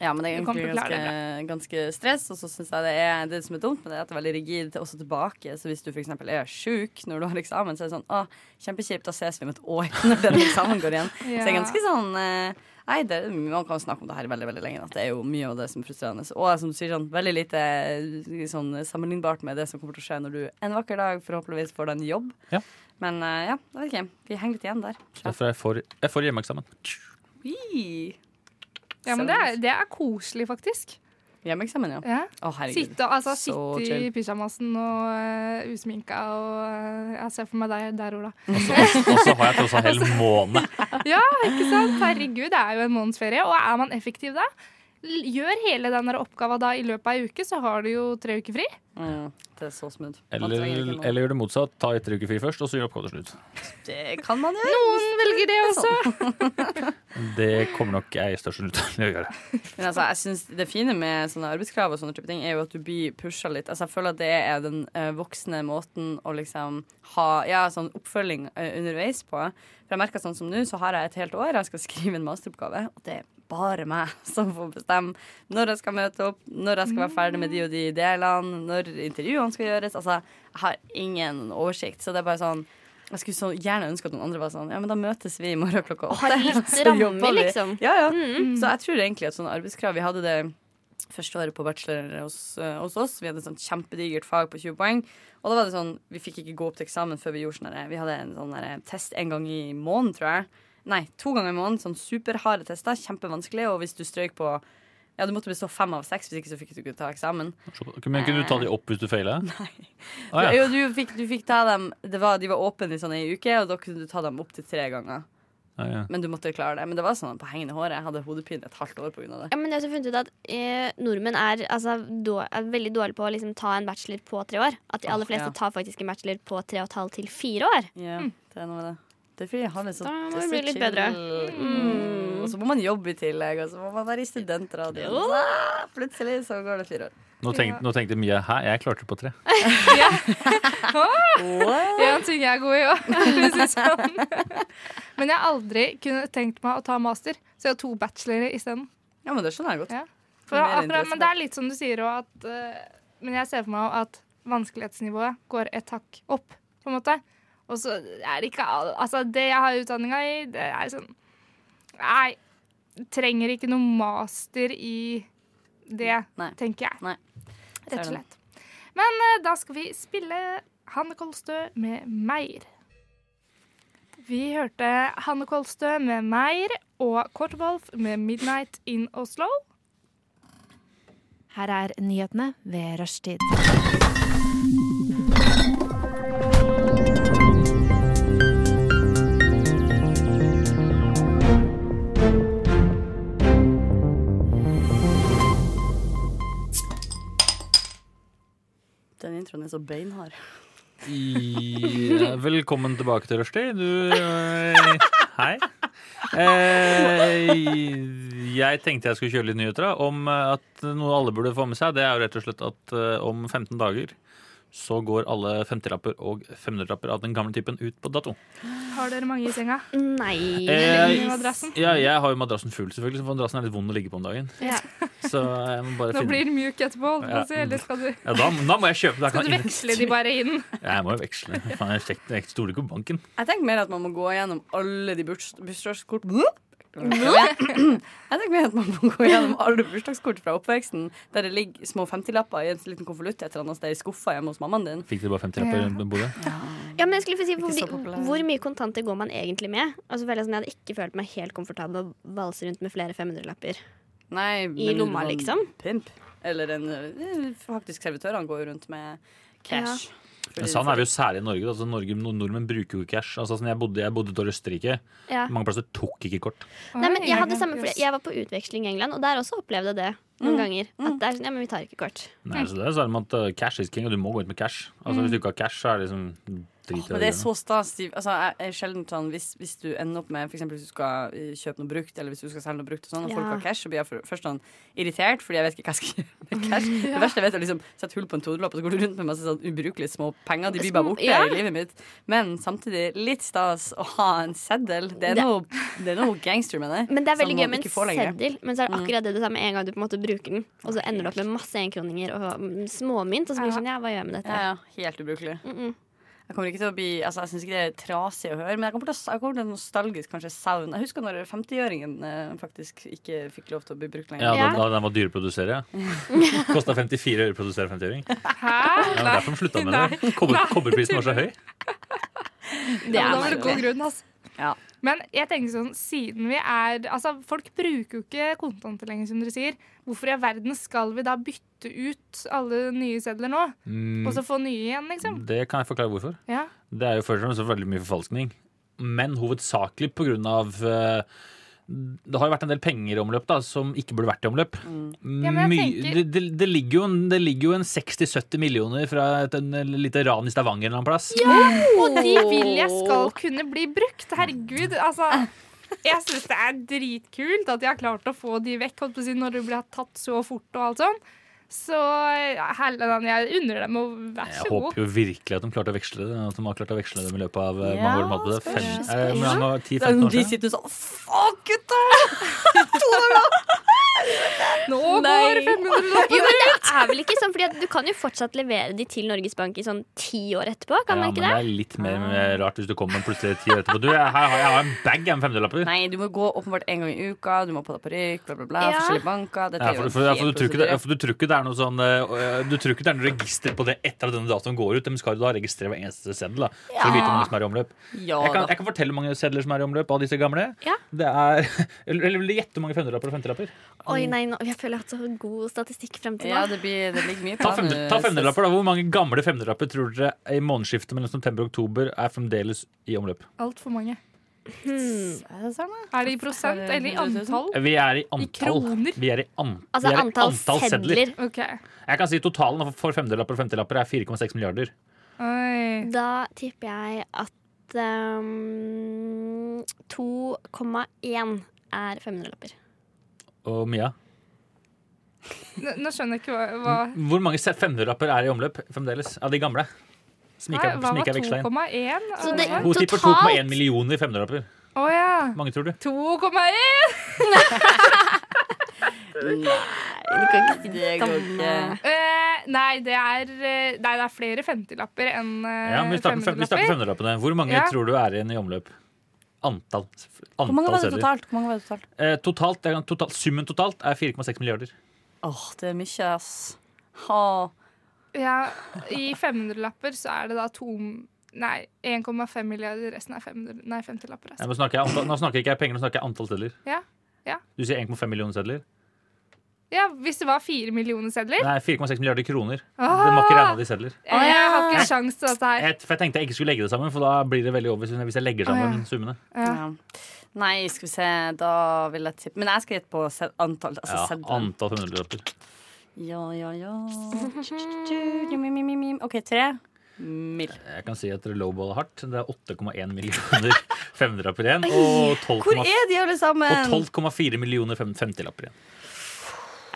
Speaker 4: Ja, men det er
Speaker 3: Du kommer
Speaker 4: egentlig
Speaker 3: til å klare
Speaker 4: ganske, ganske stress, og så syns jeg det er det som er dumt med det, er at det er veldig rigid også tilbake. Så hvis du f.eks. er sjuk når du har eksamen, så er det sånn Å, kjempekjipt, da ses vi om et år når den eksamen går igjen. Så det er
Speaker 13: Ja.
Speaker 4: ganske sånn eh, Nei, det, man kan jo snakke om det her veldig veldig lenge. At det er jo mye av det som er frustrerende. Og som du sier sånn, veldig lite eh, sånn, sammenlignbart med det som kommer til å skje når du en vakker dag forhåpentligvis får deg en jobb.
Speaker 5: Ja.
Speaker 4: Men eh, ja, jeg vet ikke. Vi henger litt igjen der.
Speaker 5: Derfor er jeg for, jeg får hjemmeeksamen.
Speaker 4: Ui.
Speaker 3: Ja, men det er, det er koselig, faktisk.
Speaker 4: Hjemmeeksamen, ja.
Speaker 3: Ja.
Speaker 4: Å, herregud.
Speaker 3: Sitte, altså,
Speaker 4: Så
Speaker 3: sitte i
Speaker 4: chill.
Speaker 3: pyjamasen og eh, usminka og eh, Jeg ser for meg deg der, Ola.
Speaker 5: Og så har jeg tross alt en hel måned.
Speaker 3: ja, ikke sant? Herregud, det er jo en måneds ferie. Og er man effektiv da? L- Gjør hele den der oppgava da i løpet av ei uke, så har du jo tre uker fri.
Speaker 4: Mm, det er så smooth. Man
Speaker 5: Eller,
Speaker 4: trenger ikke noe.
Speaker 5: eller gjør det motsatt. Ta etter uke fri først, og så gjør oppgaven til slutt.
Speaker 4: Det kan man gjøre.
Speaker 3: Noen velger det sånn. også.
Speaker 5: Det kommer nok jeg i størst sannsynlighet til å gjøre.
Speaker 4: Men altså, jeg synes Det fine med sånne arbeidskrav og sånne type ting er jo at du blir pusha litt. Altså, Jeg føler at det er den eh, voksne måten å liksom ha ja, sånn oppfølging eh, underveis på. For jeg merker sånn som nå, så har jeg et helt år jeg skal skrive en masteroppgave. Og det er bare meg som får bestemme når jeg skal møte opp, når jeg skal være ferdig med de og de delene, når intervjuene skal gjøres. Altså, jeg har ingen oversikt. Så det er bare sånn jeg skulle så gjerne ønske at noen andre var sånn Ja, men da møtes vi i morgen klokka åtte.
Speaker 6: har gitt
Speaker 4: så
Speaker 6: rammer,
Speaker 4: jobber vi.
Speaker 6: liksom.
Speaker 4: Ja, ja. Så jeg tror egentlig at sånne arbeidskrav Vi hadde det første året på bachelor hos, eh, hos oss. Vi hadde et sånt kjempedigert fag på 20 poeng. Og da var det sånn, vi fikk ikke gå opp til eksamen før vi gjorde sånn derre- Vi hadde en sånn derre test en gang i måneden, tror jeg. Nei, to ganger i måneden. Sånn superharde tester. Kjempevanskelig. Og hvis du strøyk på Ja, du måtte bestå fem av seks, hvis ikke så fikk du ikke ta eksamen.
Speaker 5: Men kunne du ta de opp hvis du feiler? Nei. Ah, ja.
Speaker 4: Jo, du fikk, du fikk ta dem det var, De var åpne i sånn ei uke, og da kunne du ta dem opptil tre ganger.
Speaker 5: Ah, ja.
Speaker 4: Men du måtte klare det. Men det var sånn på hengende håret. Jeg hadde hodepine et halvt år pga. det.
Speaker 6: Ja, men jeg har også funnet ut at eh, nordmenn er, altså, då, er veldig dårlige på å liksom, ta en bachelor på tre år. At de
Speaker 4: Åh,
Speaker 6: aller fleste
Speaker 4: ja.
Speaker 6: tar faktisk en bachelor på tre og et halvt til fire år.
Speaker 4: Ja, det er noe med det. Det er fordi jeg har det så,
Speaker 6: Mm. Da
Speaker 4: det er
Speaker 6: må vi
Speaker 4: så
Speaker 6: bli litt
Speaker 4: chill.
Speaker 6: bedre.
Speaker 4: Mm. Og så må man jobbe i tillegg, og så må man være i studentradioen.
Speaker 6: Jo.
Speaker 4: Så Plutselig så går det fire år.
Speaker 5: Nå, tenk, nå tenkte Mia hæ, jeg klarte det på tre.
Speaker 3: Det er en ting jeg er god i òg. for å si det sånn. Men jeg har aldri kunne tenkt meg å ta master, så jeg har to bachelorer isteden.
Speaker 4: Ja, men det skjønner jeg godt.
Speaker 3: Ja. For
Speaker 4: Mer
Speaker 3: akkurat,
Speaker 4: interesse
Speaker 3: men det er litt som du sier òg, at eh, Men jeg ser for meg også at vanskelighetsnivået går et hakk opp, på en måte. Og så er det ikke all- Altså, det jeg har utdanninga i, det er sånn Nei, trenger ikke noe master i det, tenker jeg. Rett og
Speaker 4: Ser du.
Speaker 3: slett. Men eh, da skal vi spille Hanne Kolstø med Meir. Vi hørte Hanne Kolstø med Meir og Kortwolf med Midnight in Oslo.
Speaker 11: Her er nyhetene ved rushtid.
Speaker 4: Den introen er så beinhard.
Speaker 5: Ja, eh, velkommen tilbake til Rushdie. Du eh, Hei. Eh, jeg tenkte jeg skulle kjøre litt nyheter da, om eh, at noe alle burde få med seg. Det er jo rett og slett at eh, om 15 dager så går alle 50-lapper og 500-lapper av den gamle typen ut på dato.
Speaker 3: Har dere mange i senga?
Speaker 6: Nei.
Speaker 5: Eh,
Speaker 3: madrassen?
Speaker 5: ja, jeg har jo madrassen full, selvfølgelig, for madrassen er litt vond å ligge på om dagen. Så jeg må bare
Speaker 3: Nå
Speaker 5: finne
Speaker 3: blir den mjuk etterpå. holdt jeg på å si,
Speaker 5: Ja.
Speaker 3: Eller skal du,
Speaker 5: ja, da, da må jeg kjøpe. Da
Speaker 3: skal
Speaker 5: kan
Speaker 3: du
Speaker 5: jeg-
Speaker 3: veksle de bare inn?
Speaker 5: Ja, jeg må jo veksle. Faen, jeg, sjek- jeg stoler ikke på banken.
Speaker 4: Jeg tenker mer at man må gå gjennom alle de bursdagskort Jeg tenker meg at man må gå gjennom alle bursdagskort fra oppveksten der det ligger små 50-lapper i en liten konvolutt et eller annet sted i skuffa hjemme hos mammaen din.
Speaker 5: Fikk dere bare 50 lapper
Speaker 4: Ja.
Speaker 5: rundt bordet?
Speaker 6: Ja, men jeg skulle få si
Speaker 4: Ikke så
Speaker 6: hvor,
Speaker 4: populær.
Speaker 6: hvor mye kontanter går man egentlig med? Altså, føler jeg sånn, jeg hadde ikke følt meg helt komfortabel med å valse rundt med flere 500-lapper.
Speaker 4: Nei,
Speaker 6: I
Speaker 4: men
Speaker 6: lomma,
Speaker 4: sånn
Speaker 6: liksom.
Speaker 4: Pimp. Eller en eh, Faktisk, servitørene går jo rundt med cash. Fordi-
Speaker 5: Men sånn er vi jo særlig i Norge. da. Altså, Norge nord- nordmenn bruker jo ikke cash. Altså, sånn, jeg bodde, jeg bodde til Østerrike.
Speaker 6: Ja.
Speaker 5: Mange plasser tok ikke kort.
Speaker 6: Nei, men jeg, hadde samme,
Speaker 3: jøss.
Speaker 6: fordi jeg var på utveksling i England, og der også opplevde jeg det noen ganger. At det er sånn, ja, men vi tar ikke kort.
Speaker 5: Nei, så det er sånn at uh, Cash is king, og du må gå ut med cash. Altså,
Speaker 4: Mm.
Speaker 5: Hvis du ikke har cash, så er det liksom drit i
Speaker 4: Men
Speaker 5: å
Speaker 4: det er
Speaker 5: gjøre
Speaker 4: så stas. Stiv. Altså, jeg jeg er sjelden sånn hvis, hvis du ender opp med For eksempel hvis du skal eh, kjøpe noe brukt, eller hvis du skal selge noe brukt, og sånn og folk
Speaker 3: Ja.
Speaker 4: har cash, så blir jeg for- først sånn irritert, fordi jeg vet ikke hva jeg skal gjøre med cash.
Speaker 3: Ja.
Speaker 4: Det verste jeg vet, er å liksom sette hull på en todelapp, og så går du rundt med masse sånn ubrukelige små penger. De blir bare
Speaker 3: Små-
Speaker 4: borte
Speaker 3: ja.
Speaker 4: i livet mitt. Men samtidig litt stas å ha en seddel. Det er
Speaker 6: Det-
Speaker 4: noe, det er noe gangster med det.
Speaker 6: Men det er
Speaker 4: som
Speaker 6: veldig gøy
Speaker 4: man
Speaker 6: med
Speaker 4: ikke
Speaker 6: en
Speaker 4: får lenger.
Speaker 6: seddel, men så er det akkurat det det samme en gang du på en måte bruker den, og så ender du opp med masse enkroninger og mm, småmynt, og så blir det sånn, ja, hva gjør jeg med dette?
Speaker 4: Ja, ja. Helt ubrukelig. Jeg kommer ikke til å bli Altså, jeg syns ikke det er trasig å høre, men jeg kommer til, å- jeg kommer til en nostalgisk kanskje savn. Jeg husker når 50-øringen eh, faktisk ikke fikk lov til å bli brukt lenger.
Speaker 5: Ja, da, da den var dyr å produsere. Kosta 54 øre å produsere 50-øring. Ja, det er derfor de slutta med det. Kobber, kobberprisen var så høy.
Speaker 3: Det er var det
Speaker 4: merkelig.
Speaker 3: god grunn, altså.
Speaker 4: Ja.
Speaker 3: Men jeg tenker sånn, siden vi er Altså, folk bruker jo ikke kontanter lenger, som dere sier. Hvorfor i all verden skal vi da bytte ut alle nye sedler nå?
Speaker 5: Mm.
Speaker 3: Og så få nye igjen, liksom?
Speaker 5: Det kan jeg forklare hvorfor.
Speaker 3: Ja.
Speaker 5: Det er jo først og fremst veldig mye forfalskning. Men hovedsakelig på grunn av eh, Det har jo vært en del penger i omløp da, som ikke burde vært i omløp.
Speaker 3: Mm. Ja, men jeg
Speaker 5: Mye-
Speaker 3: tenker-
Speaker 5: det, det, det ligger jo en, det ligger jo en 60-70 millioner fra et en, lite ran i Stavanger en eller annen plass.
Speaker 3: Og de vil jeg skal kunne bli brukt. Herregud, altså. Jeg syns det er dritkult at jeg har klart å få de vekk holdt på å si, når du blir tatt så fort og alt sånn. Så ja, Helleland, jeg unner dem å være
Speaker 5: Jeg
Speaker 3: så god.
Speaker 5: håper jo virkelig at de klarte å veksle det. At de har klart å veksle det i løpet av eh,
Speaker 3: Ja,
Speaker 5: mange år. de har hatt det.
Speaker 3: spørs,
Speaker 5: Fem,
Speaker 3: spørs.
Speaker 5: eh, hvor mange år?
Speaker 4: Det er jo
Speaker 5: 10-15 år
Speaker 4: de
Speaker 5: siden.
Speaker 4: sitter sånn Fuck, gutta! To dager!
Speaker 3: Nå
Speaker 4: går 500 lapper
Speaker 6: Jo, men det er vel ikke sånn, fordi at du kan jo fortsatt levere de til Norges Bank i sånn ti år etterpå, kan man
Speaker 5: Ja, men
Speaker 6: ikke
Speaker 5: det
Speaker 6: det?
Speaker 5: er litt mer eh, rart hvis du kommer plutselig ti år etterpå. Du, jeg, her, har- jeg har en bag jeg, med femtiolapper.
Speaker 4: Nei, du må gå åpenbart en gang i uka, du må på deg parykk, bla, bla, bla.
Speaker 6: Ja.
Speaker 4: Forskjellige banker. Dette
Speaker 5: Ja,
Speaker 4: er jo en
Speaker 5: for, for, ja, for,
Speaker 4: hel
Speaker 5: du tror ikke det,
Speaker 4: prosedyre.
Speaker 5: ja, for du tror ikke det er noe sånn eh, Du tror ikke det er noe register på det etter at denne datoen går ut. De skal jo da registrere hver eneste seddel da, for å
Speaker 4: Ja.
Speaker 5: vite hvor mange som er i omløp.
Speaker 4: Ja
Speaker 5: jeg, kan,
Speaker 4: da.
Speaker 5: jeg kan fortelle hvor mange sedler som er i omløp av disse gamle.
Speaker 6: Ja.
Speaker 5: Det er, eller, eller vil du gjette hvor mange femtiolapper og femtilapper?
Speaker 6: Oi, nei, nå, jeg føler jeg har hatt så god statistikk frem til nå.
Speaker 4: Ja, det, blir, det ligger mye
Speaker 5: Ta,
Speaker 4: på
Speaker 5: fem,
Speaker 4: den,
Speaker 5: ta
Speaker 4: eh,
Speaker 5: femtiolapper, da. Hvor mange gamle femtiolapper tror dere i månedsskiftet mellom september og oktober er fremdeles i omløp?
Speaker 3: Altfor mange.
Speaker 4: Er det sånn,
Speaker 3: Er det i prosent eller i antall?
Speaker 5: Vi er i antall.
Speaker 3: kroner?
Speaker 5: Vi er i, an,
Speaker 3: Altså,
Speaker 5: vi er i
Speaker 3: antall
Speaker 5: antall sedler.
Speaker 3: Ok.
Speaker 5: Jeg kan si totalen for femdelapper og femtelapper er 4,6 milliarder.
Speaker 6: Da tipper jeg at ehm, 2,1 er 500-lapper.
Speaker 5: Og Mia,
Speaker 3: Nå, nå skjønner jeg ikke hva, hva
Speaker 5: hvor mange se- femdelapper er i omløp fremdeles av de gamle? Som ikke
Speaker 3: Nei,
Speaker 5: er-
Speaker 3: hva
Speaker 5: som ikke
Speaker 3: var
Speaker 5: er veksla inn.
Speaker 3: 2,1?
Speaker 6: Så det-
Speaker 5: Hun tipper
Speaker 6: totalt-
Speaker 5: 2,1 millioner femdelapper.
Speaker 3: Å ja.
Speaker 5: Mange tror du?
Speaker 3: 2,1!
Speaker 4: Nei, du kan ikke si det. går ikke.
Speaker 3: Eh, nei, det er, eh, nei, det er flere 50-lapper enn eh,
Speaker 5: Ja, men Vi starter med fem- vi starter med
Speaker 3: 500-lapper.
Speaker 5: femdelappene. Hvor mange
Speaker 3: Ja.
Speaker 5: tror du er igjen i omløp? Antall.
Speaker 4: Hvor mange
Speaker 5: Antall
Speaker 4: var det
Speaker 5: sedler.
Speaker 4: totalt? Hvor mange var det totalt?
Speaker 5: Eh, totalt, jeg kan- totalt summen totalt er 4,6 milliarder.
Speaker 4: Åh, det er mye, ass. Ha.
Speaker 3: Ja, I 500-lapper så er det da to Nei, 1,5 milliarder. Resten er 500 nei, 50-lapper.
Speaker 5: Ja,
Speaker 3: Altså.
Speaker 5: nå, snakker jeg antall, nå snakker jeg ikke jeg penger, nå snakker jeg antall sedler.
Speaker 3: Ja, ja.
Speaker 5: Du sier 1,5 millioner sedler?
Speaker 3: ja, hvis det var 4 millioner sedler.
Speaker 5: Nei, 4,6 milliarder kroner.
Speaker 3: Ah!
Speaker 5: Det må ikke regne av de sedler.
Speaker 3: Eh, Jeg har
Speaker 5: Nei.
Speaker 3: ikke sjans til dette her.
Speaker 5: Jeg, for jeg tenkte jeg ikke skulle legge det sammen, for da blir det veldig over hvis jeg- hvis jeg legger
Speaker 3: Å, ja.
Speaker 5: sammen summene.
Speaker 4: Ja. Nei, skal vi se, da vil jeg tippe Men jeg skal gjette på sed antall. Altså
Speaker 5: Ja,
Speaker 4: seddel.
Speaker 5: antall 500-lapper.
Speaker 4: Ja, ja, ja. Tju-tju-tju, mim, mim, mim, mim. OK, tre. Mill.
Speaker 5: Jeg kan si at dere lowballer hardt. Det er 8,1 millioner 500-lapper igjen.
Speaker 4: Oi,
Speaker 5: Og
Speaker 4: Hvor
Speaker 5: 12,4
Speaker 4: er de alle sammen?
Speaker 5: og 12,4 millioner fem- 50-lapper igjen.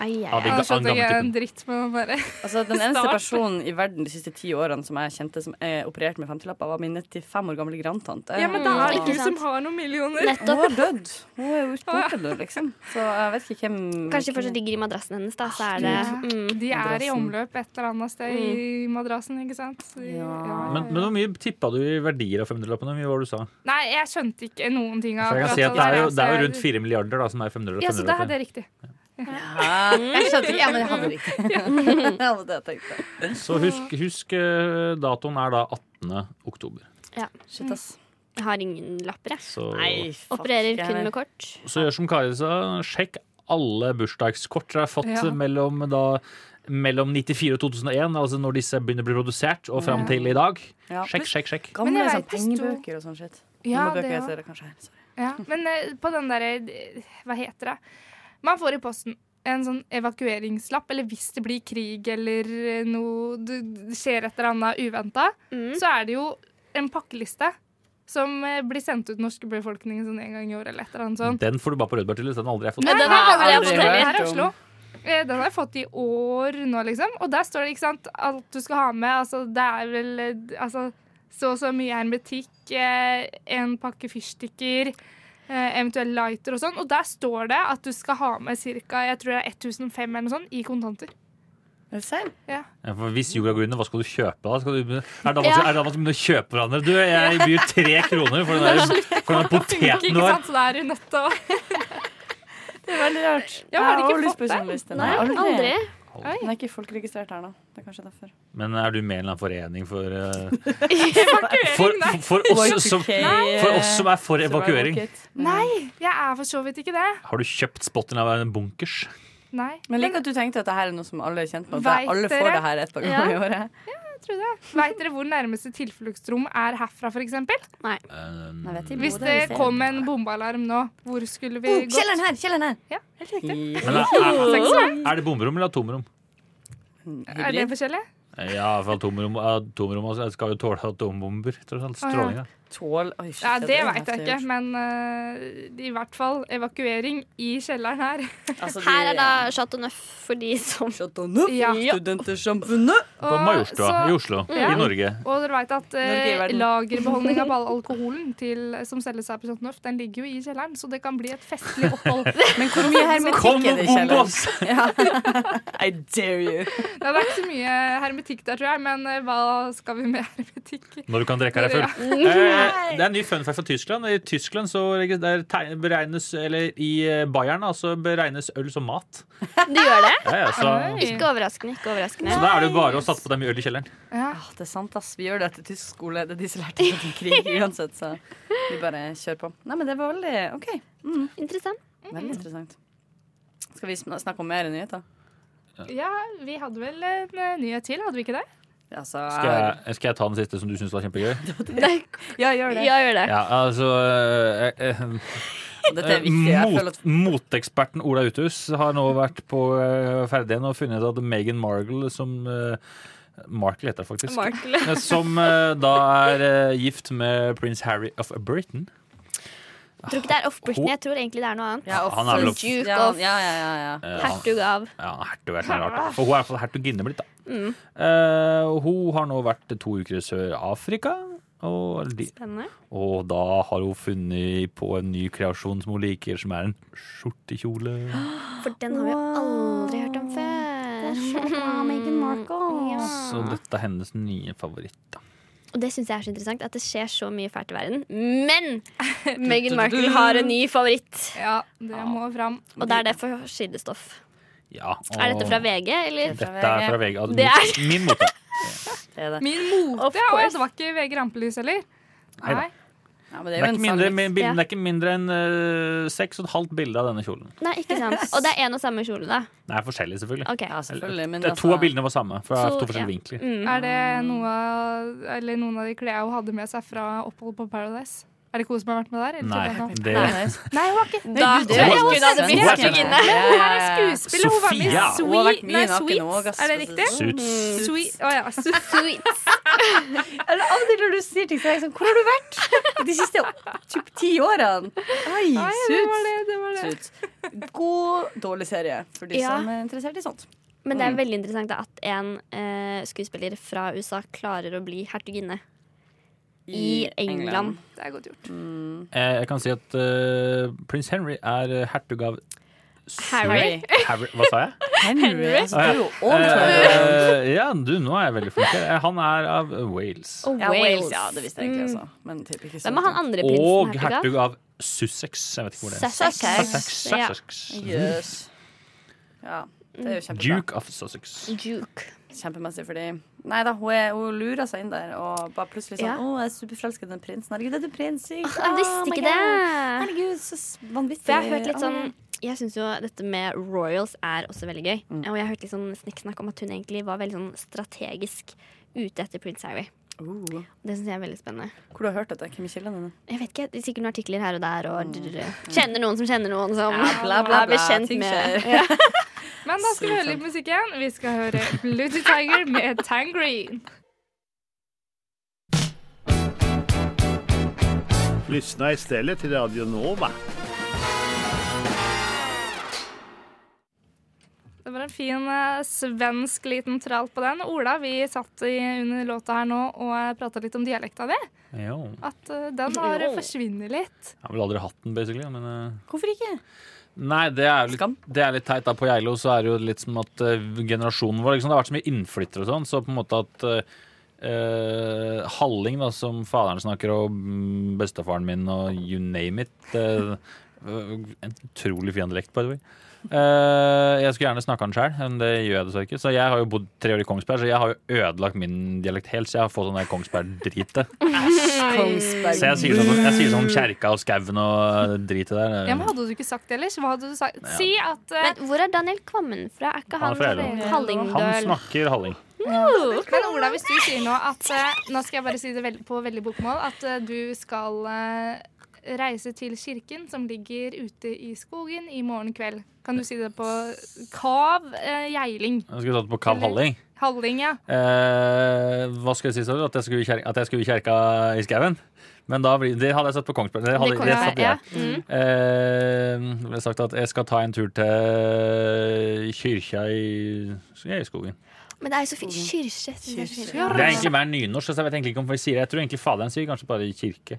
Speaker 6: Ai,
Speaker 12: Ja, de ga-
Speaker 3: Jeg
Speaker 12: gamle
Speaker 3: skjønte ikke
Speaker 12: tiden.
Speaker 3: en dritt med å bare
Speaker 4: Altså, den eneste
Speaker 3: starte.
Speaker 4: personen i verden de siste ti årene som jeg kjente som eh, opererte med 50-lapper, var min 95 år gamle grandtante.
Speaker 3: Ja, men det
Speaker 4: Hun
Speaker 3: er
Speaker 4: har-
Speaker 3: du som har noen millioner.
Speaker 4: Hun har dødd. Hun er jo ikke borte nå, liksom. Så jeg vet ikke hvem
Speaker 6: Kanskje
Speaker 4: hvem-
Speaker 6: fortsatt ligger i madrassen hennes, da. Så er det mm,
Speaker 3: Ja. De er i
Speaker 6: Madrassen.
Speaker 3: omløp et eller annet sted i madrassen, ikke sant? Så- Mm. ja.
Speaker 5: Men, men hvor mye tippa du i verdier av 500-lappene? Hvor mye var det du sa?
Speaker 3: Nei, jeg skjønte ikke noen ting av
Speaker 5: For jeg
Speaker 3: akkurat
Speaker 5: kan si at det er jo,
Speaker 3: der,
Speaker 5: det er
Speaker 3: så
Speaker 5: jo
Speaker 3: jeg-
Speaker 5: rundt 4 milliarder da, som er 500
Speaker 3: Ja, så da hadde
Speaker 5: lapper
Speaker 3: jeg riktig.
Speaker 4: Ja, jeg skjønte ikke. Ja, men jeg hadde riktig. Jeg hadde det jeg tenkte.
Speaker 5: Så husk, husk eh, datoen er da 18. oktober.
Speaker 6: Ja.
Speaker 4: Shit, ass.
Speaker 6: Jeg har ingen lapper, jeg.
Speaker 5: Så- Nei, fuck,
Speaker 6: Opererer
Speaker 5: jeg
Speaker 6: kun
Speaker 5: vet.
Speaker 6: med kort.
Speaker 5: Så gjør som Kari sa, sjekk alle bursdagskort dere har fått
Speaker 6: Ja.
Speaker 5: mellom, da, mellom 94 og 2001, altså når disse begynner å bli produsert, og fram
Speaker 4: Ja.
Speaker 5: til i dag.
Speaker 4: Ja.
Speaker 5: Sjekk, sjekk, sjekk.
Speaker 3: Men
Speaker 4: Gamle
Speaker 3: jeg
Speaker 4: sånn
Speaker 3: vet det sto-
Speaker 4: pengebøker og sånn shit.
Speaker 3: Ja,
Speaker 4: Lommebøker
Speaker 3: det
Speaker 4: heter
Speaker 3: også.
Speaker 4: det kanskje her. Sorry.
Speaker 3: Ja, men eh, på den derre eh, Hva heter det? Man får i posten en sånn evakueringslapp, eller hvis det blir krig eller eh, noe det det skjer et eller annet uventa, så er det jo en pakkeliste som eh, blir sendt ut norske befolkningen sånn en gang i året eller et eller annet sånt.
Speaker 5: Den får du bare på Rødberg til, den har aldri jeg fått.
Speaker 3: Nei,
Speaker 6: har
Speaker 3: aldri
Speaker 6: jeg
Speaker 3: fått
Speaker 6: aldri
Speaker 3: den
Speaker 6: hørt
Speaker 3: her i
Speaker 6: om.
Speaker 3: Oslo. Eh, Den har jeg fått i år nå, liksom. Og der står det ikke sant, alt du skal ha med. Altså, det er vel eh, altså, så og så mye hermetikk, eh, en pakke fyrstikker, eh, eventuell lighter og sånn. Og der står det at du skal ha med ca. 1500 eller noe sånt i kontanter. Ja.
Speaker 5: Ja, for hvis jorda går under, hva skal du kjøpe da? Skal du, er det da man
Speaker 3: Ja.
Speaker 5: skal- er det da man skal begynne å kjøpe hverandre? Du, jeg byr tre kroner for den, der, for den
Speaker 3: Funker,
Speaker 5: poteten du
Speaker 3: ikke
Speaker 5: har.
Speaker 3: sant? Så da er du nødt til å
Speaker 4: Det er veldig rart.
Speaker 3: Ja, har du
Speaker 4: Jeg
Speaker 3: ikke
Speaker 4: også
Speaker 3: fått
Speaker 4: lyst på en
Speaker 3: den?
Speaker 4: sånn liste.
Speaker 3: Nei,
Speaker 4: aldri.
Speaker 3: Oi.
Speaker 4: Den er ikke folkeregistrert her, da. Det er kanskje derfor.
Speaker 5: Men er du med i en eller annen forening for eh,
Speaker 3: Evakuering,
Speaker 5: for,
Speaker 3: nei.
Speaker 5: for, oss som,
Speaker 3: Nei.
Speaker 5: for oss som er for evakuering.
Speaker 3: Nei, jeg er for så vidt ikke det.
Speaker 5: Har du kjøpt spotten av en bunkers?
Speaker 3: Nei.
Speaker 4: Men like at du tenkte at det her er noe som alle er kjent med.
Speaker 3: Vet
Speaker 4: At det- alle
Speaker 3: dere?
Speaker 4: får det her et par ganger i
Speaker 3: Ja.
Speaker 4: året.
Speaker 3: Jeg tror det. Veit dere hvor nærmeste tilfluktsrom er herfra, f.eks.?
Speaker 6: Nei.
Speaker 5: Eh,
Speaker 3: Hvis det kom en bombealarm nå, hvor skulle vi
Speaker 4: Oh,
Speaker 3: gått?
Speaker 4: kjelleren her! Kjelleren her!
Speaker 3: Ja.
Speaker 5: Men er, er, er det bomrom eller atomrom? Eh,
Speaker 3: Er det forskjellig?
Speaker 5: Ja, for atomrom, atomrom altså, skal jo tåle atombomber. Tross alt.
Speaker 3: Å, ja.
Speaker 5: Stråling, ja.
Speaker 4: Tål Oi, shit,
Speaker 3: Ja,
Speaker 4: ja,
Speaker 3: det
Speaker 4: er
Speaker 3: veit jeg
Speaker 4: heftig
Speaker 3: ikke,
Speaker 4: gjort.
Speaker 3: men eh, i hvert fall evakuering i kjelleren her.
Speaker 4: Altså,
Speaker 6: Her er da Chateau Neuf for de som
Speaker 4: Chateau Neuf, Studentersamfunnet.
Speaker 5: På Majorstua i Oslo. I Norge.
Speaker 3: Og dere veit at
Speaker 4: Norge i
Speaker 3: eh,
Speaker 4: verden.
Speaker 3: lagerbeholdning av all alkoholen til, som selges her på Chateau Neuf, den ligger jo i kjelleren, så det kan bli et festlig opphold.
Speaker 4: Men hvor mye hermetikk er det i kjelleren? I dare you.
Speaker 3: Det er ikke så mye hermetikk der, tror jeg, men eh, hva skal vi med hermetikk?
Speaker 5: Når du kan drikke deg full.
Speaker 3: Ja.
Speaker 5: Eh, det er en ny fun fact for Tyskland. I Tyskland så regis- der teg- beregnes Eller i eh, Bayern da, så beregnes øl som mat.
Speaker 6: Du gjør det?
Speaker 5: Ja, ja, så-
Speaker 6: Ikke overraskende. ikke overraskende
Speaker 5: Så da er det jo bare å satse på dem i øl i kjelleren.
Speaker 4: Ah, det er sant, ass. Vi gjør det etter tysk skole. Det er de som lærte oss om krig uansett, så vi bare kjører på. Nei, men det var veldig OK. Mm.
Speaker 6: Interessant.
Speaker 4: Veldig interessant. Skal vi sn- snakke om mer nyheter?
Speaker 3: Ja, vi hadde vel en eh, nyhet til, hadde vi ikke det?
Speaker 4: Altså,
Speaker 5: Skal jeg, skal jeg ta den siste som du syns var kjempegøy?
Speaker 4: Ja, gjør det.
Speaker 3: Ja, gjør det.
Speaker 5: Ja, altså eh, eh,
Speaker 4: Dette er
Speaker 5: eh,
Speaker 4: viktig. Jeg føler
Speaker 5: Mot, moteksperten Ola Uthus har nå vært på eh, ferden og funnet at Meghan Markle som eh, Markle heter det faktisk.
Speaker 6: Markle.
Speaker 5: Eh, Som eh, da er eh, gift med prins Harry of Britain.
Speaker 6: Jeg tror ikke det er off Britney. Jeg tror egentlig det er noe annet.
Speaker 5: Ja, off- Han er vel off-
Speaker 6: Duke
Speaker 4: Ja,
Speaker 6: of
Speaker 4: ja, ja, ja,
Speaker 5: Eh, han-
Speaker 6: Hertug av.
Speaker 5: Ja, hertug er sånn rart. For hun er i hvert fall hertuginne blitt, da.
Speaker 6: Mm.
Speaker 5: Eh, og hun har nå vært to uker i Sør-Afrika. Og, de-
Speaker 6: Spennende.
Speaker 5: og da har hun funnet på en ny kreasjon som hun liker, som er en skjortekjole.
Speaker 6: For den har vi aldri hørt om før. Meghan Markle.
Speaker 5: Så
Speaker 6: Ah.
Speaker 5: dette er hennes nye favoritt.
Speaker 6: Og det syns jeg er så interessant, at det skjer så mye fælt i verden. Men Meghan Markle har en ny favoritt.
Speaker 3: Ja, det må fram.
Speaker 6: Og det er det for sidestoff.
Speaker 5: Ja, og
Speaker 6: Er dette fra VG, eller?
Speaker 5: Dette er fra VG.
Speaker 6: Det er
Speaker 5: Min mote.
Speaker 3: Min mote, ja. og Det var ikke VG Rampelys heller.
Speaker 5: Neida. Det er, ikke mindre, men bilden, det er ikke mindre enn eh, seks og et halvt bilde av denne kjolen.
Speaker 6: Nei, ikke sant. Og det er én og samme kjole, da.
Speaker 5: Det er forskjellig, selvfølgelig.
Speaker 6: Ok. Ja,
Speaker 4: selvfølgelig, men
Speaker 5: det, er
Speaker 4: altså-
Speaker 5: to av bildene var samme, fra
Speaker 6: To-
Speaker 5: to, forskjellige
Speaker 6: ja. Mm,
Speaker 5: vinkler.
Speaker 3: Er det noe, av- eller noen av de klærne hun hadde med seg fra opphold på Paradise? Er det Kose som har vært med der? eller
Speaker 5: Nei,
Speaker 3: tror jeg
Speaker 5: det-
Speaker 3: at han-
Speaker 5: Nei,
Speaker 3: hun var ikke
Speaker 5: Nei, Gud, det var ikke- hun hadde virkelig inne.
Speaker 3: Men hun
Speaker 4: Eh,
Speaker 3: her er skuespiller. Hun var med i
Speaker 4: Hun
Speaker 5: Sofia.
Speaker 4: har vært
Speaker 3: Sweet Nei,
Speaker 4: mye naken også,
Speaker 3: Sweets. Mm.
Speaker 4: ass.
Speaker 3: Er det riktig?
Speaker 4: Suits.
Speaker 3: Sweet. Å ja.
Speaker 6: Sweets.
Speaker 4: Eller av og til når du sier ting, så er jeg sånn Hvor har du vært de siste typ, ti årene? Oi,
Speaker 3: Nei, det var det, det var det.
Speaker 4: suits. Suits. God, dårlig serie for de
Speaker 6: Ja.
Speaker 4: som er interessert i sånt.
Speaker 6: Men det er
Speaker 4: Mm.
Speaker 6: veldig interessant da, at en eh, skuespiller fra USA klarer å bli hertuginne i,
Speaker 4: I
Speaker 6: England.
Speaker 4: England.
Speaker 3: Det er godt gjort.
Speaker 5: Eh, Jeg kan si at eh, prins Henry er eh, hertug av
Speaker 6: Harry.
Speaker 5: Harry. Hva sa jeg?
Speaker 4: Henry, altså, det er jo
Speaker 5: Ah, ja.
Speaker 4: overtøyd.
Speaker 5: Eh, ja, du, nå er jeg veldig flink. her. Eh, Han er av Wales.
Speaker 6: Og
Speaker 4: Ja,
Speaker 6: Wales.
Speaker 4: Wales, ja, det visste jeg egentlig også. Men typ ikke så
Speaker 6: altså. Hvem er han
Speaker 4: godt.
Speaker 6: andre prinsen?
Speaker 5: Og
Speaker 6: hertug av?
Speaker 5: hertug av Sussex. Jeg vet ikke hvor det er.
Speaker 6: Sussex.
Speaker 5: Sussex.
Speaker 6: Ja.
Speaker 5: Sussex.
Speaker 4: Yes. Ja, det er jo kjempebra.
Speaker 5: Duke of Sussex.
Speaker 6: Duke.
Speaker 4: Kjempemessig fordi Nei da, hun, er, hun lurer seg inn der og bare plutselig sånn
Speaker 6: Ja.
Speaker 4: Å, jeg er superforelsket i den prinsen. Herregud, er du prins? Sykt.
Speaker 6: Åh, Ah, jeg visste
Speaker 4: Oh my
Speaker 6: ikke
Speaker 4: God.
Speaker 6: det.
Speaker 4: Herregud, så s- vanvittig.
Speaker 6: For jeg har hørt litt sånn
Speaker 4: Å.
Speaker 6: Jeg syns jo dette med royals er også veldig gøy.
Speaker 4: Mm.
Speaker 6: Og jeg har hørt litt sånn snikksnakk om at hun egentlig var veldig sånn strategisk ute etter prins Harry.
Speaker 4: Oh.
Speaker 6: Det syns jeg er veldig spennende.
Speaker 4: Hvor du har hørt dette? Hvem er kildene dine?
Speaker 6: Jeg vet ikke, det er Sikkert noen artikler her og der. Og drrrr. kjenner noen som kjenner noen som
Speaker 4: Mm. Ja, bla, bla,
Speaker 6: er
Speaker 4: bla,
Speaker 6: bekjent
Speaker 4: ting
Speaker 6: med
Speaker 4: skjer.
Speaker 6: ja.
Speaker 3: Men da skal vi høre litt musikk igjen. Vi skal høre Bloody Tiger med Tangerine.
Speaker 2: Lyssna istället till Radio Nova.
Speaker 3: Det var en fin eh, svensk liten tralt på den. Ola, vi satt i, under låta her nå og prata litt om dialekta di.
Speaker 5: Jo.
Speaker 3: At eh, den har
Speaker 4: Jo.
Speaker 3: forsvinner litt.
Speaker 5: Jeg har vel aldri hatt den, basically. Men eh,
Speaker 4: Hvorfor ikke?
Speaker 5: Nei, det er, jo litt, det er litt teit. da På Geilo så er det jo litt som at eh, generasjonen vår liksom, Det har vært så mye innflyttere og sånn, så på en måte at eh, eh, Halling, da, som faderen snakker, og mm, bestefaren min og you name it eh, En utrolig fin dialekt, by the way. Eh, jeg skulle gjerne snakka den sjøl, men det gjør jeg dessverre ikke. Så jeg har jo bodd tre år i Kongsberg, så jeg har jo ødelagt min dialekt helt. Så jeg har fått den der Kongsberg-dritet.
Speaker 4: Kongsberg.
Speaker 5: Så jeg sier sånn, jeg sier sånn kjerka og skauen og dritet der.
Speaker 3: Ja, men Hadde du ikke sagt det ellers? Hva hadde du sagt? Si at eh,
Speaker 6: Men hvor er Daniel Kvammen fra? Er ikke
Speaker 5: Han
Speaker 6: han,
Speaker 5: er fra Elverum. Han
Speaker 6: Hallingdøl?
Speaker 5: snakker halling.
Speaker 3: Men Ola, hvis du sier nå at eh, Nå skal jeg bare si det vel- på veldig bokmål. At eh, du skal eh, reise til kirken som ligger ute i skogen i morgen kveld. Kan du si det på Kav eh, Geiling?
Speaker 5: Jeg skulle tatt på Kav Halling.
Speaker 3: Halling, ja.
Speaker 5: Eh, hva skulle jeg si, sa du? At jeg skulle i kjer- at jeg skulle i kjerka i skauen? Men da blir, det hadde jeg satt på Kongsberg. Det hadde,
Speaker 6: Det
Speaker 5: det
Speaker 6: kan
Speaker 5: satt
Speaker 6: jeg-
Speaker 5: jeg. Eh, det ble sagt at jeg skal ta en tur til kyrkja i, i skogen.
Speaker 6: Men det er jo så
Speaker 4: Mm.
Speaker 6: fint. Kyrkje.
Speaker 5: Det er egentlig mer nynorsk. Så jeg vet egentlig ikke om vi sier det. Jeg tror egentlig faderen sier kanskje bare i kirke.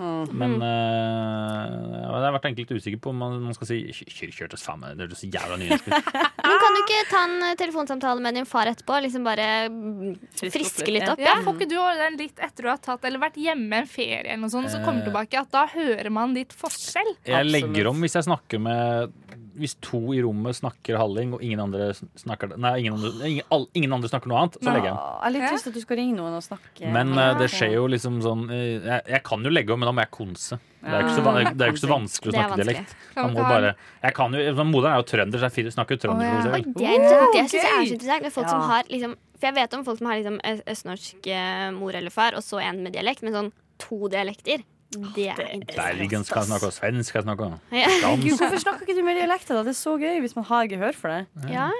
Speaker 5: Men
Speaker 6: Mm.
Speaker 5: eh, jeg har vært egentlig litt usikker på om man, man skal si "Kyr- kyrkjørtes faen meg. Det høres så jævla nynorsk ut.
Speaker 6: Men kan du ikke ta en eh, telefonsamtale med din far etterpå? Liksom bare mm, friske litt opp?
Speaker 3: Ja,
Speaker 6: Ja.
Speaker 3: Får ikke du ordne den litt etter du har tatt eller vært hjemme en ferie, eller noe sånt, så kommer
Speaker 5: Eh.
Speaker 3: du tilbake at da hører man litt forskjell?
Speaker 5: Jeg legger om hvis jeg snakker med Hvis to i rommet snakker halling, og ingen andre sn- snakker Nei, ingen andre, ingen, all, ingen andre snakker noe annet, så legger jeg om.
Speaker 4: Å, Jeg har litt lyst til at du skal ringe noen og snakke.
Speaker 5: Men eh, det skjer jo liksom sånn eh, jeg, jeg kan jo legge om, men da må jeg konse. Det er jo ikke så, van- det er jo ikke så vanskelig å
Speaker 4: Det er
Speaker 5: snakke
Speaker 4: vanskelig.
Speaker 5: dialekt.
Speaker 4: Kan
Speaker 5: Man
Speaker 4: vi
Speaker 5: må
Speaker 4: ta
Speaker 5: bare jeg kan jo, Moderen er jo trønder, så jeg fin- snakker jo trønder.
Speaker 6: Å, ja.
Speaker 5: for
Speaker 6: Oi,
Speaker 5: eksempel.
Speaker 6: det er interessant. Det
Speaker 3: Oh, gøy.
Speaker 6: synes jeg er så interessant. Med folk
Speaker 3: Ja.
Speaker 6: som har liksom For jeg vet om folk som har liksom ø- østnorsk eh, mor eller far, og så en med dialekt, men sånn to dialekter, det er interessant.
Speaker 5: Bergensk kan jeg snakke, og svensk kan jeg snakke. og
Speaker 6: Ja.
Speaker 5: Dans.
Speaker 4: Gud, hvorfor snakker ikke du mer dialekter, da? Det er så gøy hvis man har gehør for det.
Speaker 3: Ja.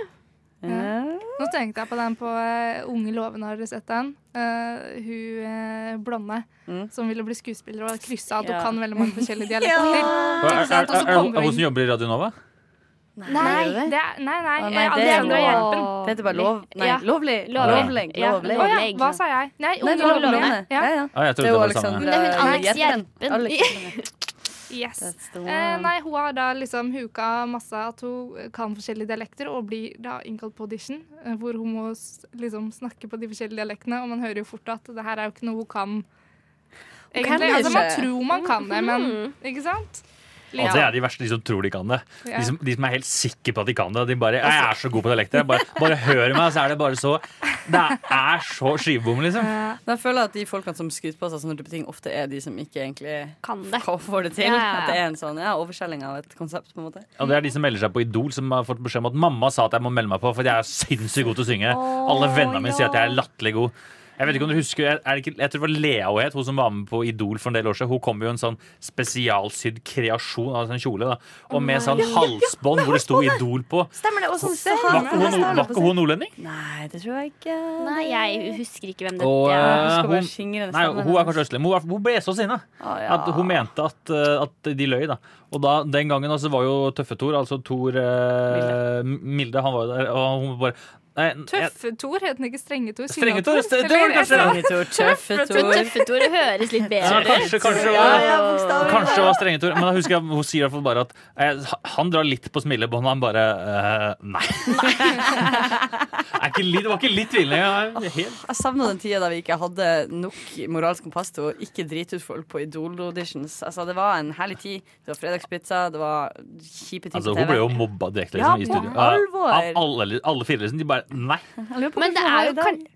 Speaker 4: Ja.
Speaker 3: Nå tenkte jeg på den på eh, Unge lovende, har dere sett den? Eh, hun eh, blonde som ville bli skuespiller og kryssa at hun
Speaker 4: Mm. Ja.
Speaker 3: kan veldig mange forskjellige
Speaker 4: Ja.
Speaker 3: dialekter.
Speaker 5: Er, er,
Speaker 3: Ikke
Speaker 5: er,
Speaker 3: sant? Og så
Speaker 5: er,
Speaker 3: kommer
Speaker 5: er hun
Speaker 3: hun
Speaker 5: som jobber i Radio Nova?
Speaker 3: Nei, det er, nei, nei,
Speaker 4: Å,
Speaker 3: eh,
Speaker 4: nei, det er
Speaker 3: Alexandra
Speaker 4: lov-
Speaker 3: Hjelpen.
Speaker 4: Det heter bare lov- nei, lovlig. Lovleg,
Speaker 3: Ja.
Speaker 4: lovleg.
Speaker 3: Å ja, hva sa jeg? Nei,
Speaker 4: Nei,
Speaker 3: Unge
Speaker 4: det er lovlig.
Speaker 3: lovende. Ja.
Speaker 4: Ja, ja.
Speaker 5: Ah, jeg trodde
Speaker 4: er jo
Speaker 5: det var samme.
Speaker 4: Alexandra
Speaker 5: Men det
Speaker 6: er hun Alex
Speaker 4: Hjelpen.
Speaker 6: Hjelpen.
Speaker 4: Alex-
Speaker 3: Yes.
Speaker 4: That's the
Speaker 3: Eh,
Speaker 4: one.
Speaker 3: nei, hun har da liksom huka masse at hun kan forskjellige dialekter, og blir da innkalt på audition, eh, hvor hun må s- liksom snakke på de forskjellige dialektene, og man hører jo fort at det her er jo ikke noe hun kan.
Speaker 4: Hun
Speaker 3: Egentlig,
Speaker 4: kan det
Speaker 3: altså, man
Speaker 4: ikke.
Speaker 3: tror man kan det, men ikke sant?
Speaker 5: Og det Altså, er liksom- de verste, de som tror de kan det.
Speaker 3: Ja.
Speaker 5: De som, de som er helt sikre på at de kan det. og De bare,
Speaker 4: Altså-
Speaker 5: jeg er så god på dialekter. jeg Bare, bare hør meg, så er det bare så Det er så skivebom, liksom.
Speaker 4: Men jeg føler at de folkene som skryter på seg sånne type ting, ofte er de som ikke egentlig
Speaker 6: kan det.
Speaker 4: får det til.
Speaker 6: Ja, ja, ja.
Speaker 4: At det er en sånn ja, overselging av et konsept, på en måte.
Speaker 5: Og det er de som melder seg på Idol, som har fått beskjed om at mamma sa at jeg må melde meg på, for jeg er sinnssykt god til å synge. Alle vennene mine sier at jeg er latterlig god. Jeg vet ikke om dere husker er det ikke, Jeg tror det var Lea hun het, hun som var med på Idol for en del år siden. Hun kom jo i en sånn spesialsydd kreasjon av en kjole. da Og med
Speaker 4: Å,
Speaker 5: sånn
Speaker 4: nei.
Speaker 5: halsbånd hvor det sto
Speaker 4: Ja,
Speaker 5: Idol på.
Speaker 4: Stemmer det? Og sånn så
Speaker 5: Var ikke hun, var ikke hun nordlending?
Speaker 4: Nei, det tror jeg ikke.
Speaker 6: Nei, jeg husker ikke hvem det
Speaker 5: Og,
Speaker 6: er.
Speaker 5: eh,
Speaker 4: skal bare
Speaker 5: hun,
Speaker 4: skingre den
Speaker 5: nei,
Speaker 4: stemmen
Speaker 5: hun er kanskje østlending. men Hun, var- hun ble så sinna
Speaker 4: Å, ja.
Speaker 5: at hun mente at, eh, at de løy. da Og da, den gangen altså, var jo Tøffe Tor, altså Tor eh, Milde, han var jo der, og hun bare nei, jeg-
Speaker 3: Tøffe-Tor, het den ikke Strenge-Tor?
Speaker 5: Strenge-Tor,
Speaker 3: Signator?
Speaker 5: det- det var det
Speaker 3: Eller-
Speaker 5: kanskje. Strenge-Tor,
Speaker 6: Tøffe-Tor. Tøffe-Tor høres litt bedre
Speaker 5: Ja,
Speaker 6: ut.
Speaker 5: kanskje, kanskje, det
Speaker 6: Ja,
Speaker 5: var-
Speaker 6: ja, bokstavelig
Speaker 5: kanskje det
Speaker 6: talt.
Speaker 5: var strengetur. Men da husker jeg hun sier i hvert fall bare at eh, han drar litt på smilebåndet. Han bare eh, Nei. er ikke litt, det var ikke litt tvilende. jeg er helt-
Speaker 4: Jeg savna den tida da vi ikke hadde nok moralsk kompass til å ikke drite ut folk på Idol-auditions. Altså, det var en herlig tid. Det var fredagspizza, det var kjipe ting
Speaker 5: Altså,
Speaker 4: på TV.
Speaker 5: hun ble jo mobba direkte
Speaker 4: Ja,
Speaker 5: liksom, i
Speaker 4: på
Speaker 5: studio.
Speaker 4: alvor.
Speaker 5: Av alle, alle fire, liksom. De bare Nei.
Speaker 6: Men det er jo kan-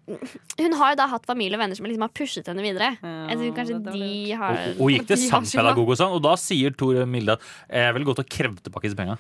Speaker 6: hun har jo da hatt familie og venner som liksom har pushet henne videre. Jeg tror kanskje de har
Speaker 5: Og, og gikk til
Speaker 6: de har skylda.
Speaker 5: sangpedagog og sånn, og da sier Tor Milde at eh, jeg ville gått og krevd tilbake disse penga.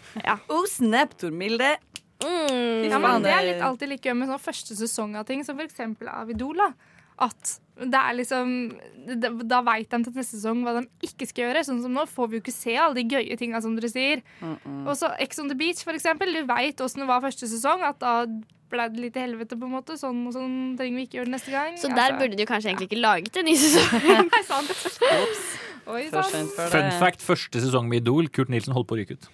Speaker 4: Oh, snap, Tormilde.
Speaker 3: Mm. Ja, men det er litt alltid like gøy med sånn første sesong av ting, som for eksempel av Idol. da. At det er liksom det- Da veit de til neste sesong hva de ikke skal gjøre. Sånn som nå får vi jo ikke se alle de gøye tinga som dere sier. Og så Ex on the Beach, for eksempel. Du veit åssen det var første sesong. At da ble det litt i helvete, på en måte. Sånn og sånn trenger vi ikke gjøre det neste gang. Altså,
Speaker 6: Så der burde de jo kanskje egentlig ikke laget en ny sesong.
Speaker 3: Nei, sant. Oi, sånn.
Speaker 6: For
Speaker 3: sant.
Speaker 5: Fun fact, første sesong med Idol, Kurt Nilsen holdt på å ryke ut.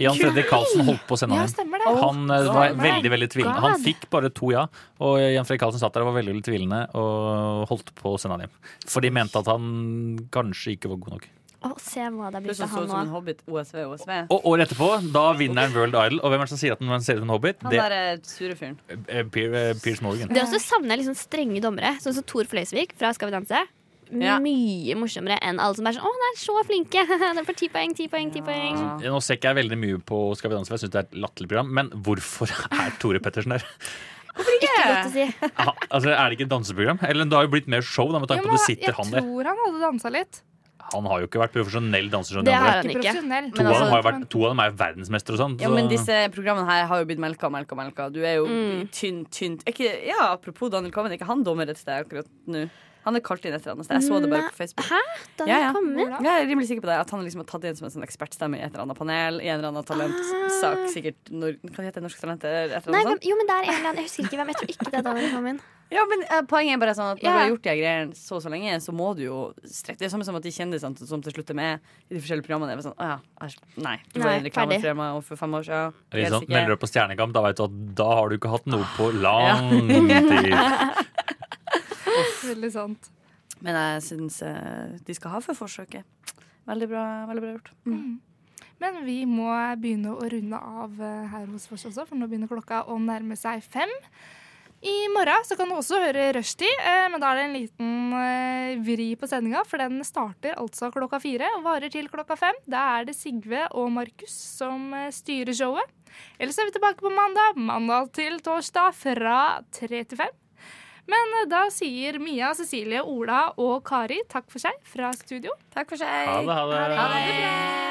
Speaker 5: Jan Fredrik Karlsen holdt på å sende
Speaker 3: Ja,
Speaker 5: han
Speaker 3: stemmer det.
Speaker 5: hjem. Han eh,
Speaker 3: Oh
Speaker 5: var
Speaker 3: my
Speaker 5: veldig veldig tvilende. Han
Speaker 3: God.
Speaker 5: fikk bare to ja, og Jan Fredrik Karlsen satt der og var veldig veldig tvilende og holdt på å sende han hjem. For de mente at han kanskje ikke var god nok.
Speaker 6: Å, se hva det er blitt
Speaker 4: Plutselig
Speaker 6: av
Speaker 4: så
Speaker 6: han
Speaker 4: ut som en
Speaker 6: nå.
Speaker 4: hobbit. OSV, OSV.
Speaker 5: Og året etterpå, da vinner han World Idol. Og hvem er det som sier at han ser ut som en hobbit?
Speaker 4: Han
Speaker 5: Det
Speaker 4: der eh, sure fyren.
Speaker 5: eh, Pier- eh, Piers Morgan.
Speaker 6: Det også savner jeg liksom strenge dommere, sånn som Tor Fløysvik fra Skal vi danse.
Speaker 5: Ja.
Speaker 6: Mye morsommere enn alle som er sånn Å, nei, så flinke! Det får ti poeng, ti poeng, ti poeng.
Speaker 4: Ah.
Speaker 5: Nå ser ikke jeg veldig mye på Skal vi danse, for jeg syns det er et latterlig program. Men hvorfor er Tore Pettersen der?
Speaker 6: Ikke godt å si.
Speaker 5: Ha- altså, er det ikke et danseprogram? Eller det har jo blitt mer show, da, med
Speaker 3: Ja,
Speaker 5: tanke på
Speaker 3: men
Speaker 5: at det sitter han
Speaker 3: Jeg
Speaker 5: der.
Speaker 3: tror han hadde dansa litt.
Speaker 5: Han har jo ikke vært profesjonell danser. som
Speaker 3: Det
Speaker 5: de andre.
Speaker 3: har han ikke. Ikke profesjonell,
Speaker 5: To
Speaker 3: men
Speaker 5: av,
Speaker 3: altså-
Speaker 5: dem har jo vært, to av dem er jo verdensmestere og sånn.
Speaker 4: Ja,
Speaker 5: så-
Speaker 4: men disse programmene her har jo blitt melka og melka og melka. Du er jo
Speaker 6: Mm.
Speaker 4: tynt, tynt. Er Ikke, ja, apropos Daniel Coven, er ikke han dommer et sted akkurat nå? Han er kalt inn et eller annet sted. Jeg så det bare på Facebook.
Speaker 6: Hæ? Daniel
Speaker 4: ja, ja.
Speaker 6: Coven?
Speaker 4: Ja, Jeg er rimelig sikker på det. At han liksom har tatt det inn som en sånn ekspertstemme i et eller annet panel. I en eller annen talentsak. Sikkert nor Kan det hete Norske Talenter? eller Et eller
Speaker 6: Ah. Nei,
Speaker 4: annet
Speaker 6: men,
Speaker 4: sånt.
Speaker 6: jo, men det er en eller annen Jeg husker ikke hvem. Jeg tror ikke det er Daniel Coven.
Speaker 4: Ja, men eh, Poenget er bare sånn at når
Speaker 6: Ja.
Speaker 4: du har gjort de her greiene så og så lenge, så må du jo strekke Det er samme som at de kjendisene som til slutt er med i de forskjellige programmene, er bare sånn Å ja, æsj, nei. Du var i
Speaker 6: Nei,
Speaker 4: en reklame
Speaker 6: ferdig.
Speaker 4: for meg for fem år siden.
Speaker 5: Ikke
Speaker 4: Helt
Speaker 5: sant?
Speaker 4: sikker.
Speaker 5: sånn, Melder deg på Stjernekamp, da vet du at da har du ikke hatt noe på lang tid.
Speaker 3: Veldig sant.
Speaker 4: Men jeg syns eh, de skal ha for forsøket. Veldig bra, veldig bra gjort. Mm.
Speaker 3: Men vi må begynne å runde av eh, her hos oss også, for nå begynner klokka å nærme seg fem. I morgen så kan du også høre Rushtid, eh, men da er det en liten eh, vri på sendinga. For den starter altså klokka fire og varer til klokka fem. Da er det Sigve og Markus som eh, styrer showet. Ellers er vi tilbake på mandag. Mandag til torsdag fra tre til fem. Men eh, da sier Mia, Cecilie, Ola og Kari takk for seg fra studio.
Speaker 4: Takk for
Speaker 5: Ha det, ha det.
Speaker 3: Ha det bra.